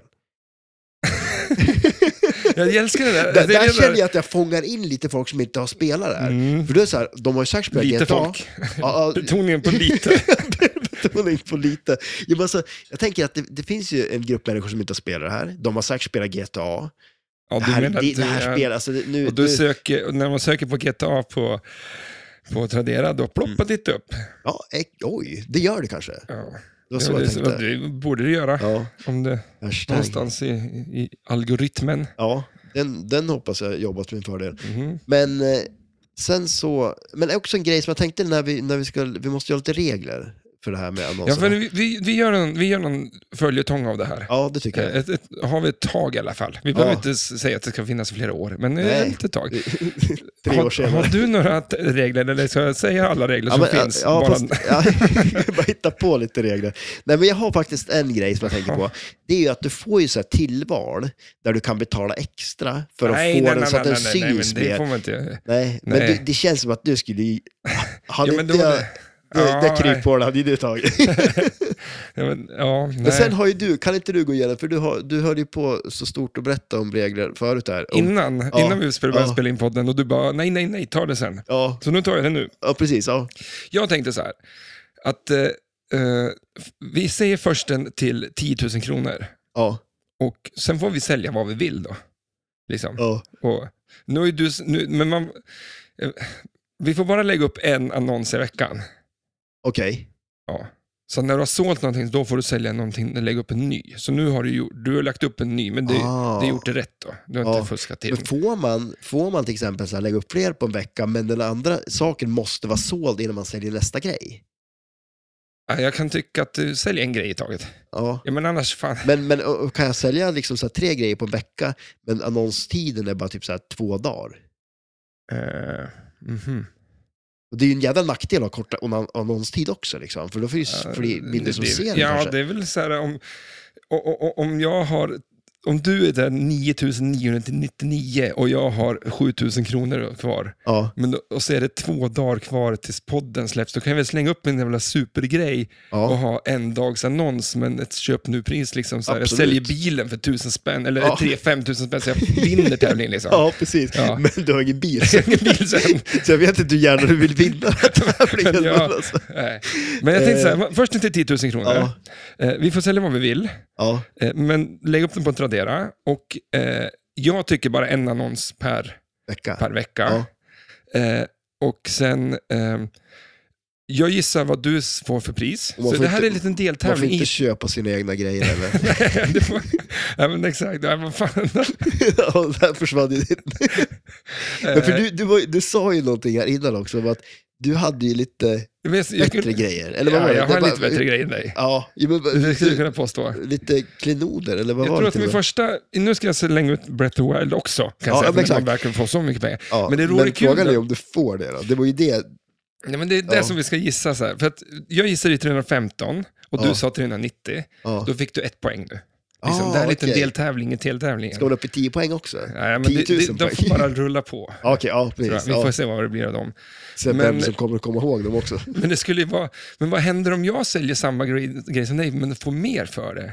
[SPEAKER 1] Jag älskar det där.
[SPEAKER 2] <laughs> där,
[SPEAKER 1] det är
[SPEAKER 2] där
[SPEAKER 1] det
[SPEAKER 2] känner jag att jag fångar in lite folk som inte har spelat det här.
[SPEAKER 1] Mm.
[SPEAKER 2] För det är så här, de har ju säkert spelat
[SPEAKER 1] Lite
[SPEAKER 2] GTA.
[SPEAKER 1] folk.
[SPEAKER 2] <laughs>
[SPEAKER 1] <laughs>
[SPEAKER 2] Ja, ja,
[SPEAKER 1] Betoningen på lite.
[SPEAKER 2] <laughs> betoning på lite. Jag, bara, så, jag tänker att det, det finns ju en grupp människor som inte har spelat det här. De har säkert spelat GTA.
[SPEAKER 1] Ja,
[SPEAKER 2] det
[SPEAKER 1] du
[SPEAKER 2] här,
[SPEAKER 1] menar att
[SPEAKER 2] det,
[SPEAKER 1] du
[SPEAKER 2] det här
[SPEAKER 1] är-
[SPEAKER 2] spelet, alltså, det- nu,
[SPEAKER 1] Och du
[SPEAKER 2] nu,
[SPEAKER 1] söker, och när man söker på GTA på, på Tradera, då ploppar ditt upp.
[SPEAKER 2] ja, ek, oj, det gör det kanske. Mm. Det
[SPEAKER 1] Ja.
[SPEAKER 2] var så
[SPEAKER 1] Ja,
[SPEAKER 2] jag
[SPEAKER 1] det,
[SPEAKER 2] tänkte.
[SPEAKER 1] det borde du göra.
[SPEAKER 2] Ja,
[SPEAKER 1] Om det,
[SPEAKER 2] hashtag.
[SPEAKER 1] någonstans i, i algoritmen.
[SPEAKER 2] Ja, den, den hoppas jag jobbar till min fördel.
[SPEAKER 1] Mhm.
[SPEAKER 2] Men eh, sen så, men också en grej som jag tänkte när vi, när vi ska, vi måste göra lite regler för det här med
[SPEAKER 1] Ja,
[SPEAKER 2] annonserna.
[SPEAKER 1] men vi, vi, vi, gör en, vi gör någon följetong av det här.
[SPEAKER 2] Ja, det tycker jag.
[SPEAKER 1] Ett, ett, har vi ett tag i alla fall. Vi behöver
[SPEAKER 2] Ja.
[SPEAKER 1] inte s- säga att det ska finnas i flera år, men
[SPEAKER 2] Nej.
[SPEAKER 1] Nej. ett tag.
[SPEAKER 2] <laughs> Tre år
[SPEAKER 1] Har, har
[SPEAKER 2] senare.
[SPEAKER 1] du några t- regler, eller ska jag säga alla regler
[SPEAKER 2] Ja,
[SPEAKER 1] som
[SPEAKER 2] men, ja,
[SPEAKER 1] finns?
[SPEAKER 2] ja,
[SPEAKER 1] bara...
[SPEAKER 2] fast, ja, <laughs> bara hitta på lite regler. Nej, men jag har faktiskt en grej som jag tänker på. Det är ju att du får ju så här tillval där du kan betala extra för att få den så att den
[SPEAKER 1] nej,
[SPEAKER 2] syns
[SPEAKER 1] men det
[SPEAKER 2] mer.
[SPEAKER 1] får man inte göra.
[SPEAKER 2] Nej, men
[SPEAKER 1] Nej.
[SPEAKER 2] Du, det känns som att du
[SPEAKER 1] <laughs>
[SPEAKER 2] skulle... ju- Hade
[SPEAKER 1] Ja, men
[SPEAKER 2] inte
[SPEAKER 1] då var det...
[SPEAKER 2] jag... Det,
[SPEAKER 1] Ja,
[SPEAKER 2] det kryphålet hade ju
[SPEAKER 1] <laughs>
[SPEAKER 2] du tagit.
[SPEAKER 1] Ja, men, ja, nej.
[SPEAKER 2] Men sen har ju du, kan inte du gå igenom, för du, har, du höll ju på så stort att berätta om regler förut här. Om,
[SPEAKER 1] Innan,
[SPEAKER 2] Ja,
[SPEAKER 1] innan vi spelade, började
[SPEAKER 2] ja.
[SPEAKER 1] spela in podden och du bara, nej, nej, nej, ta det sen.
[SPEAKER 2] ja,
[SPEAKER 1] Så nu tar jag det nu.
[SPEAKER 2] ja, precis. Ja.
[SPEAKER 1] Jag tänkte så här, att eh, eh, f- vi säger först den till 10 000 kronor.
[SPEAKER 2] Ja,
[SPEAKER 1] Och sen får vi sälja vad vi vill då. Liksom.
[SPEAKER 2] ja.
[SPEAKER 1] Och, nu är du, nu, men man, eh, vi får bara lägga upp en annons i veckan.
[SPEAKER 2] Okej.
[SPEAKER 1] Ja. Så när du har sålt någonting, då får du sälja någonting och lägga upp en ny. Så nu har du, gjort, du har lagt upp en ny, men du
[SPEAKER 2] Ah.
[SPEAKER 1] du har gjort det rätt då. Du har
[SPEAKER 2] Ja.
[SPEAKER 1] inte fuskat till.
[SPEAKER 2] Men får man, får man till exempel så här, lägga upp fler på en vecka, men den andra saken måste vara såld innan man säljer nästa grej?
[SPEAKER 1] Ja, Jag kan tycka att du säljer en grej i taget.
[SPEAKER 2] Ja.
[SPEAKER 1] Ja, men annars, fan.
[SPEAKER 2] Men, men och- och kan jag sälja liksom så här, tre grejer på en vecka, men annonstiden är bara typ så här, två dagar?
[SPEAKER 1] Eh, mhm.
[SPEAKER 2] Och det är ju en jävla nackdel att ha korta annon- annonstid också, liksom, för då finns det fler bilder som
[SPEAKER 1] det,
[SPEAKER 2] ser den
[SPEAKER 1] Ja,
[SPEAKER 2] kanske.
[SPEAKER 1] det är väl så här om, o- o- o- om jag har om du är där 9999 och jag har 7000 kronor kvar
[SPEAKER 2] Ja.
[SPEAKER 1] men då, och så är det två dagar kvar tills podden släpps, då kan jag väl slänga upp en jävla supergrej och
[SPEAKER 2] Ja.
[SPEAKER 1] ha en dags annons men ett köp nu-pris. Liksom, så här. jag
[SPEAKER 2] Absolut.
[SPEAKER 1] säljer bilen för 1000 spänn, eller
[SPEAKER 2] Ja.
[SPEAKER 1] 3-5 tusen spänn, så jag vinner tävlingen. Liksom.
[SPEAKER 2] <laughs> ja, precis.
[SPEAKER 1] Ja.
[SPEAKER 2] Men du har ingen bil,
[SPEAKER 1] <laughs>
[SPEAKER 2] så,
[SPEAKER 1] Jag har bil
[SPEAKER 2] <laughs>
[SPEAKER 1] sen.
[SPEAKER 2] så jag vet inte hur gärna du vill vinna den här
[SPEAKER 1] <laughs>
[SPEAKER 2] tävlingen.
[SPEAKER 1] Men
[SPEAKER 2] men
[SPEAKER 1] jag-
[SPEAKER 2] alltså.
[SPEAKER 1] Nej. Men jag tänkte så här, först inte 10 000 kronor.
[SPEAKER 2] Eh. Ja.
[SPEAKER 1] Eh, Vi får sälja vad vi vill.
[SPEAKER 2] Ja,
[SPEAKER 1] Eh, Men lägg upp den på Tradera och eh, jag tycker bara en annons per,
[SPEAKER 2] vecka.
[SPEAKER 1] per vecka. Eh, och sen, eh, ehm, Jag gissar vad du s- får för pris.
[SPEAKER 2] Och man
[SPEAKER 1] Så
[SPEAKER 2] får
[SPEAKER 1] det här
[SPEAKER 2] inte-
[SPEAKER 1] är en liten
[SPEAKER 2] Man får
[SPEAKER 1] deltävling.
[SPEAKER 2] inte
[SPEAKER 1] i-
[SPEAKER 2] köpa sina egna grejer eller?
[SPEAKER 1] <laughs>
[SPEAKER 2] <laughs>
[SPEAKER 1] Nej, det får- Nej, men exakt. Nej, vad fan.
[SPEAKER 2] ja, där försvann ju ditt. Men för
[SPEAKER 1] Eh,
[SPEAKER 2] du, du, var, ju- du sa ju någonting här innan också om att du hade ju lite
[SPEAKER 1] men Eh, jag- jag
[SPEAKER 2] bättre
[SPEAKER 1] skulle-
[SPEAKER 2] grejer. Eller vad
[SPEAKER 1] Ja,
[SPEAKER 2] var det?
[SPEAKER 1] jag har en
[SPEAKER 2] Det
[SPEAKER 1] lite
[SPEAKER 2] var-
[SPEAKER 1] bättre grej än dig.
[SPEAKER 2] Ja, ju, men,
[SPEAKER 1] Det skulle jag
[SPEAKER 2] du,
[SPEAKER 1] kunna påstå.
[SPEAKER 2] lite klenoder eller vad
[SPEAKER 1] Jag
[SPEAKER 2] var
[SPEAKER 1] tror
[SPEAKER 2] det?
[SPEAKER 1] att min
[SPEAKER 2] till och
[SPEAKER 1] första, nu ska jag slänga ut Breath of the Wild också, kan
[SPEAKER 2] Ja,
[SPEAKER 1] jag säga,
[SPEAKER 2] men
[SPEAKER 1] för att man
[SPEAKER 2] exakt.
[SPEAKER 1] verkligen får så mycket pengar.
[SPEAKER 2] med? ja,
[SPEAKER 1] men det vore kul
[SPEAKER 2] frågan
[SPEAKER 1] då.
[SPEAKER 2] är om du får det då. Det var ju det.
[SPEAKER 1] Nej, men det är det
[SPEAKER 2] Ja.
[SPEAKER 1] som vi ska gissa. Så här. För att jag gissade i 315 och
[SPEAKER 2] Ja.
[SPEAKER 1] du sa 390.
[SPEAKER 2] Ja.
[SPEAKER 1] Då fick du ett poäng nu. Liksom,
[SPEAKER 2] Ah,
[SPEAKER 1] det här är en liten
[SPEAKER 2] okej.
[SPEAKER 1] deltävling i deltävlingen.
[SPEAKER 2] Ska man upp i 10 poäng också?
[SPEAKER 1] Nej, men det,
[SPEAKER 2] 10 000
[SPEAKER 1] det, de får
[SPEAKER 2] poäng.
[SPEAKER 1] bara rulla på.
[SPEAKER 2] Ja, Okej, ja
[SPEAKER 1] tror jag.
[SPEAKER 2] precis.
[SPEAKER 1] Vi får
[SPEAKER 2] Ja.
[SPEAKER 1] se vad det blir av dem.
[SPEAKER 2] Sen
[SPEAKER 1] men-
[SPEAKER 2] vem som kommer att komma ihåg dem också.
[SPEAKER 1] Men, det skulle ju vara, men vad händer om jag säljer samma grej, grej som dig, men får mer för det?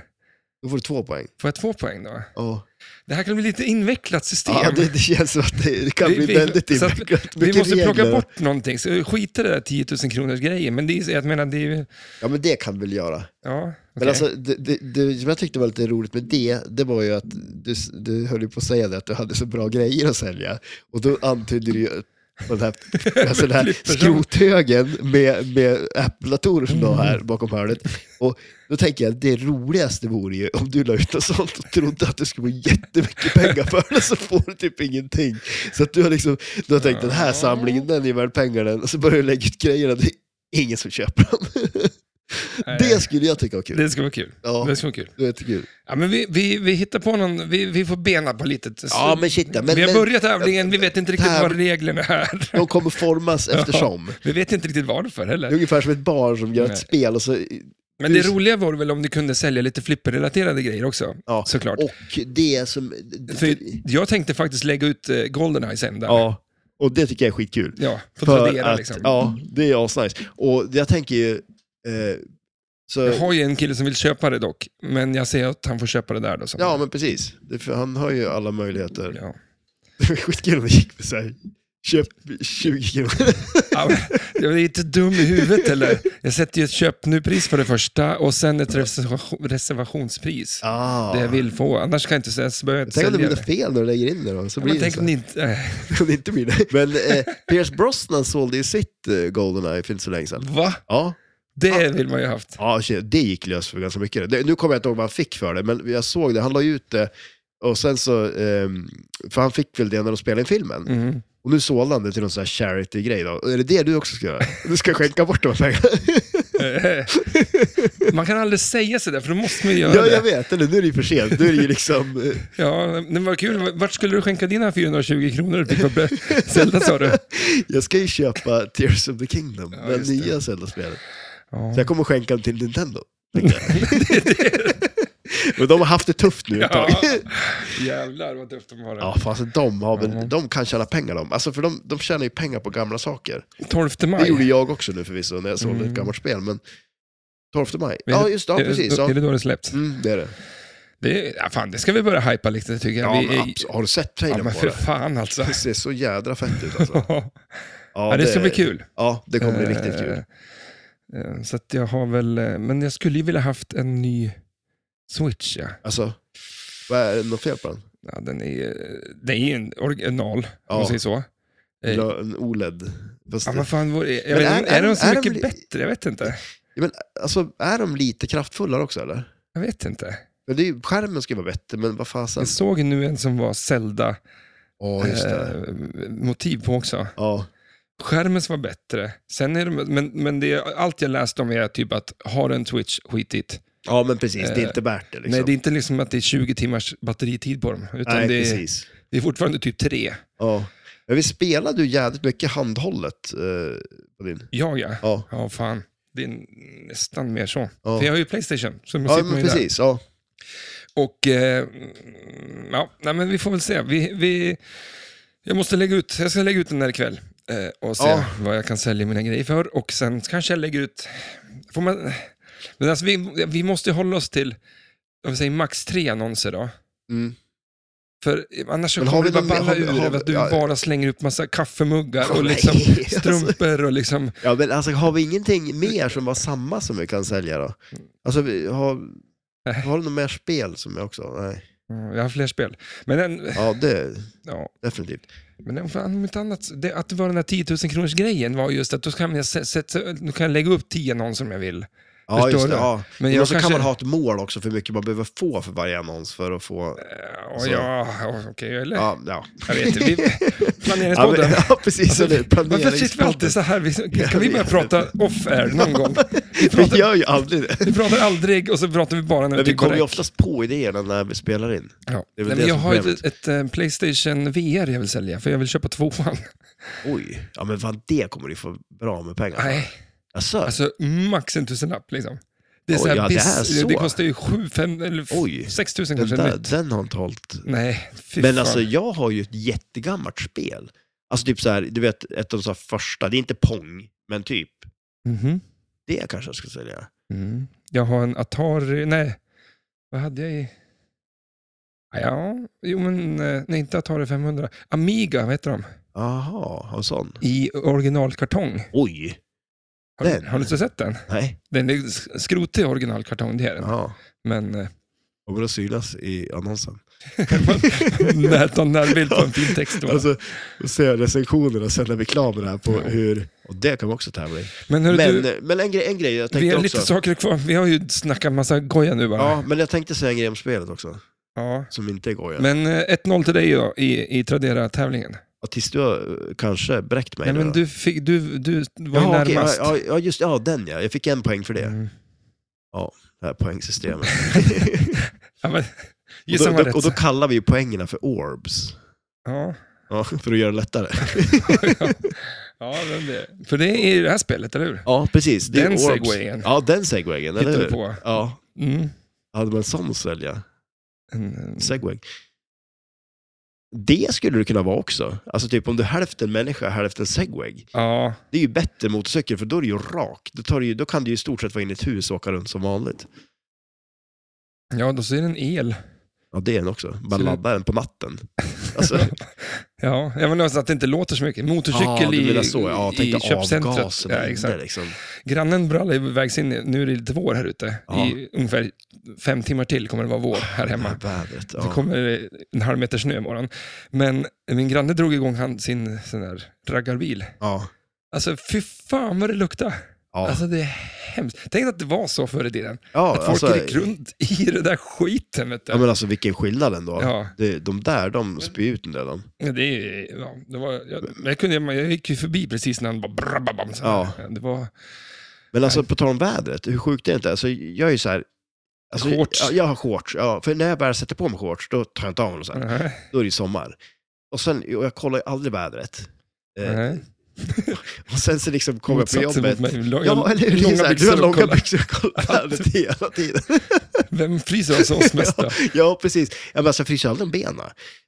[SPEAKER 2] Då får du två poäng.
[SPEAKER 1] Får jag två poäng då?
[SPEAKER 2] Ja.
[SPEAKER 1] Det här kan bli lite invecklat system.
[SPEAKER 2] Ja, det, det känns som att det, det kan
[SPEAKER 1] Vi-
[SPEAKER 2] bli
[SPEAKER 1] vi-
[SPEAKER 2] väldigt
[SPEAKER 1] så att
[SPEAKER 2] invecklat.
[SPEAKER 1] Vi
[SPEAKER 2] Mycket
[SPEAKER 1] måste plocka
[SPEAKER 2] regler.
[SPEAKER 1] bort någonting, så skita i det där 10 000 kronors grejen. Men det är, jag menar, det är ju...
[SPEAKER 2] Ja, men det kan vi väl göra.
[SPEAKER 1] Ja, okej.
[SPEAKER 2] Men alltså, det, det, det som jag tyckte var lite roligt med det, det var ju att du, du höll ju på att säga det, att du hade så bra grejer att sälja. Och då antydde du ju att
[SPEAKER 1] <laughs>
[SPEAKER 2] den här, alltså den här
[SPEAKER 1] Flipper som-
[SPEAKER 2] skrothögen med, med Apple-datorer som du har här bakom hörnet. Och då tänker jag, det roligaste vore ju om du la ut något sånt och trodde att du skulle få jättemycket pengar för det, så får du typ ingenting. Så att du har liksom, du har tänkt den här samlingen, den är värd pengar den, och så börjar du lägga ut grejerna, det är ingen som köper dem.
[SPEAKER 1] Nej,
[SPEAKER 2] Det skulle jag tycka var kul.
[SPEAKER 1] det ska vara kul.
[SPEAKER 2] Ja.
[SPEAKER 1] Det ska vara kul.
[SPEAKER 2] Det var jättekul.
[SPEAKER 1] Ja, men vi, vi, vi hittar på någon, vi, vi får bena på lite.
[SPEAKER 2] Ja, men shit, ja, men-
[SPEAKER 1] vi har
[SPEAKER 2] men-
[SPEAKER 1] börjat tävlingen, vi vet inte riktigt
[SPEAKER 2] Täv-
[SPEAKER 1] vad reglerna är. <laughs>
[SPEAKER 2] De kommer formas eftersom.
[SPEAKER 1] Vi vet inte riktigt varför
[SPEAKER 2] Det är
[SPEAKER 1] heller.
[SPEAKER 2] ungefär som ett barn som gör ett
[SPEAKER 1] Nej.
[SPEAKER 2] spel och så...
[SPEAKER 1] Men det roliga var väl om du kunde sälja lite flipperrelaterade grejer också,
[SPEAKER 2] Ja.
[SPEAKER 1] såklart.
[SPEAKER 2] Och det som...
[SPEAKER 1] För jag tänkte faktiskt lägga ut eh, Goldeneye sen där.
[SPEAKER 2] Ja, och det tycker jag är skitkul.
[SPEAKER 1] Ja, för att
[SPEAKER 2] För
[SPEAKER 1] radera
[SPEAKER 2] att,
[SPEAKER 1] liksom.
[SPEAKER 2] ja, det är asnice. Och jag tänker ju... Eh, så,
[SPEAKER 1] Jag har ju en kille som vill köpa det dock, men jag säger att han får köpa det där då. Som
[SPEAKER 2] ja, men precis. Det, för han har ju alla möjligheter.
[SPEAKER 1] Ja.
[SPEAKER 2] <laughs> Det var skitkul om det gick för sig. Köp 20
[SPEAKER 1] <laughs>
[SPEAKER 2] kronor.
[SPEAKER 1] Ja, men Jag är inte dum i huvudet eller? Jag sätter ju ett köpnupris för det första och sen ett reservation- reservationspris.
[SPEAKER 2] Ah.
[SPEAKER 1] Det jag vill få, annars kan jag inte säga, så behöver jag inte
[SPEAKER 2] Tänk om det
[SPEAKER 1] sälja
[SPEAKER 2] blir
[SPEAKER 1] det.
[SPEAKER 2] fel när du lägger in det då. Så
[SPEAKER 1] Ja,
[SPEAKER 2] blir
[SPEAKER 1] men
[SPEAKER 2] det
[SPEAKER 1] tänk
[SPEAKER 2] så
[SPEAKER 1] om
[SPEAKER 2] här.
[SPEAKER 1] ni inte... Äh,
[SPEAKER 2] Om <laughs> det inte blir det. Men eh, Pierce Brosnan sålde ju sitt eh, Goldeneye för inte så länge sedan.
[SPEAKER 1] va?
[SPEAKER 2] Ja,
[SPEAKER 1] Det vill man ju haft.
[SPEAKER 2] Ja, shit, det gick lös för ganska mycket. Det, nu kommer jag inte ihåg vad han fick för det, men jag såg det. Han la ju ut det. Och sen så, ehm, för han fick väl det när de spelade in filmen.
[SPEAKER 1] Mm.
[SPEAKER 2] Och nu sålde han det till någon sån här charity-grej då. Är det det du också ska <laughs> göra? Du ska skänka bort de här pengarna?
[SPEAKER 1] Eh, man kan aldrig säga sådär, för då måste man ju göra
[SPEAKER 2] ja, jag
[SPEAKER 1] det.
[SPEAKER 2] vet. Eller nu är det ju för sent. Nu är det ju liksom... eh,
[SPEAKER 1] Ja, men vad kul. Vart skulle du skänka dina 420 kronor du fick av Bre- Zelda sa du?
[SPEAKER 2] Jag ska ju köpa Tears of the Kingdom,
[SPEAKER 1] Ja,
[SPEAKER 2] det
[SPEAKER 1] just det.
[SPEAKER 2] nya Zelda-spelet.
[SPEAKER 1] Ja.
[SPEAKER 2] Så jag kommer skänka den till Nintendo. tänkte jag. <laughs> Men de har haft det tufft nu ett tag.
[SPEAKER 1] Ja. Jävlar vad tufft de har det.
[SPEAKER 2] Ja, fan, alltså, de, har väl,
[SPEAKER 1] Mhm.
[SPEAKER 2] de kan tjäna pengar de. Alltså, för de, de tjänar ju pengar på gamla saker.
[SPEAKER 1] 12 maj.
[SPEAKER 2] Det gjorde jag också nu förvisso, när jag sålde
[SPEAKER 1] Mm.
[SPEAKER 2] ett gammalt spel. Men 12 maj.
[SPEAKER 1] Men
[SPEAKER 2] Ja, just det. Ja,
[SPEAKER 1] Är det-
[SPEAKER 2] precis.
[SPEAKER 1] Är
[SPEAKER 2] Ja.
[SPEAKER 1] det då det släpps?
[SPEAKER 2] Mm, det är det.
[SPEAKER 1] Det, ja, fan, det ska vi börja hypa lite tycker jag.
[SPEAKER 2] Ja,
[SPEAKER 1] vi,
[SPEAKER 2] men abs- har du sett
[SPEAKER 1] ja,
[SPEAKER 2] trailern
[SPEAKER 1] men
[SPEAKER 2] på
[SPEAKER 1] för
[SPEAKER 2] det?
[SPEAKER 1] fan alltså.
[SPEAKER 2] Det ser så jädra fett ut alltså.
[SPEAKER 1] <laughs> Ja, det ska bli kul.
[SPEAKER 2] Ja, det kommer bli riktigt kul.
[SPEAKER 1] Eh, eh, Så att jag har väl, eh, men jag skulle ju vilja haft en ny Switch. Ja.
[SPEAKER 2] Alltså, vad är det något fel på den?
[SPEAKER 1] Ja, den, är, eh, den är ju en original, om man
[SPEAKER 2] Ja.
[SPEAKER 1] säger så. Eh,
[SPEAKER 2] Vill du ha En OLED? Fast,
[SPEAKER 1] Ja, men fan, vad- jag
[SPEAKER 2] Men
[SPEAKER 1] vet,
[SPEAKER 2] är-
[SPEAKER 1] inte, är,
[SPEAKER 2] är-
[SPEAKER 1] de så
[SPEAKER 2] är de
[SPEAKER 1] mycket
[SPEAKER 2] li-
[SPEAKER 1] bättre? Jag vet inte.
[SPEAKER 2] ja, men, alltså, är de lite kraftfullare också eller?
[SPEAKER 1] Jag vet inte.
[SPEAKER 2] Men det är, ju- skärmen ska ju vara bättre, men vad fasen?
[SPEAKER 1] Jag såg nu en som var Zelda-motiv
[SPEAKER 2] Ja, just
[SPEAKER 1] Eh.
[SPEAKER 2] det.
[SPEAKER 1] på också.
[SPEAKER 2] Ja,
[SPEAKER 1] Skärmen som var bättre. Sen är det, men men det, allt jag läst om är typ att har du en Twitch, skit it.
[SPEAKER 2] ja men precis. Det är
[SPEAKER 1] Eh,
[SPEAKER 2] inte värt det liksom.
[SPEAKER 1] Nej, det är inte liksom att det är 20 timmars batteritid på dem. Utan
[SPEAKER 2] Nej,
[SPEAKER 1] det, är,
[SPEAKER 2] precis.
[SPEAKER 1] det är fortfarande typ tre.
[SPEAKER 2] Ja. Men vi spelade ju jävligt mycket handhållet eh, på din.
[SPEAKER 1] Jag ja.
[SPEAKER 2] Ja.
[SPEAKER 1] Ja, fan. Det är nästan mer så.
[SPEAKER 2] Ja.
[SPEAKER 1] För jag har ju Playstation, så man
[SPEAKER 2] Ja,
[SPEAKER 1] sitter man
[SPEAKER 2] men
[SPEAKER 1] ju där.
[SPEAKER 2] precis. Ja.
[SPEAKER 1] Och eh, mm, ja, nej, men vi får väl se. Vi, vi, jag måste lägga ut, jag ska lägga ut den här ikväll eh, och se
[SPEAKER 2] Ja.
[SPEAKER 1] vad jag kan sälja mina grejer för. Och sen kanske jag lägger ut, får man, men alltså vi, vi måste hålla oss till, om vi säger max tre annonser då.
[SPEAKER 2] Mm.
[SPEAKER 1] För eh, annars så
[SPEAKER 2] Men
[SPEAKER 1] kommer
[SPEAKER 2] har
[SPEAKER 1] det
[SPEAKER 2] vi
[SPEAKER 1] bara
[SPEAKER 2] någon-
[SPEAKER 1] balla
[SPEAKER 2] har vi-
[SPEAKER 1] ur
[SPEAKER 2] har
[SPEAKER 1] över
[SPEAKER 2] vi-
[SPEAKER 1] att du
[SPEAKER 2] ja.
[SPEAKER 1] bara slänger upp massa kaffemuggar
[SPEAKER 2] Åh,
[SPEAKER 1] och
[SPEAKER 2] nej,
[SPEAKER 1] liksom
[SPEAKER 2] <laughs> alltså.
[SPEAKER 1] strumpor och liksom...
[SPEAKER 2] ja, men alltså har vi ingenting mer som var samma som vi kan sälja då? Alltså, vi har,
[SPEAKER 1] Nej.
[SPEAKER 2] har du något mer spel som jag också? Nej.
[SPEAKER 1] Mm, Jag har fler spel. Men den,
[SPEAKER 2] Ja, det
[SPEAKER 1] ja,
[SPEAKER 2] definitivt.
[SPEAKER 1] men den fan, om inte annat, det, att det var den där 10 000 kronors grejen var just att då kan jag, se- se- nu kan jag lägga upp 10 annonser om jag vill.
[SPEAKER 2] Ja,
[SPEAKER 1] Förstår
[SPEAKER 2] just det.
[SPEAKER 1] du?
[SPEAKER 2] Ja.
[SPEAKER 1] Men
[SPEAKER 2] Men
[SPEAKER 1] jag
[SPEAKER 2] så
[SPEAKER 1] kanske-
[SPEAKER 2] kan man ha ett mål också för hur mycket man behöver få för varje annons för att få...
[SPEAKER 1] Ja,
[SPEAKER 2] Så.
[SPEAKER 1] ja okej, eller?
[SPEAKER 2] Ja, ja.
[SPEAKER 1] Jag vet inte. Vi,
[SPEAKER 2] <laughs> Ja,
[SPEAKER 1] planeringspodden.
[SPEAKER 2] men, <laughs> ja precis.
[SPEAKER 1] Alltså,
[SPEAKER 2] som det,
[SPEAKER 1] Varför sitter vi alltid så här? Vi, kan vi börja prata off-air någon gång? Vi
[SPEAKER 2] Vi
[SPEAKER 1] pratar,
[SPEAKER 2] gör ju aldrig det.
[SPEAKER 1] vi pratar aldrig och så pratar vi bara när vi
[SPEAKER 2] Men vi
[SPEAKER 1] tycker
[SPEAKER 2] kommer ju
[SPEAKER 1] det
[SPEAKER 2] oftast på idéerna när vi spelar in.
[SPEAKER 1] ja.
[SPEAKER 2] det är
[SPEAKER 1] Nej,
[SPEAKER 2] väl det
[SPEAKER 1] men Jag
[SPEAKER 2] som är
[SPEAKER 1] har ett,
[SPEAKER 2] problemet.
[SPEAKER 1] ett eh, Playstation VR jag vill sälja, för jag vill köpa tvåan.
[SPEAKER 2] Oj, ja men fan det kommer du få bra med pengar för.
[SPEAKER 1] Nej,
[SPEAKER 2] Alltså,
[SPEAKER 1] alltså max en tusenlapp liksom. Det, är
[SPEAKER 2] Oj,
[SPEAKER 1] så här,
[SPEAKER 2] ja, det
[SPEAKER 1] bis-
[SPEAKER 2] är så.
[SPEAKER 1] det kostar ju sju, fem, eller f-
[SPEAKER 2] Oj,
[SPEAKER 1] sex tusen
[SPEAKER 2] den,
[SPEAKER 1] kanske.
[SPEAKER 2] där,
[SPEAKER 1] nytt.
[SPEAKER 2] den har inte hållit.
[SPEAKER 1] Nej, fy
[SPEAKER 2] Men
[SPEAKER 1] fan.
[SPEAKER 2] alltså jag har ju ett jättegammalt spel. Alltså typ så här, du vet ett av de så här första, det är inte Pong, men typ.
[SPEAKER 1] Mhm.
[SPEAKER 2] Det kanske jag ska sälja.
[SPEAKER 1] Mm. Jag har en Atari, nej, vad hade jag i? Ah, Ja, jo men, eh, nej inte Atari 500. Amiga, vad heter de?
[SPEAKER 2] Jaha, en sån.
[SPEAKER 1] I originalkartong.
[SPEAKER 2] Oj,
[SPEAKER 1] Har, du-
[SPEAKER 2] Den?
[SPEAKER 1] har du inte sett den?
[SPEAKER 2] nej.
[SPEAKER 1] Den är sk- skrotig originalkartong, det är den.
[SPEAKER 2] Ja.
[SPEAKER 1] Men
[SPEAKER 2] <laughs>
[SPEAKER 1] eh, <laughs>
[SPEAKER 2] Kommer att synas i annonsen.
[SPEAKER 1] när ta en närbild <laughs> på en fin text. då.
[SPEAKER 2] Alltså, då ser jag recensionerna sen när vi är klara med det här på
[SPEAKER 1] Ja.
[SPEAKER 2] hur... Och det kan vi också tävla i.
[SPEAKER 1] men hörru,
[SPEAKER 2] Men, eh,
[SPEAKER 1] du,
[SPEAKER 2] men en, grej, en grej jag
[SPEAKER 1] vi
[SPEAKER 2] tänkte
[SPEAKER 1] har
[SPEAKER 2] också...
[SPEAKER 1] lite saker kvar. Vi har ju snackat massa goja nu bara.
[SPEAKER 2] Ja, men jag tänkte säga en grej om spelet också,
[SPEAKER 1] Ja.
[SPEAKER 2] som inte går igen.
[SPEAKER 1] Men eh, 1-0 till dig då, i, i Tradera-tävlingen.
[SPEAKER 2] Och Tills du har eh, kanske bräckt mig
[SPEAKER 1] Nej,
[SPEAKER 2] nu
[SPEAKER 1] men
[SPEAKER 2] då.
[SPEAKER 1] du, fick, du, du var ju
[SPEAKER 2] ja, okej,
[SPEAKER 1] närmast.
[SPEAKER 2] ja, ja, just ja, den ja. Jag fick en poäng för det,
[SPEAKER 1] Mm.
[SPEAKER 2] det här poängsystemet.
[SPEAKER 1] Ja, men,
[SPEAKER 2] och,
[SPEAKER 1] <laughs> gissa
[SPEAKER 2] då,
[SPEAKER 1] vad
[SPEAKER 2] då,
[SPEAKER 1] rätt.
[SPEAKER 2] och då kallar vi ju poängerna för orbs. <laughs>
[SPEAKER 1] Ja,
[SPEAKER 2] Ja, för att göra
[SPEAKER 1] <laughs>
[SPEAKER 2] det lättare.
[SPEAKER 1] ja. ja men det. För det är ju det här spelet, eller hur?
[SPEAKER 2] Ja, precis. Det
[SPEAKER 1] Den
[SPEAKER 2] är orbs.
[SPEAKER 1] segwayen
[SPEAKER 2] Ja, den segwayen, eller
[SPEAKER 1] hittar
[SPEAKER 2] hur?
[SPEAKER 1] du på.
[SPEAKER 2] Ja,
[SPEAKER 1] Mm.
[SPEAKER 2] hade man en sån att sälja?
[SPEAKER 1] En-
[SPEAKER 2] Segway. Det skulle det kunna vara också. Alltså typ om du är hälften människa, hälften segway.
[SPEAKER 1] Ja,
[SPEAKER 2] Det är ju bättre motorcykel för då är det ju rakt. Då, tar det ju, då kan du ju i stort sett vara inne i ett hus och åka runt som vanligt.
[SPEAKER 1] ja, då så är det en el.
[SPEAKER 2] Ja, det är den också. Bara
[SPEAKER 1] Skulle-
[SPEAKER 2] ladda den på natten.
[SPEAKER 1] <laughs>
[SPEAKER 2] Alltså,
[SPEAKER 1] Ja, jag menar alltså att det inte låter så mycket. Motorcykel
[SPEAKER 2] ja, du menar
[SPEAKER 1] i,
[SPEAKER 2] så. Ja, tänk
[SPEAKER 1] i
[SPEAKER 2] dig
[SPEAKER 1] köpcentret.
[SPEAKER 2] avgasen
[SPEAKER 1] Ja,
[SPEAKER 2] inne,
[SPEAKER 1] exakt.
[SPEAKER 2] liksom.
[SPEAKER 1] Grannen brallar iväg in, nu är det lite vår här ute.
[SPEAKER 2] Ja.
[SPEAKER 1] I ungefär fem timmar till kommer det vara vår här
[SPEAKER 2] Ja,
[SPEAKER 1] hemma.
[SPEAKER 2] vädret.
[SPEAKER 1] Så
[SPEAKER 2] Ja.
[SPEAKER 1] kommer det en halv meter snö imorgon. Men min granne drog igång han, sin sån där raggarbil.
[SPEAKER 2] Ja.
[SPEAKER 1] Alltså fy fan vad det luktar.
[SPEAKER 2] Ja.
[SPEAKER 1] Alltså det är hemskt. Tänk att det var så förr i tiden.
[SPEAKER 2] Ja,
[SPEAKER 1] Att folk
[SPEAKER 2] alltså,
[SPEAKER 1] gick runt i <laughs> den där skiten. Vet du.
[SPEAKER 2] ja, men alltså vilken skillnad ändå.
[SPEAKER 1] Ja,
[SPEAKER 2] Det, de där, de spyr ut en del. De.
[SPEAKER 1] men det är ja, det var, jag, men jag, kunde, jag gick ju förbi precis när han bara brabbabam, så här. Det var
[SPEAKER 2] Men alltså på tal om vädret, hur sjukt är det inte? Alltså, jag är ju så här... Alltså,
[SPEAKER 1] Shorts.
[SPEAKER 2] Ja, jag har shorts, ja. För när jag bara sätter på mig shorts, då tar jag inte av mig dem så här.
[SPEAKER 1] Nej,
[SPEAKER 2] Då är det ju sommar. Och sen, och jag kollar ju aldrig vädret. <laughs> Eh,
[SPEAKER 1] nej.
[SPEAKER 2] och sen så liksom kommer jag på
[SPEAKER 1] Motsatsen mot
[SPEAKER 2] jobbet.
[SPEAKER 1] mig. Långa-
[SPEAKER 2] Ja, eller hur? Det är
[SPEAKER 1] långa
[SPEAKER 2] så här, Du
[SPEAKER 1] byxor
[SPEAKER 2] har
[SPEAKER 1] och
[SPEAKER 2] långa
[SPEAKER 1] kolla.
[SPEAKER 2] byxor
[SPEAKER 1] <laughs>
[SPEAKER 2] och kollar vädret hela tiden.
[SPEAKER 1] Vem fryser alltså oss mest då?
[SPEAKER 2] <laughs> Ja, precis. Ja, men alltså, jag fryser aldrig om benen.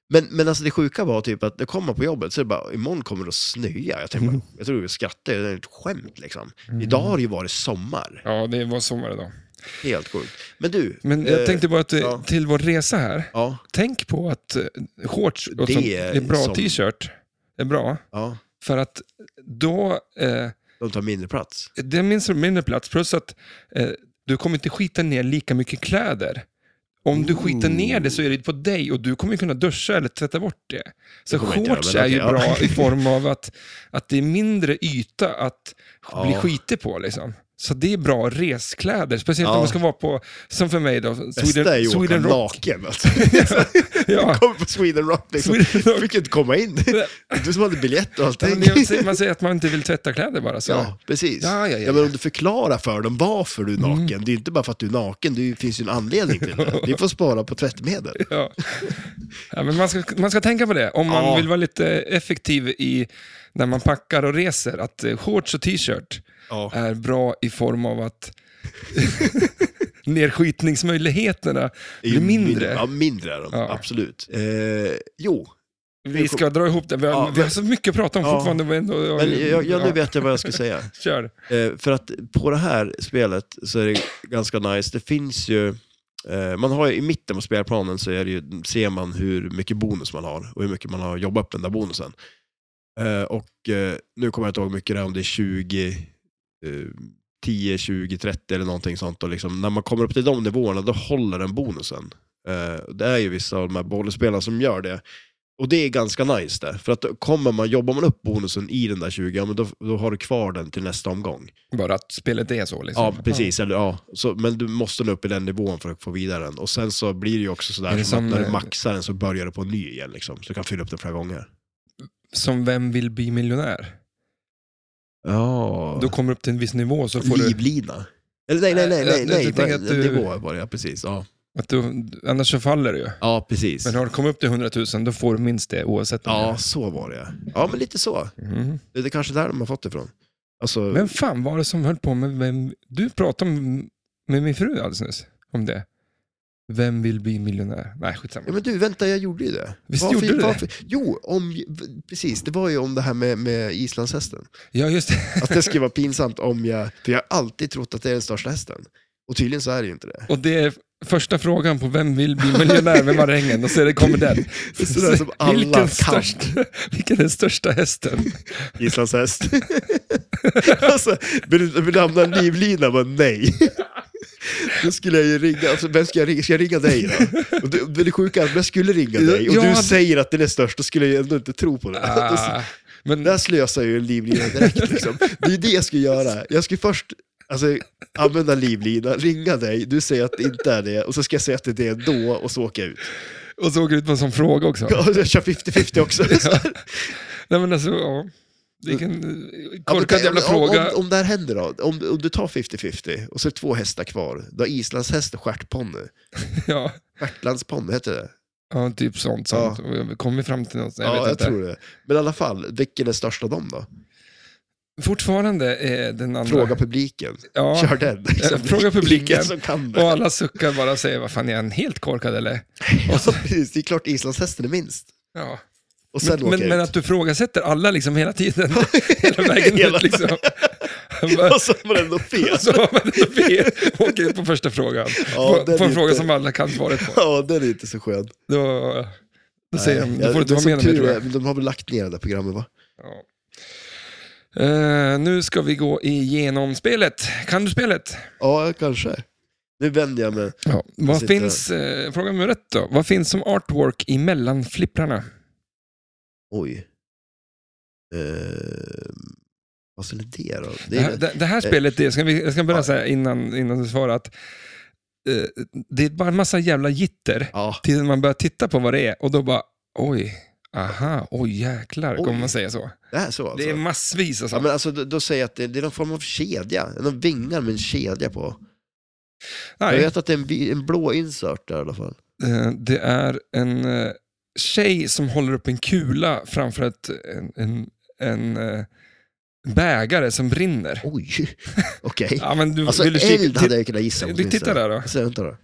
[SPEAKER 2] Men, men alltså det sjuka var typ att när jag kommer på jobbet så är det bara, imorgon kommer det att snöa. Jag, tänkte,
[SPEAKER 1] Mm.
[SPEAKER 2] bara, jag tror vi skrattar, det är ett skämt liksom. Idag har det ju varit sommar.
[SPEAKER 1] Ja, det var sommar idag.
[SPEAKER 2] Helt sjukt. Men du,
[SPEAKER 1] Men jag
[SPEAKER 2] eh,
[SPEAKER 1] tänkte bara att eh,
[SPEAKER 2] ja.
[SPEAKER 1] till vår resa här,
[SPEAKER 2] ja,
[SPEAKER 1] tänk på att eh, shorts och
[SPEAKER 2] Det
[SPEAKER 1] sånt,
[SPEAKER 2] är
[SPEAKER 1] är bra
[SPEAKER 2] som-
[SPEAKER 1] t-shirt är bra.
[SPEAKER 2] ja,
[SPEAKER 1] För att då, eh,
[SPEAKER 2] de tar mindre plats.
[SPEAKER 1] det minns som mindre plats, plus att eh, du kommer inte skita ner lika mycket kläder. Om du skiter
[SPEAKER 2] Mm.
[SPEAKER 1] ner det så är det på dig och du kommer ju kunna duscha eller tvätta bort det. Så
[SPEAKER 2] Det kommer jag inte göra,
[SPEAKER 1] shorts
[SPEAKER 2] men
[SPEAKER 1] är ju
[SPEAKER 2] okej,
[SPEAKER 1] bra
[SPEAKER 2] ja. <laughs>
[SPEAKER 1] i form av att, att det är mindre yta att bli
[SPEAKER 2] Ja.
[SPEAKER 1] skitig på. Liksom. Så det är bra reskläder, speciellt
[SPEAKER 2] Ja.
[SPEAKER 1] om man ska vara på, som för mig då,
[SPEAKER 2] Bästa är ju
[SPEAKER 1] Sweden,
[SPEAKER 2] att åka
[SPEAKER 1] Sweden Rock.
[SPEAKER 2] naken. Alltså. <laughs>
[SPEAKER 1] Ja.
[SPEAKER 2] Kommer på Sweden Rock <laughs> liksom.
[SPEAKER 1] Sweden
[SPEAKER 2] Du fick inte komma in. Du som hade biljett och
[SPEAKER 1] Ja, men
[SPEAKER 2] allting.
[SPEAKER 1] jag säger- Man säger att man inte vill tvätta kläder bara. Så.
[SPEAKER 2] <laughs> Ja, precis.
[SPEAKER 1] Ja, ja, ja, Mm.
[SPEAKER 2] men om du förklarar för dem varför du är naken, det är inte bara för att du är naken, det finns ju en anledning till
[SPEAKER 1] <laughs>
[SPEAKER 2] det. Vi får spara på tvättmedel.
[SPEAKER 1] Ja. Ja, men man, ska, man ska tänka på det om man
[SPEAKER 2] Ja.
[SPEAKER 1] vill vara lite effektiv i när man packar och reser. Att eh, shorts och t-shirt
[SPEAKER 2] Ja.
[SPEAKER 1] är bra i form av att <laughs> nerskitningsmöjligheterna
[SPEAKER 2] Det är ju
[SPEAKER 1] blir mindre.
[SPEAKER 2] Ja, mindre är de,
[SPEAKER 1] Ja.
[SPEAKER 2] absolut. Eh, jo,
[SPEAKER 1] Vi ska dra ihop det. Vi har,
[SPEAKER 2] Ja,
[SPEAKER 1] vi har så mycket att prata om
[SPEAKER 2] Ja.
[SPEAKER 1] fortfarande. Men ändå, ja,
[SPEAKER 2] men jag, jag, nu
[SPEAKER 1] ja,
[SPEAKER 2] vet jag vad jag ska säga.
[SPEAKER 1] Kör.
[SPEAKER 2] Eh, för att på det här spelet så är det ganska nice. Det finns ju, eh, man har ju i mitten på spelplanen så är det ju, ser man hur mycket bonus man har och hur mycket man har jobbat upp den där bonusen. Eh, och eh, nu kommer jag inte ihåg hur mycket det är, om det är 20, eh, 10, 20, 30 eller någonting sånt. Och liksom, när man kommer upp till de nivåerna då håller den bonusen. Eh, Det är ju vissa av de här bollspelarna som gör det. Och det är ganska nice det, för att då kommer man, jobbar man upp bonusen i den där 20, ja, men då, då har du kvar den till nästa omgång.
[SPEAKER 1] Bara att spelet är så liksom.
[SPEAKER 2] Ja, precis. Eller, ja. Så, men du måste nå upp i den nivån för att få vidare den. Och sen så blir det ju också
[SPEAKER 1] Är
[SPEAKER 2] sådär
[SPEAKER 1] det
[SPEAKER 2] som att
[SPEAKER 1] som- eh,
[SPEAKER 2] när du maxar den så börjar du på en ny igen, liksom. så du kan fylla upp den flera gånger.
[SPEAKER 1] Som Vem vill bli miljonär?
[SPEAKER 2] Ja,
[SPEAKER 1] Du kommer upp till en viss nivå så får du...
[SPEAKER 2] livlina. Eller nej, nej, nej,
[SPEAKER 1] Jag-
[SPEAKER 2] nej,
[SPEAKER 1] jag
[SPEAKER 2] nej.
[SPEAKER 1] tänker
[SPEAKER 2] bara
[SPEAKER 1] att du-
[SPEAKER 2] nivå var det, ja, precis. Ja,
[SPEAKER 1] Att du annars så faller du ju.
[SPEAKER 2] ja precis.
[SPEAKER 1] Men har du kommit upp till 100 000 då får du minst det oavsett. om
[SPEAKER 2] Ja, så var det ja. men lite så.
[SPEAKER 1] det är. Mm.
[SPEAKER 2] Det är kanske där de har fått det ifrån. Alltså,
[SPEAKER 1] Vem fan var det som höll på med vem... Du pratade om, med min fru alldeles nyss om det. Vem vill bli miljonär? Nej, skitsamma.
[SPEAKER 2] Ja men du, vänta, jag gjorde ju det.
[SPEAKER 1] Visst gjorde du det?
[SPEAKER 2] Jo, om, precis, det var ju om det här med, med islandshästen.
[SPEAKER 1] Ja, just det.
[SPEAKER 2] Att det skulle vara pinsamt om jag, för jag har alltid trott att det är den största hästen. Och tydligen så är det ju inte det.
[SPEAKER 1] Och det är första frågan på Vem vill bli miljonär med marängen? Och så är det, kommer den.
[SPEAKER 2] Det är sådär som alla
[SPEAKER 1] vilken,
[SPEAKER 2] kan.
[SPEAKER 1] störst, vilken är den största hästen?
[SPEAKER 2] Islandshäst. <laughs> alltså, vill du vill du hamna i en livlina? Bara, nej. Då skulle jag ju ringa, alltså, vem ska jag ringa? Ska jag ringa dig då? Och det, men det sjuka är att om jag skulle ringa dig och
[SPEAKER 1] Ja,
[SPEAKER 2] du
[SPEAKER 1] det-
[SPEAKER 2] säger att den är störst, då skulle jag ju ändå inte tro på det.
[SPEAKER 1] Ah, men
[SPEAKER 2] Där slösar jag ju en livlina direkt. Liksom. Det är det jag skulle göra. Jag skulle först alltså, använda livlina, ringa dig, du säger att det inte är det, och så ska jag säga att det är det ändå, och så åker jag ut.
[SPEAKER 1] Och så åker ut på en sån fråga också.
[SPEAKER 2] Ja, och Jag kör 50-50 också.
[SPEAKER 1] Nej men alltså, ja. Vilken eh,
[SPEAKER 2] Ja, men
[SPEAKER 1] korkad
[SPEAKER 2] tänk-
[SPEAKER 1] jävla
[SPEAKER 2] om,
[SPEAKER 1] fråga.
[SPEAKER 2] Om, om det här händer då? Om, om du tar 50-50, och så är det två hästar kvar, då har islandshäst och stjärtponny.
[SPEAKER 1] Ja,
[SPEAKER 2] Stjärtlandsponny, heter det?
[SPEAKER 1] ja, typ sånt. sånt. Kommer vi fram till något? Jag vet
[SPEAKER 2] ja, jag
[SPEAKER 1] inte. Mm.
[SPEAKER 2] tror det. Men i alla fall, vilken är störst av dem då?
[SPEAKER 1] Fortfarande är den andra...
[SPEAKER 2] Fråga publiken.
[SPEAKER 1] ja. Eh,
[SPEAKER 2] Kör den. liksom.
[SPEAKER 1] fråga publiken.
[SPEAKER 2] Ingen som kan
[SPEAKER 1] Och
[SPEAKER 2] det.
[SPEAKER 1] alla suckar bara och säger, vad fan är han helt korkad eller?
[SPEAKER 2] <laughs> Ja, precis. Det är klart islandshästen är minst.
[SPEAKER 1] Ja.
[SPEAKER 2] Och sen
[SPEAKER 1] Men,
[SPEAKER 2] åker
[SPEAKER 1] men,
[SPEAKER 2] jag
[SPEAKER 1] men
[SPEAKER 2] ut.
[SPEAKER 1] att du frågasätter alla liksom hela tiden. <laughs>
[SPEAKER 2] <laughs>
[SPEAKER 1] hela vägen
[SPEAKER 2] Hela-
[SPEAKER 1] ut liksom. Bara-
[SPEAKER 2] <laughs> Och så var det ändå fel.
[SPEAKER 1] Så <laughs> har man ändå fel. Åker ut på första frågan.
[SPEAKER 2] Ja,
[SPEAKER 1] på
[SPEAKER 2] den
[SPEAKER 1] på
[SPEAKER 2] är
[SPEAKER 1] en fråga
[SPEAKER 2] inte-
[SPEAKER 1] som alla kan svaret på.
[SPEAKER 2] Ja, den är inte så skön.
[SPEAKER 1] Då, då säger de, då får du inte vara med
[SPEAKER 2] Ja, men
[SPEAKER 1] om
[SPEAKER 2] som
[SPEAKER 1] det
[SPEAKER 2] tur
[SPEAKER 1] tror jag.
[SPEAKER 2] är, De har väl lagt ner det där programmet va?
[SPEAKER 1] Ja. Eh, nu ska vi gå igenom spelet. Kan du spelet?
[SPEAKER 2] Ja, kanske. Nu vänder jag mig.
[SPEAKER 1] Ja. Vad
[SPEAKER 2] sitter-
[SPEAKER 1] finns, eh, fråga nummer ett då. Vad finns som artwork i mellanflipprarna?
[SPEAKER 2] Oj. Ehm, vad skulle det då? Det
[SPEAKER 1] Det,
[SPEAKER 2] är Eh,
[SPEAKER 1] här-
[SPEAKER 2] väl-
[SPEAKER 1] det, det här spelet, det, ska vi, jag ska börja säga innan, innan du svarar att eh, det är bara en massa jävla gitter
[SPEAKER 2] Ja.
[SPEAKER 1] tills man börjar titta på vad det är och då bara oj, aha, oj jäklar,
[SPEAKER 2] Oj.
[SPEAKER 1] kommer man säga så.
[SPEAKER 2] Det här är så alltså?
[SPEAKER 1] Det är massvis alltså.
[SPEAKER 2] Ja, men alltså, då, då säger jag att det, det är någon form av kedja. De vingar med en kedja på. Jag
[SPEAKER 1] Nej,
[SPEAKER 2] vet att det är en, vi- en blå insert där i alla fall.
[SPEAKER 1] eh, det är en eh, tjej som håller upp en kula framför ett, en, en, en eh, bägare som brinner. <laughs>
[SPEAKER 2] Oj, okej.
[SPEAKER 1] Ja, men du,
[SPEAKER 2] Alltså
[SPEAKER 1] vill du kika-
[SPEAKER 2] eld hade jag liksom kunnat gissa
[SPEAKER 1] Du tittar där då.
[SPEAKER 2] Alltså, vänta då.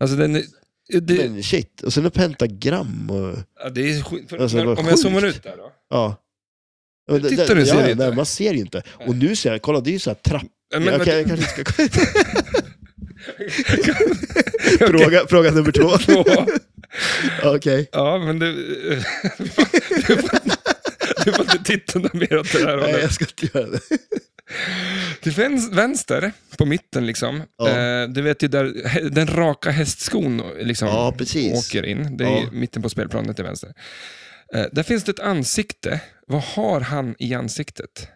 [SPEAKER 1] Alltså, den, är- det,
[SPEAKER 2] Men shit, och sen är pentagram och...
[SPEAKER 1] ja, det är skit, för,
[SPEAKER 2] Alltså,
[SPEAKER 1] när,
[SPEAKER 2] vad
[SPEAKER 1] om jag zoomar
[SPEAKER 2] sjukt.
[SPEAKER 1] ut där då.
[SPEAKER 2] Ja. Ja, men det-
[SPEAKER 1] Tittar
[SPEAKER 2] det-
[SPEAKER 1] du, ser
[SPEAKER 2] ja,
[SPEAKER 1] du inte?
[SPEAKER 2] Nej, man ser ju inte. Och nu ser jag, kolla det är ju så här trapp.
[SPEAKER 1] Ja,
[SPEAKER 2] jag, kan, jag
[SPEAKER 1] men-
[SPEAKER 2] kanske inte
[SPEAKER 1] <laughs>
[SPEAKER 2] ska... fråga, fråga nummer två.
[SPEAKER 1] <laughs> Två.
[SPEAKER 2] Okej.
[SPEAKER 1] Ja, men du... Du får, du får, du får inte titta något mer åt det här
[SPEAKER 2] Nej,
[SPEAKER 1] hållet.
[SPEAKER 2] jag ska inte göra det.
[SPEAKER 1] Till vän- vänster, på mitten liksom,
[SPEAKER 2] Ja.
[SPEAKER 1] eh, du vet ju där hä- den raka hästskon liksom,
[SPEAKER 2] Ja, precis.
[SPEAKER 1] åker in. Det är
[SPEAKER 2] Ja.
[SPEAKER 1] mitten på spelplanen till vänster. Eh, där finns det ett ansikte. Vad har han i ansiktet?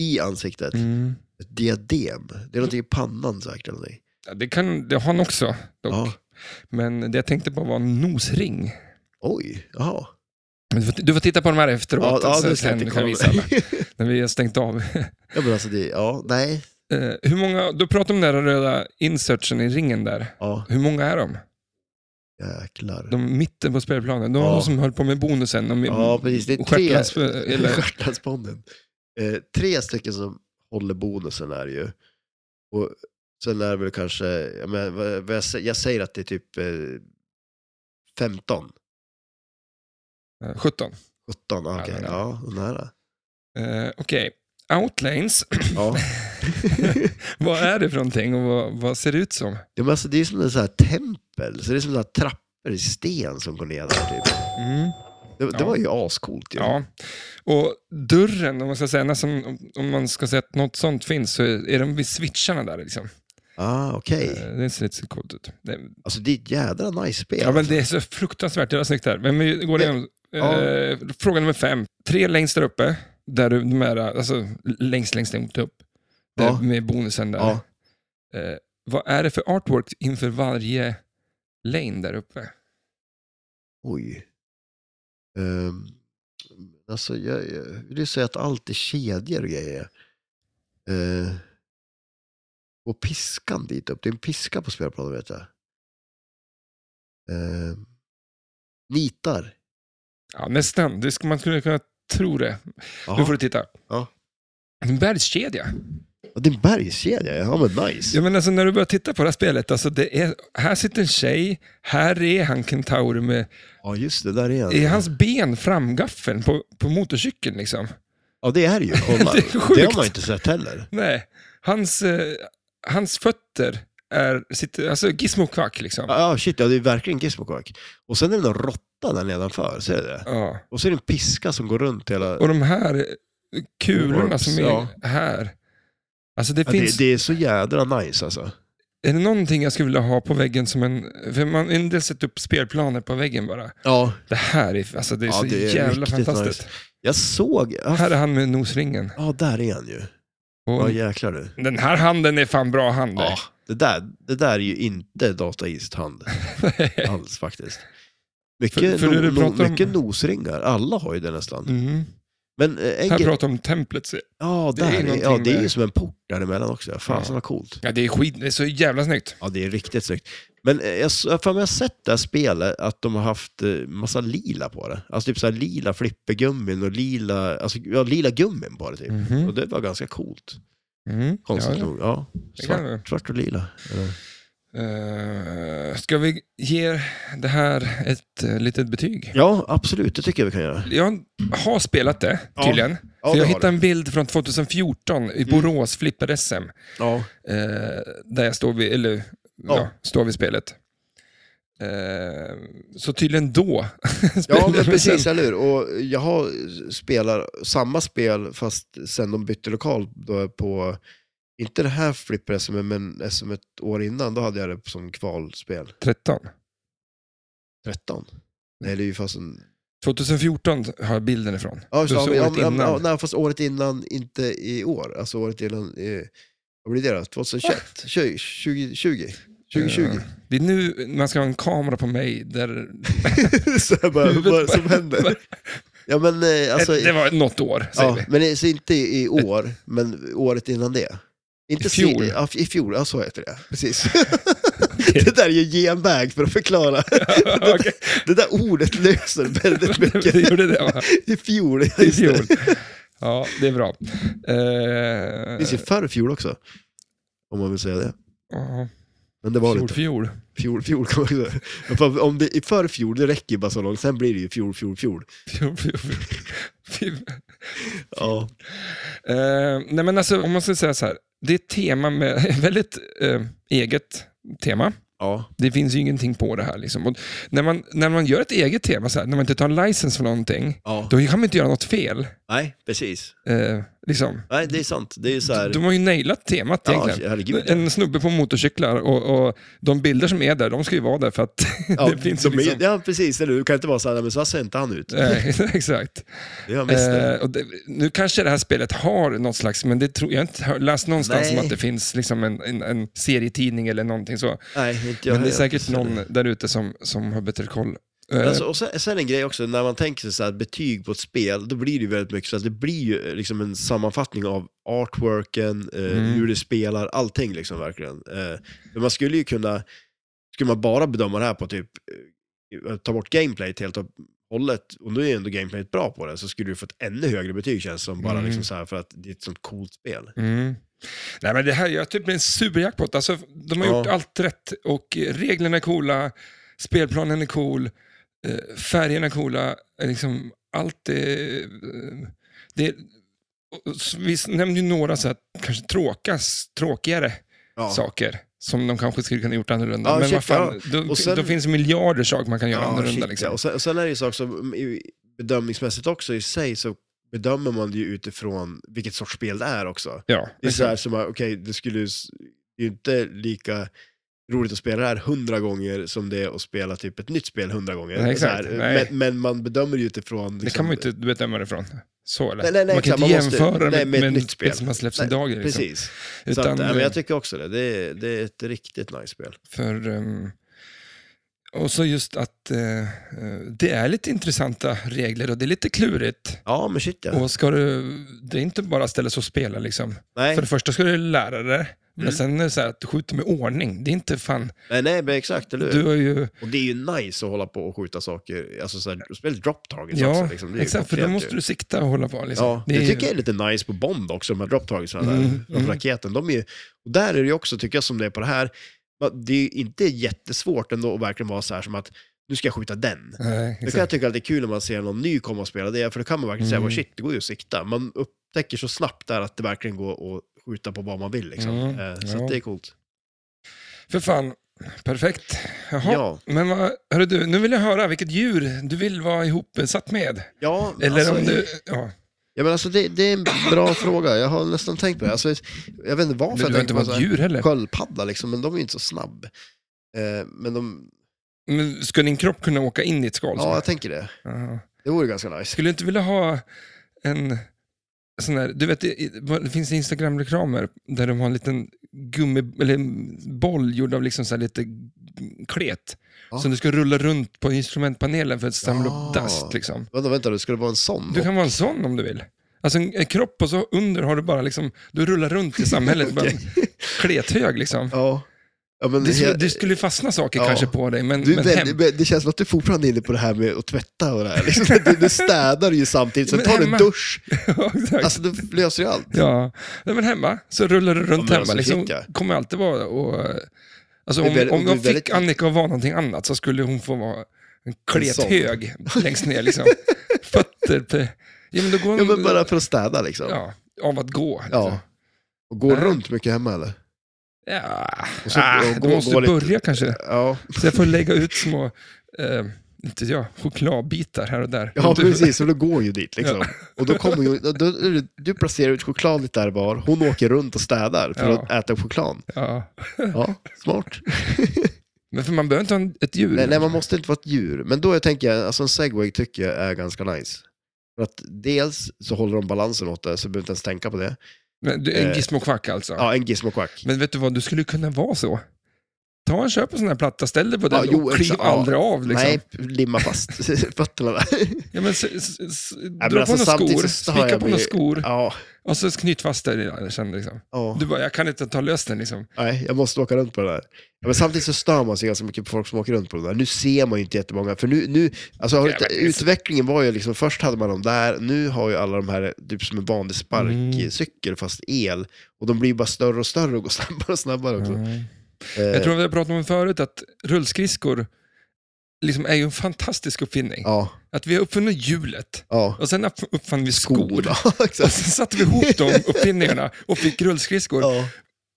[SPEAKER 2] I ansiktet,
[SPEAKER 1] Mm.
[SPEAKER 2] ett diadem. Det är någonting i pannan säkert. Eller någonting.
[SPEAKER 1] Ja, det kan det har han också, dock.
[SPEAKER 2] Ja.
[SPEAKER 1] Men det jag tänkte på var en nosring.
[SPEAKER 2] Oj, jaha.
[SPEAKER 1] Men Du får, du får titta på de här efteråt,
[SPEAKER 2] Ja, ja,
[SPEAKER 1] så
[SPEAKER 2] nu ska jag
[SPEAKER 1] sen
[SPEAKER 2] inte
[SPEAKER 1] kan jag visa
[SPEAKER 2] kolla.
[SPEAKER 1] alla. När vi har stängt av.
[SPEAKER 2] <laughs> ja, men alltså det, ja, nej.
[SPEAKER 1] Eh, hur många, du pratade om den där röda insertsen i ringen där.
[SPEAKER 2] Ja,
[SPEAKER 1] Hur många är de?
[SPEAKER 2] jäklar.
[SPEAKER 1] De mitten på spelplanen. De,
[SPEAKER 2] Ja.
[SPEAKER 1] de som höll på med bonusen. De,
[SPEAKER 2] Ja, precis. Det är
[SPEAKER 1] och
[SPEAKER 2] tre...
[SPEAKER 1] Shetlands-
[SPEAKER 2] <laughs>
[SPEAKER 1] eller,
[SPEAKER 2] Stjärtlandsponden. Eh, tre stycken som håller bonusen är det ju. Och sen är det väl kanske, jag, men, vad, vad jag, sä- jag säger att det är typ eh, 15,
[SPEAKER 1] eh, 17.
[SPEAKER 2] 17, ah, okej.
[SPEAKER 1] men,
[SPEAKER 2] Ja, nära.
[SPEAKER 1] Eh, Okej. Outlanes,
[SPEAKER 2] Ja.
[SPEAKER 1] <laughs>
[SPEAKER 2] <laughs>
[SPEAKER 1] vad är det för någonting och vad, vad ser det ut som?
[SPEAKER 2] ja, men alltså, det är som en sån här tempel, så det är som en sån här trappor i sten som går ner där typ.
[SPEAKER 1] Mm.
[SPEAKER 2] Det, det
[SPEAKER 1] Ja.
[SPEAKER 2] var ju ascoolt ju.
[SPEAKER 1] Ja. Och dörren, om man ska säga, nästan, om- om man ska säga att något sånt finns, så är de vid switcharna där. Liksom.
[SPEAKER 2] Ah, okej.
[SPEAKER 1] Eh, Det ser lite coolt ut. Det,
[SPEAKER 2] Alltså det är ett jädra nice spel.
[SPEAKER 1] ja, men det är så fruktansvärt jävla snyggt där. Men vi går igenom.
[SPEAKER 2] Ja.
[SPEAKER 1] Eh, fråga nummer fem. Tre längst där uppe, där du, de här, alltså längst, längst, längst upp. Där,
[SPEAKER 2] Ja.
[SPEAKER 1] Med bonusen där.
[SPEAKER 2] Ja.
[SPEAKER 1] Eh, vad är det för artwork inför varje lane där uppe?
[SPEAKER 2] Oj. Um, alltså, jag, jag vill ju säga att allt är kedjor och grejer. Eh, och piskan dit upp. Det är en piska på spelplanen vet jag. Ehm, nitar.
[SPEAKER 1] Ja, nästan. Det ska, man skulle kunna tro det. Nu
[SPEAKER 2] Jaha.
[SPEAKER 1] får du titta.
[SPEAKER 2] Ja.
[SPEAKER 1] En bergskedja.
[SPEAKER 2] Ja, det är en bergskedja. Ja, men nice.
[SPEAKER 1] Ja, men alltså, när du börjar titta på det här spelet, alltså, det är, här sitter en tjej, här är han kentaur med
[SPEAKER 2] Ja, just det. Där är han.
[SPEAKER 1] är hans ben framgaffeln på, på motorcykeln. Liksom.
[SPEAKER 2] Ja, det är
[SPEAKER 1] <laughs>
[SPEAKER 2] det ju. Kolla.
[SPEAKER 1] Det är
[SPEAKER 2] det, har
[SPEAKER 1] sjukt.
[SPEAKER 2] man inte sett heller.
[SPEAKER 1] Nej, hans, eh, hans fötter är, sitter, alltså Gizmo Quack liksom. Ja.
[SPEAKER 2] Ja, ja, shit. Ja, det är verkligen Gizmokak. Och sen är det någon råtta där nedanför. Ser du det? Och så är det en piska som går runt hela...
[SPEAKER 1] Och de här kulorna
[SPEAKER 2] Orps,
[SPEAKER 1] som är
[SPEAKER 2] ja.
[SPEAKER 1] här. Alltså det
[SPEAKER 2] Ja,
[SPEAKER 1] finns,
[SPEAKER 2] det, det är så jädra nice alltså.
[SPEAKER 1] är det någonting jag skulle vilja ha på väggen som en, för man har en del sätter upp spelplaner på väggen bara.
[SPEAKER 2] Ja,
[SPEAKER 1] Det här är, alltså det är
[SPEAKER 2] Ja,
[SPEAKER 1] så
[SPEAKER 2] det är
[SPEAKER 1] jävla
[SPEAKER 2] riktigt
[SPEAKER 1] fantastiskt.
[SPEAKER 2] jag såg... Ja,
[SPEAKER 1] Här är han med nosringen.
[SPEAKER 2] ja, där är han ju.
[SPEAKER 1] Och
[SPEAKER 2] Ja, jäklar du.
[SPEAKER 1] den här handen är fan bra hand.
[SPEAKER 2] Ja, det där, det där är ju inte Data
[SPEAKER 1] <laughs>
[SPEAKER 2] East hand alls faktiskt. Mycket,
[SPEAKER 1] för det du
[SPEAKER 2] no,
[SPEAKER 1] pratar
[SPEAKER 2] no,
[SPEAKER 1] om-
[SPEAKER 2] mycket nosringar. Alla har ju det nästan.
[SPEAKER 1] mm.
[SPEAKER 2] Men eh, en
[SPEAKER 1] Här
[SPEAKER 2] grej...
[SPEAKER 1] pratar om templet. så-
[SPEAKER 2] Ja,
[SPEAKER 1] det är
[SPEAKER 2] där är
[SPEAKER 1] någonting
[SPEAKER 2] ja, det är ju
[SPEAKER 1] med-
[SPEAKER 2] som en port däremellan också. Fasen
[SPEAKER 1] Ja.
[SPEAKER 2] vad coolt.
[SPEAKER 1] Ja, det är skit, det är så jävla snyggt.
[SPEAKER 2] Ja, det är riktigt snyggt. Men eh, jag har för mig har sett det här spelet, att de har haft eh, massa lila på det. Alltså typ så här lila flippergummin och lila, alltså, ja, lila gummin på det typ.
[SPEAKER 1] Mhm.
[SPEAKER 2] Och det var ganska coolt.
[SPEAKER 1] Mm.
[SPEAKER 2] Konstigt nog. Ja.
[SPEAKER 1] Det kan
[SPEAKER 2] Svart, svart och lila. Eller?
[SPEAKER 1] Eh, ska vi ge det här ett eh, litet betyg?
[SPEAKER 2] Ja, absolut. Det tycker jag vi kan göra.
[SPEAKER 1] Jag har spelat det,
[SPEAKER 2] Ja.
[SPEAKER 1] tydligen.
[SPEAKER 2] Ja,
[SPEAKER 1] för
[SPEAKER 2] det
[SPEAKER 1] jag
[SPEAKER 2] har
[SPEAKER 1] hittade
[SPEAKER 2] du. Mm.
[SPEAKER 1] en bild från 2014 i Borås flipper-SM.
[SPEAKER 2] Ja.
[SPEAKER 1] eh, där jag står vid, eller, ja.
[SPEAKER 2] Ja.
[SPEAKER 1] står vid spelet. Eh, så tydligen då <laughs>
[SPEAKER 2] ja,
[SPEAKER 1] spelade
[SPEAKER 2] men
[SPEAKER 1] vi
[SPEAKER 2] precis,
[SPEAKER 1] sen.
[SPEAKER 2] eller hur? Och jag har spelar samma spel, fast sen de bytte lokal då på, inte det här flipper SM, men SM ett år innan, då hade jag det som kvalspel.
[SPEAKER 1] 13.
[SPEAKER 2] 13? Nej, det är ju fast en
[SPEAKER 1] 2014 har jag bilden ifrån.
[SPEAKER 2] Ja, just,
[SPEAKER 1] Du
[SPEAKER 2] ja,
[SPEAKER 1] såg
[SPEAKER 2] men- ja,
[SPEAKER 1] året
[SPEAKER 2] men- ja, men-
[SPEAKER 1] innan.
[SPEAKER 2] ja, nej, fast året innan, inte i år. Alltså året innan, i, vad blir det då? 2021?
[SPEAKER 1] Ah.
[SPEAKER 2] 2020? 2020?
[SPEAKER 1] Eh, Det är nu man ska ha en kamera på mig där...
[SPEAKER 2] <laughs> så här bara, vad är det som händer? Ja, men eh, alltså...
[SPEAKER 1] det var något år, säger
[SPEAKER 2] ja,
[SPEAKER 1] vi. <laughs>
[SPEAKER 2] men det- så inte i år, men året innan det. Inte
[SPEAKER 1] I fjol.
[SPEAKER 2] se- ja, I fjol, ja så heter det.
[SPEAKER 1] <laughs>
[SPEAKER 2] Precis. <laughs> det där är ju genväg för att förklara.
[SPEAKER 1] Okej.
[SPEAKER 2] Det där ordet löser
[SPEAKER 1] <laughs>
[SPEAKER 2] väldigt
[SPEAKER 1] det
[SPEAKER 2] mycket.
[SPEAKER 1] gjorde det, va?
[SPEAKER 2] I fjol, ja,
[SPEAKER 1] I
[SPEAKER 2] just det.
[SPEAKER 1] fjol. Ja, det är bra.
[SPEAKER 2] Det
[SPEAKER 1] Eh,
[SPEAKER 2] finns ju förr fjol också. Om man vill säga det.
[SPEAKER 1] ja,
[SPEAKER 2] Men det var
[SPEAKER 1] fjol,
[SPEAKER 2] det inte.
[SPEAKER 1] fjol.
[SPEAKER 2] Fjol, fjol kan man ju säga. Men fan, Om det är för fjol, det räcker ju bara så långt. Sen blir det ju fjol, fjol, fjol.
[SPEAKER 1] Fjol, fjol, fjol. Fjol.
[SPEAKER 2] Ja.
[SPEAKER 1] Eh, nej men alltså, om man ska säga så här. Det är ett tema med <laughs> väldigt eh, eget tema.
[SPEAKER 2] Ja.
[SPEAKER 1] Det finns ju ingenting på det här. Liksom. Och när, man, när man gör ett eget tema, så här, när man inte tar en license för någonting,
[SPEAKER 2] ja.
[SPEAKER 1] då kan man inte göra något fel.
[SPEAKER 2] Nej, precis.
[SPEAKER 1] Eh, liksom.
[SPEAKER 2] Nej, det är sant. Det är ju så här...
[SPEAKER 1] De har ju nailat temat
[SPEAKER 2] Ja,
[SPEAKER 1] egentligen.
[SPEAKER 2] herregud.
[SPEAKER 1] en snubbe på motorcyklar och, och de bilder som är där, de ska ju vara där för att <laughs>
[SPEAKER 2] Ja,
[SPEAKER 1] det finns
[SPEAKER 2] de
[SPEAKER 1] ju
[SPEAKER 2] är ju-
[SPEAKER 1] liksom...
[SPEAKER 2] ja, precis. Eller hur? Du kan inte vara så här, "Nej, men så här ser inte han ut.
[SPEAKER 1] Eh, <laughs> exakt.
[SPEAKER 2] Det är han visst det.
[SPEAKER 1] Eh, och det, nu kanske det här spelet har något slags, men det tror jag har inte hör- läst någonstans
[SPEAKER 2] Nej.
[SPEAKER 1] om att det finns liksom en, en, en serietidning eller någonting så.
[SPEAKER 2] Nej, inte jag
[SPEAKER 1] men det är
[SPEAKER 2] heller.
[SPEAKER 1] säkert någon där ute som, som har bättre koll. Eh,
[SPEAKER 2] Alltså, och sen, sen en grej också, när man tänker sig så här, betyg på ett spel, då blir det ju väldigt mycket så att det blir ju eh, liksom en sammanfattning av artworken, eh,
[SPEAKER 1] Mm.
[SPEAKER 2] hur det spelar, allting liksom verkligen. Eh, men man skulle ju kunna, skulle man bara bedöma det här på typ, eh, ta bort gameplayet helt och hållet, och nu är ju ändå gameplayet bra på det, så skulle du få ett ännu högre betyg känns som, bara
[SPEAKER 1] Mm.
[SPEAKER 2] liksom så här för att det är ett sånt coolt spel.
[SPEAKER 1] mm. Nej, men det här gör typ en superjackpot. Alltså, de har
[SPEAKER 2] Ja.
[SPEAKER 1] gjort allt rätt och eh, reglerna är coola, spelplanen är cool, eh, färgerna är coola, eh, liksom, allt är... eh, det, och- och s- vi nämnde ju några så här, kanske tråkas, tråkigare
[SPEAKER 2] Ja.
[SPEAKER 1] saker som de kanske skulle kunna gjort annorlunda.
[SPEAKER 2] Ja,
[SPEAKER 1] men
[SPEAKER 2] shit,
[SPEAKER 1] vad fan, då,
[SPEAKER 2] Och sen-
[SPEAKER 1] då finns det miljarder saker man kan göra annorlunda.
[SPEAKER 2] shit, ja.
[SPEAKER 1] liksom.
[SPEAKER 2] Och sen, och sen är det ju saker som i- bedömningsmässigt också i sig så bedömer man det ju utifrån vilket sorts spel det är också.
[SPEAKER 1] ja,
[SPEAKER 2] Det är så här
[SPEAKER 1] exakt.
[SPEAKER 2] som, att, okej, det skulle ju s- Det är ju inte lika roligt att spela det här hundra gånger som det är att spela typ ett nytt spel hundra gånger.
[SPEAKER 1] Nej, exakt.
[SPEAKER 2] Så här, eh,
[SPEAKER 1] Nej.
[SPEAKER 2] Men, men man bedömer ju utifrån... liksom
[SPEAKER 1] Det kan man ju inte bedöma det från. Så eller?
[SPEAKER 2] Nej, nej, nej,
[SPEAKER 1] man kan
[SPEAKER 2] exakt,
[SPEAKER 1] inte
[SPEAKER 2] man måste-
[SPEAKER 1] jämföra
[SPEAKER 2] nej,
[SPEAKER 1] med,
[SPEAKER 2] med ett
[SPEAKER 1] med
[SPEAKER 2] nytt
[SPEAKER 1] ett spel
[SPEAKER 2] spel.
[SPEAKER 1] som har släppts
[SPEAKER 2] Nej,
[SPEAKER 1] idag. Liksom.
[SPEAKER 2] Precis. Så
[SPEAKER 1] Utan,
[SPEAKER 2] att, nej, men
[SPEAKER 1] eh,
[SPEAKER 2] jag tycker också det. Det är, det är ett riktigt nice spel.
[SPEAKER 1] För, ehm, och så just att eh, eh, det är lite intressanta regler och det är lite klurigt.
[SPEAKER 2] Ja, men shit ja.
[SPEAKER 1] Och ska du, det är inte bara ställa sig och spela liksom.
[SPEAKER 2] nej,
[SPEAKER 1] För det första ska du lära dig, men
[SPEAKER 2] Mm.
[SPEAKER 1] sen är det så här att du skjuter med ordning. Det är inte fan,
[SPEAKER 2] nej, nej, men exakt, eller hur?
[SPEAKER 1] du har ju,
[SPEAKER 2] Och det är ju nice att hålla på och skjuta saker, alltså så här, spela drop targets
[SPEAKER 1] ja,
[SPEAKER 2] också. Liksom. Det är ju
[SPEAKER 1] exakt, för då
[SPEAKER 2] klockrent ju.
[SPEAKER 1] måste du sikta och hålla på. Liksom.
[SPEAKER 2] Ja, det,
[SPEAKER 1] är ju-
[SPEAKER 2] tycker jag är lite nice på Bond också, de här drop targetsarna där,
[SPEAKER 1] Mm,
[SPEAKER 2] från
[SPEAKER 1] mm.
[SPEAKER 2] raketen. De är, ju- och där är det ju också, tycker jag, som det är på det här, va- det är ju inte jättesvårt ändå att verkligen vara så här som att nu ska jag skjuta den.
[SPEAKER 1] Nej,
[SPEAKER 2] Det kan jag
[SPEAKER 1] exakt.
[SPEAKER 2] tycka att det är kul när man ser någon ny komma och spela det, för då kan man verkligen säga,
[SPEAKER 1] Mm.
[SPEAKER 2] "Vad shit, det går ju att sikta. Man upptäcker så snabbt där att det verkligen går att skjuta på vad man vill. Liksom.
[SPEAKER 1] Mm,
[SPEAKER 2] Eh, Så
[SPEAKER 1] ja.
[SPEAKER 2] att det är coolt.
[SPEAKER 1] För fan, perfekt. Jaha.
[SPEAKER 2] Ja,
[SPEAKER 1] Men vad, hörru du, nu vill jag höra vilket djur du vill vara ihopsatt med.
[SPEAKER 2] ja,
[SPEAKER 1] Eller
[SPEAKER 2] alltså,
[SPEAKER 1] om du, ja.
[SPEAKER 2] ja, men alltså det, det är en bra <coughs> fråga. Jag har nästan tänkt på det. Alltså, jag vet inte varför
[SPEAKER 1] Du
[SPEAKER 2] jag
[SPEAKER 1] behöver
[SPEAKER 2] tänkte
[SPEAKER 1] inte
[SPEAKER 2] på
[SPEAKER 1] vara
[SPEAKER 2] så
[SPEAKER 1] ett
[SPEAKER 2] här-
[SPEAKER 1] djur heller.
[SPEAKER 2] sköldpadda, liksom, men de är ju inte så snabb. Eh, men de,
[SPEAKER 1] Men ska din kropp kunna åka in i ett skal?
[SPEAKER 2] ja, jag tänker det.
[SPEAKER 1] Jaha.
[SPEAKER 2] Det vore ganska nice.
[SPEAKER 1] Skulle du inte vilja ha en sån där, du vet, det, det finns Instagram-reklamer där de har en liten gummi, eller en boll gjord av liksom så här lite klet.
[SPEAKER 2] Ja.
[SPEAKER 1] Som du ska rulla runt på instrumentpanelen för att samla
[SPEAKER 2] Ja.
[SPEAKER 1] upp dast. Liksom.
[SPEAKER 2] Vänta, vänta, du, ska det vara en sån?
[SPEAKER 1] Du kan vara en sån om du vill. Alltså en, en kropp och så under har du bara liksom, du rullar runt i samhället,
[SPEAKER 2] <laughs>
[SPEAKER 1] bara en klethög liksom.
[SPEAKER 2] Ja. ja men,
[SPEAKER 1] Det skulle,
[SPEAKER 2] jag-
[SPEAKER 1] det skulle fastna saker
[SPEAKER 2] Ja.
[SPEAKER 1] kanske på dig, men,
[SPEAKER 2] du är
[SPEAKER 1] men
[SPEAKER 2] väldigt,
[SPEAKER 1] hem,
[SPEAKER 2] men det känns som att du fortfarande är inne på det här med att tvätta och det här. Liksom, du, du städar ju samtidigt, sen
[SPEAKER 1] Men
[SPEAKER 2] tar du en
[SPEAKER 1] hemma-
[SPEAKER 2] dusch.
[SPEAKER 1] <laughs> Ja, exakt.
[SPEAKER 2] Alltså, du löser ju allt.
[SPEAKER 1] Ja, nej, men hemma så rullar du runt
[SPEAKER 2] men
[SPEAKER 1] hemma.
[SPEAKER 2] alltså,
[SPEAKER 1] Liksom,
[SPEAKER 2] shit, ja.
[SPEAKER 1] kommer alltid vara och, eh, alltså,
[SPEAKER 2] Det är
[SPEAKER 1] om,
[SPEAKER 2] väldigt-
[SPEAKER 1] om
[SPEAKER 2] det är
[SPEAKER 1] jag fick
[SPEAKER 2] väldigt-
[SPEAKER 1] Annika att vara någonting annat så skulle hon få vara en
[SPEAKER 2] sån. <laughs>
[SPEAKER 1] klethög längst ner. Liksom. Fötter på... Ja, men då går hon,
[SPEAKER 2] Ja, men bara för att städa liksom. Ja.
[SPEAKER 1] ja, av att gå. Liksom.
[SPEAKER 2] Och går
[SPEAKER 1] Nej.
[SPEAKER 2] runt mycket hemma eller?
[SPEAKER 1] Ja.
[SPEAKER 2] Och så-
[SPEAKER 1] ah,
[SPEAKER 2] och gå-
[SPEAKER 1] du måste
[SPEAKER 2] gå lite-
[SPEAKER 1] börja kanske.
[SPEAKER 2] Ja,
[SPEAKER 1] Så jag får lägga ut små, eh, inte jag, chokladbitar här och där.
[SPEAKER 2] ja
[SPEAKER 1] du,
[SPEAKER 2] precis. Och då går hon ju dit liksom. Och då kommer ju, då, då, du placerar ut choklad lite där var, hon åker runt och städar för
[SPEAKER 1] Ja.
[SPEAKER 2] att äta choklad.
[SPEAKER 1] Ja.
[SPEAKER 2] Ja,
[SPEAKER 1] <laughs>
[SPEAKER 2] smart.
[SPEAKER 1] Men för man behöver inte ha en- ett djur.
[SPEAKER 2] Nej, nej, man måste inte vara ett djur. Men då jag tänker jag, alltså en segway tycker jag är ganska nice. För att dels så håller de balansen åt det, så behöver inte ens tänka på det.
[SPEAKER 1] Men du, en
[SPEAKER 2] Eh,
[SPEAKER 1] gizmo Quack alltså.
[SPEAKER 2] Ja, en gizmo quack.
[SPEAKER 1] Men vet du vad, du skulle kunna vara så. Ta en köp en sån här platta, ställ dig på den
[SPEAKER 2] Ja, jo,
[SPEAKER 1] och kliv
[SPEAKER 2] exakt. Ja.
[SPEAKER 1] aldrig av. Liksom.
[SPEAKER 2] Nej, limma fast <laughs>
[SPEAKER 1] <laughs>
[SPEAKER 2] fötterna där.
[SPEAKER 1] Ja, men, s- s- s-
[SPEAKER 2] men
[SPEAKER 1] dra på
[SPEAKER 2] alltså,
[SPEAKER 1] några
[SPEAKER 2] samtidigt
[SPEAKER 1] skor,
[SPEAKER 2] så har jag
[SPEAKER 1] spika på några
[SPEAKER 2] blivit-
[SPEAKER 1] skor
[SPEAKER 2] Ja,
[SPEAKER 1] och så knyt fast dig i sen. Liksom.
[SPEAKER 2] ja.
[SPEAKER 1] Du bara, jag kan inte ta lös den liksom.
[SPEAKER 2] Nej, jag måste åka runt på det där. Ja, men samtidigt så stör man sig ganska mycket på folk som åker runt på det där. Nu ser man ju inte jättemånga, för nu, nu alltså, har
[SPEAKER 1] Ja,
[SPEAKER 2] inte-
[SPEAKER 1] men det är så-
[SPEAKER 2] utvecklingen var ju liksom, först hade man dem där, nu har ju alla de här, typ som en vanlig sparkcykel
[SPEAKER 1] Mm.
[SPEAKER 2] fast el, och de blir ju bara större och större och går <laughs> snabbare och snabbare också. Eh,
[SPEAKER 1] Mm. Jag tror vi har pratat om det förut, att rullskridskor liksom är ju en fantastisk uppfinning.
[SPEAKER 2] Ja,
[SPEAKER 1] Att vi har uppfunnit hjulet
[SPEAKER 2] ja.
[SPEAKER 1] och sen upp- uppfann vi skor.
[SPEAKER 2] Skor. Ja,
[SPEAKER 1] <laughs>
[SPEAKER 2] <laughs>
[SPEAKER 1] Och
[SPEAKER 2] exakt.
[SPEAKER 1] sen satte vi ihop de uppfinningarna och fick rullskridskor.
[SPEAKER 2] Ja.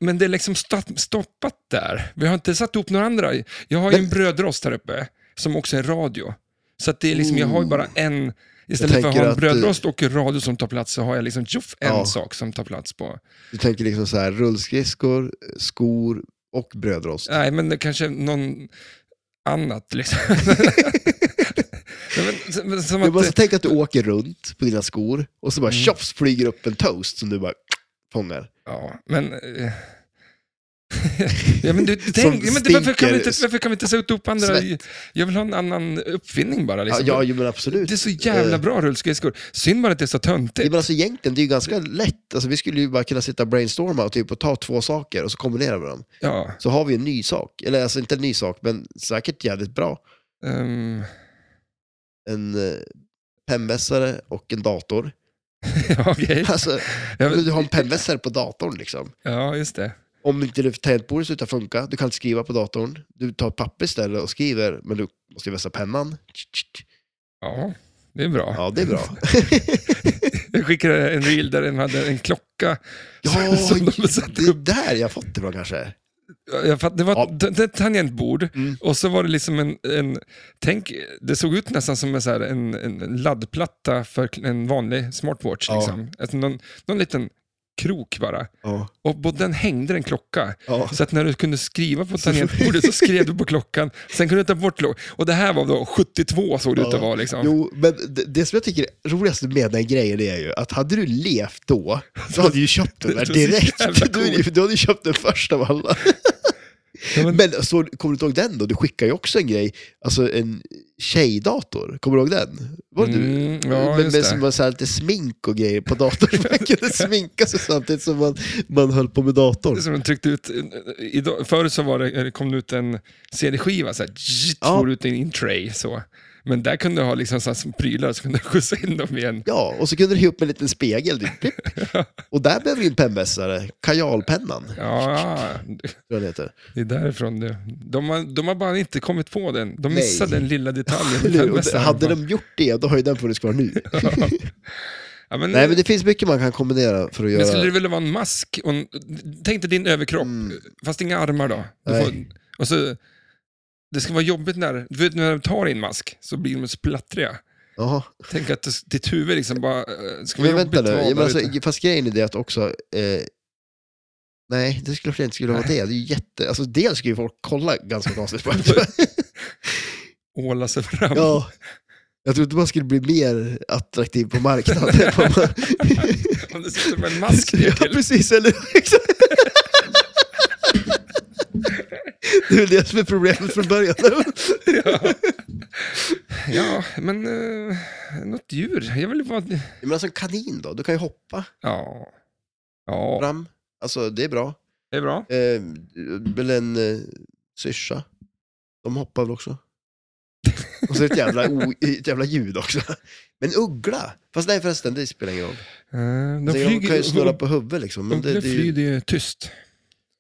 [SPEAKER 1] Men det är liksom sta- stoppat där. Vi har inte satt ihop några andra. Jag har ju
[SPEAKER 2] Men-
[SPEAKER 1] en brödrost här uppe, som också är radio. Så att det är liksom, jag har ju bara en... Istället för att
[SPEAKER 2] Mm. tänker
[SPEAKER 1] ha en
[SPEAKER 2] att, eh,
[SPEAKER 1] brödrost och en radio som tar plats så har jag liksom tjoff, en
[SPEAKER 2] Ja.
[SPEAKER 1] sak som tar plats på.
[SPEAKER 2] Du tänker liksom så här, rullskridskor, skor och brödrost.
[SPEAKER 1] Nej, men det kanske är någon annat
[SPEAKER 2] <laughs>
[SPEAKER 1] liksom. Nej, men, men som
[SPEAKER 2] Men bara
[SPEAKER 1] att, eh, Mm.
[SPEAKER 2] så tänk att du åker runt på dina skor och så bara tjofs flyger upp en toast som du bara fångar.
[SPEAKER 1] ja, men... eh, <laughs> ja, men du,
[SPEAKER 2] Som
[SPEAKER 1] tänk, ja, men, varför, kan vi inte,
[SPEAKER 2] stinker
[SPEAKER 1] varför kan vi inte sätta upp andra?
[SPEAKER 2] svett.
[SPEAKER 1] Jag vill ha en annan uppfinning bara.
[SPEAKER 2] Ja,
[SPEAKER 1] Liksom.
[SPEAKER 2] ja ju, men absolut.
[SPEAKER 1] Det är så jävla
[SPEAKER 2] Eh,
[SPEAKER 1] bra rullskridskor. Synd bara att det är så
[SPEAKER 2] Ja,
[SPEAKER 1] töntigt.
[SPEAKER 2] men alltså egentligen, det är ju ganska lätt. Alltså, vi skulle ju bara kunna sitta och brainstorma och, typ, och ta två saker och så kombinera med dem.
[SPEAKER 1] Ja,
[SPEAKER 2] Så har vi en ny sak. Eller alltså inte en ny sak, men säkert jävligt bra.
[SPEAKER 1] ehm, <laughs>
[SPEAKER 2] En eh, pennvässare och
[SPEAKER 1] <laughs>
[SPEAKER 2] en dator.
[SPEAKER 1] ja
[SPEAKER 2] <laughs>
[SPEAKER 1] okej.
[SPEAKER 2] Alltså,
[SPEAKER 1] Ja, men-
[SPEAKER 2] du har en pennvässare på datorn liksom.
[SPEAKER 1] Ja, just det.
[SPEAKER 2] Om inte det- tangentbordet slutar funka, du kan inte skriva på datorn. Du tar ett papper istället och skriver, men du måste ju vässa pennan.
[SPEAKER 1] Ja, det är bra.
[SPEAKER 2] Ja, det är bra.
[SPEAKER 1] <laughs> Jag skickade en reel där den hade en klocka.
[SPEAKER 2] Ja,
[SPEAKER 1] <laughs> som de
[SPEAKER 2] det
[SPEAKER 1] satte
[SPEAKER 2] är
[SPEAKER 1] upp.
[SPEAKER 2] där jag fått det från kanske.
[SPEAKER 1] Jag fatt, det var
[SPEAKER 2] Ja.
[SPEAKER 1] ett t- ett tangentbord
[SPEAKER 2] Mm.
[SPEAKER 1] och så var det liksom en, en... Tänk, det såg ut nästan som en, så här, en, en laddplatta för en vanlig smartwatch.
[SPEAKER 2] Ja.
[SPEAKER 1] Liksom. Alltså någon, någon liten krok bara.
[SPEAKER 2] Ja.
[SPEAKER 1] Och på den hängde en klocka.
[SPEAKER 2] Ja.
[SPEAKER 1] Så att när du kunde skriva
[SPEAKER 2] <laughs>
[SPEAKER 1] på tangentbordet så skrev du på klockan. Sen kunde du ta bort klockan. Och det här var då 72 såg det ut att vara. Liksom.
[SPEAKER 2] Jo, men det, det som jag tycker är roligast med den grejen är ju att hade du levt då, så hade du ju köpt den
[SPEAKER 1] <laughs> Det var
[SPEAKER 2] där
[SPEAKER 1] så
[SPEAKER 2] direkt.
[SPEAKER 1] jävla
[SPEAKER 2] Du, är ju- du hade ju köpt den först av alla.
[SPEAKER 1] Ja, men-
[SPEAKER 2] Men så, kommer du ihåg den då? Du skickade ju också en grej, alltså en tjejdator. Kommer du ihåg den? Var det du?
[SPEAKER 1] Mm, ja,
[SPEAKER 2] men,
[SPEAKER 1] just
[SPEAKER 2] men som
[SPEAKER 1] det.
[SPEAKER 2] var så här lite smink och grejer på datorn.
[SPEAKER 1] <laughs>
[SPEAKER 2] så Man kunde sminka sig samtidigt som man, man höll på med datorn.
[SPEAKER 1] Som de tryckte ut, idag, förr så var det, kom det ut en CD-skiva, så här, jitt,
[SPEAKER 2] Ja.
[SPEAKER 1] får ut in i en tray. Så. Men där kunde du ha liksom, så här, som prylar så kunde du <laughs> skjutsa in dem igen.
[SPEAKER 2] Ja, och så kunde du ge upp en liten spegel. Typ.
[SPEAKER 1] <laughs>
[SPEAKER 2] Blipp. Och där blev din pennvässare, kajalpennan, tror
[SPEAKER 1] Ja,
[SPEAKER 2] jag den heter.
[SPEAKER 1] det är därifrån det. De har, de har bara inte kommit på den. De
[SPEAKER 2] Nej.
[SPEAKER 1] missade den lilla detaljen.
[SPEAKER 2] <laughs> Eller hur?
[SPEAKER 1] Den
[SPEAKER 2] Och
[SPEAKER 1] mesta
[SPEAKER 2] Hade
[SPEAKER 1] handbollen.
[SPEAKER 2] de gjort det, då har ju den funnits
[SPEAKER 1] <laughs>
[SPEAKER 2] kvar nu.
[SPEAKER 1] ja, men,
[SPEAKER 2] Nej, men det finns mycket man kan kombinera för att
[SPEAKER 1] Men skulle det
[SPEAKER 2] göra.
[SPEAKER 1] vilja vara en mask? Och en, tänk dig din överkropp, fast inga armar då. Du
[SPEAKER 2] Mm. Nej.
[SPEAKER 1] får, och så, det ska vara jobbigt när, du vet när du tar in mask så blir de splattriga.
[SPEAKER 2] Jaha.
[SPEAKER 1] Tänk att det- ditt huvud liksom bara, eh, det ska vara
[SPEAKER 2] Men vänta
[SPEAKER 1] jobbigt
[SPEAKER 2] nu,
[SPEAKER 1] att vara
[SPEAKER 2] ja, men
[SPEAKER 1] där
[SPEAKER 2] alltså,
[SPEAKER 1] ute.
[SPEAKER 2] fast grejen är det att också... Eh, nej, det skulle inte skulle vara det. Det är ju jätte... Alltså dels skulle ju folk kolla ganska konstigt
[SPEAKER 1] <laughs>
[SPEAKER 2] på det.
[SPEAKER 1] åla sig fram.
[SPEAKER 2] <laughs> Ja. Jag trodde man skulle bli mer attraktiv
[SPEAKER 1] <laughs>
[SPEAKER 2] på marknaden.
[SPEAKER 1] <laughs> Om det sitter med en mask ner
[SPEAKER 2] <laughs> ja,
[SPEAKER 1] till.
[SPEAKER 2] precis. Eller,
[SPEAKER 1] <laughs>
[SPEAKER 2] exakt. det är väl det som är problemet från början.
[SPEAKER 1] Ja, men eh, något djur. Jag vill vara...
[SPEAKER 2] Men alltså en kanin då? Du kan ju hoppa
[SPEAKER 1] Ja. Ja,
[SPEAKER 2] fram. Alltså det är bra.
[SPEAKER 1] det är bra.
[SPEAKER 2] Eh, eller en eh, syrsa. De hoppar
[SPEAKER 1] <laughs>
[SPEAKER 2] väl också? Och så ett jävla, o, ett jävla ljud också. Men uggla? Fast nej förresten, det spelar ingen roll.
[SPEAKER 1] Eh, De
[SPEAKER 2] De, de
[SPEAKER 1] flyger,
[SPEAKER 2] kan ju snurra
[SPEAKER 1] de,
[SPEAKER 2] på huvudet liksom. Men det, det, är ju-
[SPEAKER 1] flyger ju tyst.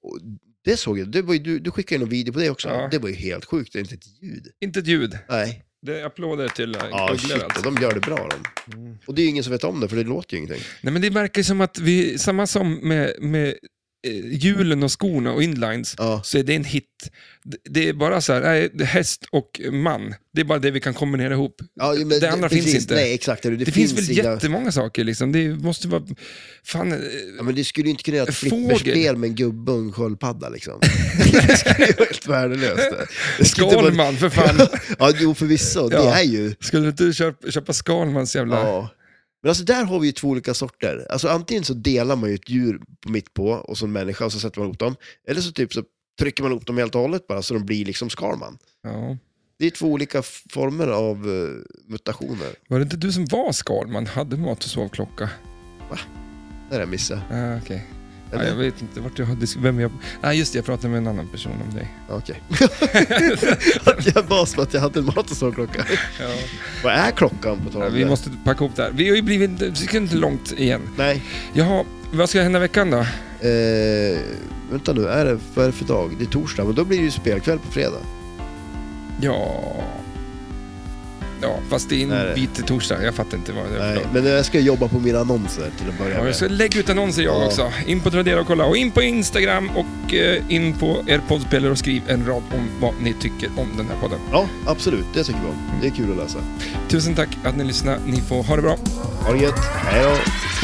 [SPEAKER 2] och det såg jag. Det var ju, du, du skickade ju någon video på det också.
[SPEAKER 1] Ja.
[SPEAKER 2] Det var ju helt sjukt. Det är inte ett ljud.
[SPEAKER 1] Inte ett ljud.
[SPEAKER 2] Nej.
[SPEAKER 1] Det är applåder till eh,
[SPEAKER 2] Ja,
[SPEAKER 1] ugglor
[SPEAKER 2] shit.
[SPEAKER 1] alltså.
[SPEAKER 2] och De gör det bra de. Och det är ju ingen som vet om det, för det låter ju ingenting.
[SPEAKER 1] Mm. Nej, men det verkar ju som att vi, samma som med, med eh, hjulen och skorna och inlines,
[SPEAKER 2] Ja.
[SPEAKER 1] så är det en hit. D- Det är bara så här, nej, det är häst och man, det är bara det vi kan kombinera ihop.
[SPEAKER 2] Ja, men
[SPEAKER 1] det andra finns
[SPEAKER 2] precis.
[SPEAKER 1] inte.
[SPEAKER 2] Nej, exakt. Det,
[SPEAKER 1] Det, finns, väl
[SPEAKER 2] inga-
[SPEAKER 1] jättemånga saker liksom. Det måste vara, fan,
[SPEAKER 2] <laughs>
[SPEAKER 1] eh,
[SPEAKER 2] Ja, men du skulle ju inte kunna göra ett
[SPEAKER 1] Fågel.
[SPEAKER 2] flipperspel med en gubbe och en
[SPEAKER 1] <laughs>
[SPEAKER 2] sköldpadda liksom. det skulle ju vara helt värdelöst. det. Det skulle inte vara-
[SPEAKER 1] Skalman för fan.
[SPEAKER 2] ja, jo förvisso. Det
[SPEAKER 1] Ja.
[SPEAKER 2] är ju...
[SPEAKER 1] Skulle du inte köpa, köpa Skalmans jävla...
[SPEAKER 2] Ja. Men alltså där har vi ju två olika sorter. Alltså antingen så delar man ju ett djur på mitt på och så en människa och så sätter man ihop dem. Eller så typ så trycker man ihop dem helt och hållet bara så de blir liksom Skalman.
[SPEAKER 1] Ja.
[SPEAKER 2] Det är två olika f- former av eh, mutationer.
[SPEAKER 1] Var det inte du som var Skalman, hade mat och sovklocka?
[SPEAKER 2] Det har jag missat.
[SPEAKER 1] Ah, okej.
[SPEAKER 2] Eller?
[SPEAKER 1] Ja, jag vet inte vart jag har disk- vem jag... Ah, just det, jag pratade med en annan person om dig.
[SPEAKER 2] Ja,
[SPEAKER 1] <laughs>
[SPEAKER 2] Okej. <laughs> att jag var som att jag hade en mat och sovklocka.
[SPEAKER 1] Ja.
[SPEAKER 2] Vad är klockan på tal
[SPEAKER 1] Ja,
[SPEAKER 2] om
[SPEAKER 1] vi
[SPEAKER 2] det?
[SPEAKER 1] måste packa ihop det här. Vi har ju blivit, vi ska inte långt igen.
[SPEAKER 2] Nej.
[SPEAKER 1] Jaha, vad ska hända veckan då?
[SPEAKER 2] Eh, vänta nu, är det, vad är det för dag? Det är torsdag, men då blir det ju spelkväll på fredag.
[SPEAKER 1] Ja... Ja, fast det är en
[SPEAKER 2] Nej, det-
[SPEAKER 1] bit till torsdag. Jag fattar inte vad det är för
[SPEAKER 2] Nej,
[SPEAKER 1] dag.
[SPEAKER 2] men jag ska jobba på mina annonser till att börja
[SPEAKER 1] Ja,
[SPEAKER 2] med.
[SPEAKER 1] jag ska lägga ut annonser jag
[SPEAKER 2] Ja.
[SPEAKER 1] också. In på Tradera och kolla. Och in på Instagram och eh, in på er poddspelare och skriv en rad om vad ni tycker om den här podden.
[SPEAKER 2] Ja, absolut. Det tycker vi om. Det är kul att läsa.
[SPEAKER 1] Tusen tack att ni lyssnade. Ni får ha det bra.
[SPEAKER 2] Ha det gött. Hej då.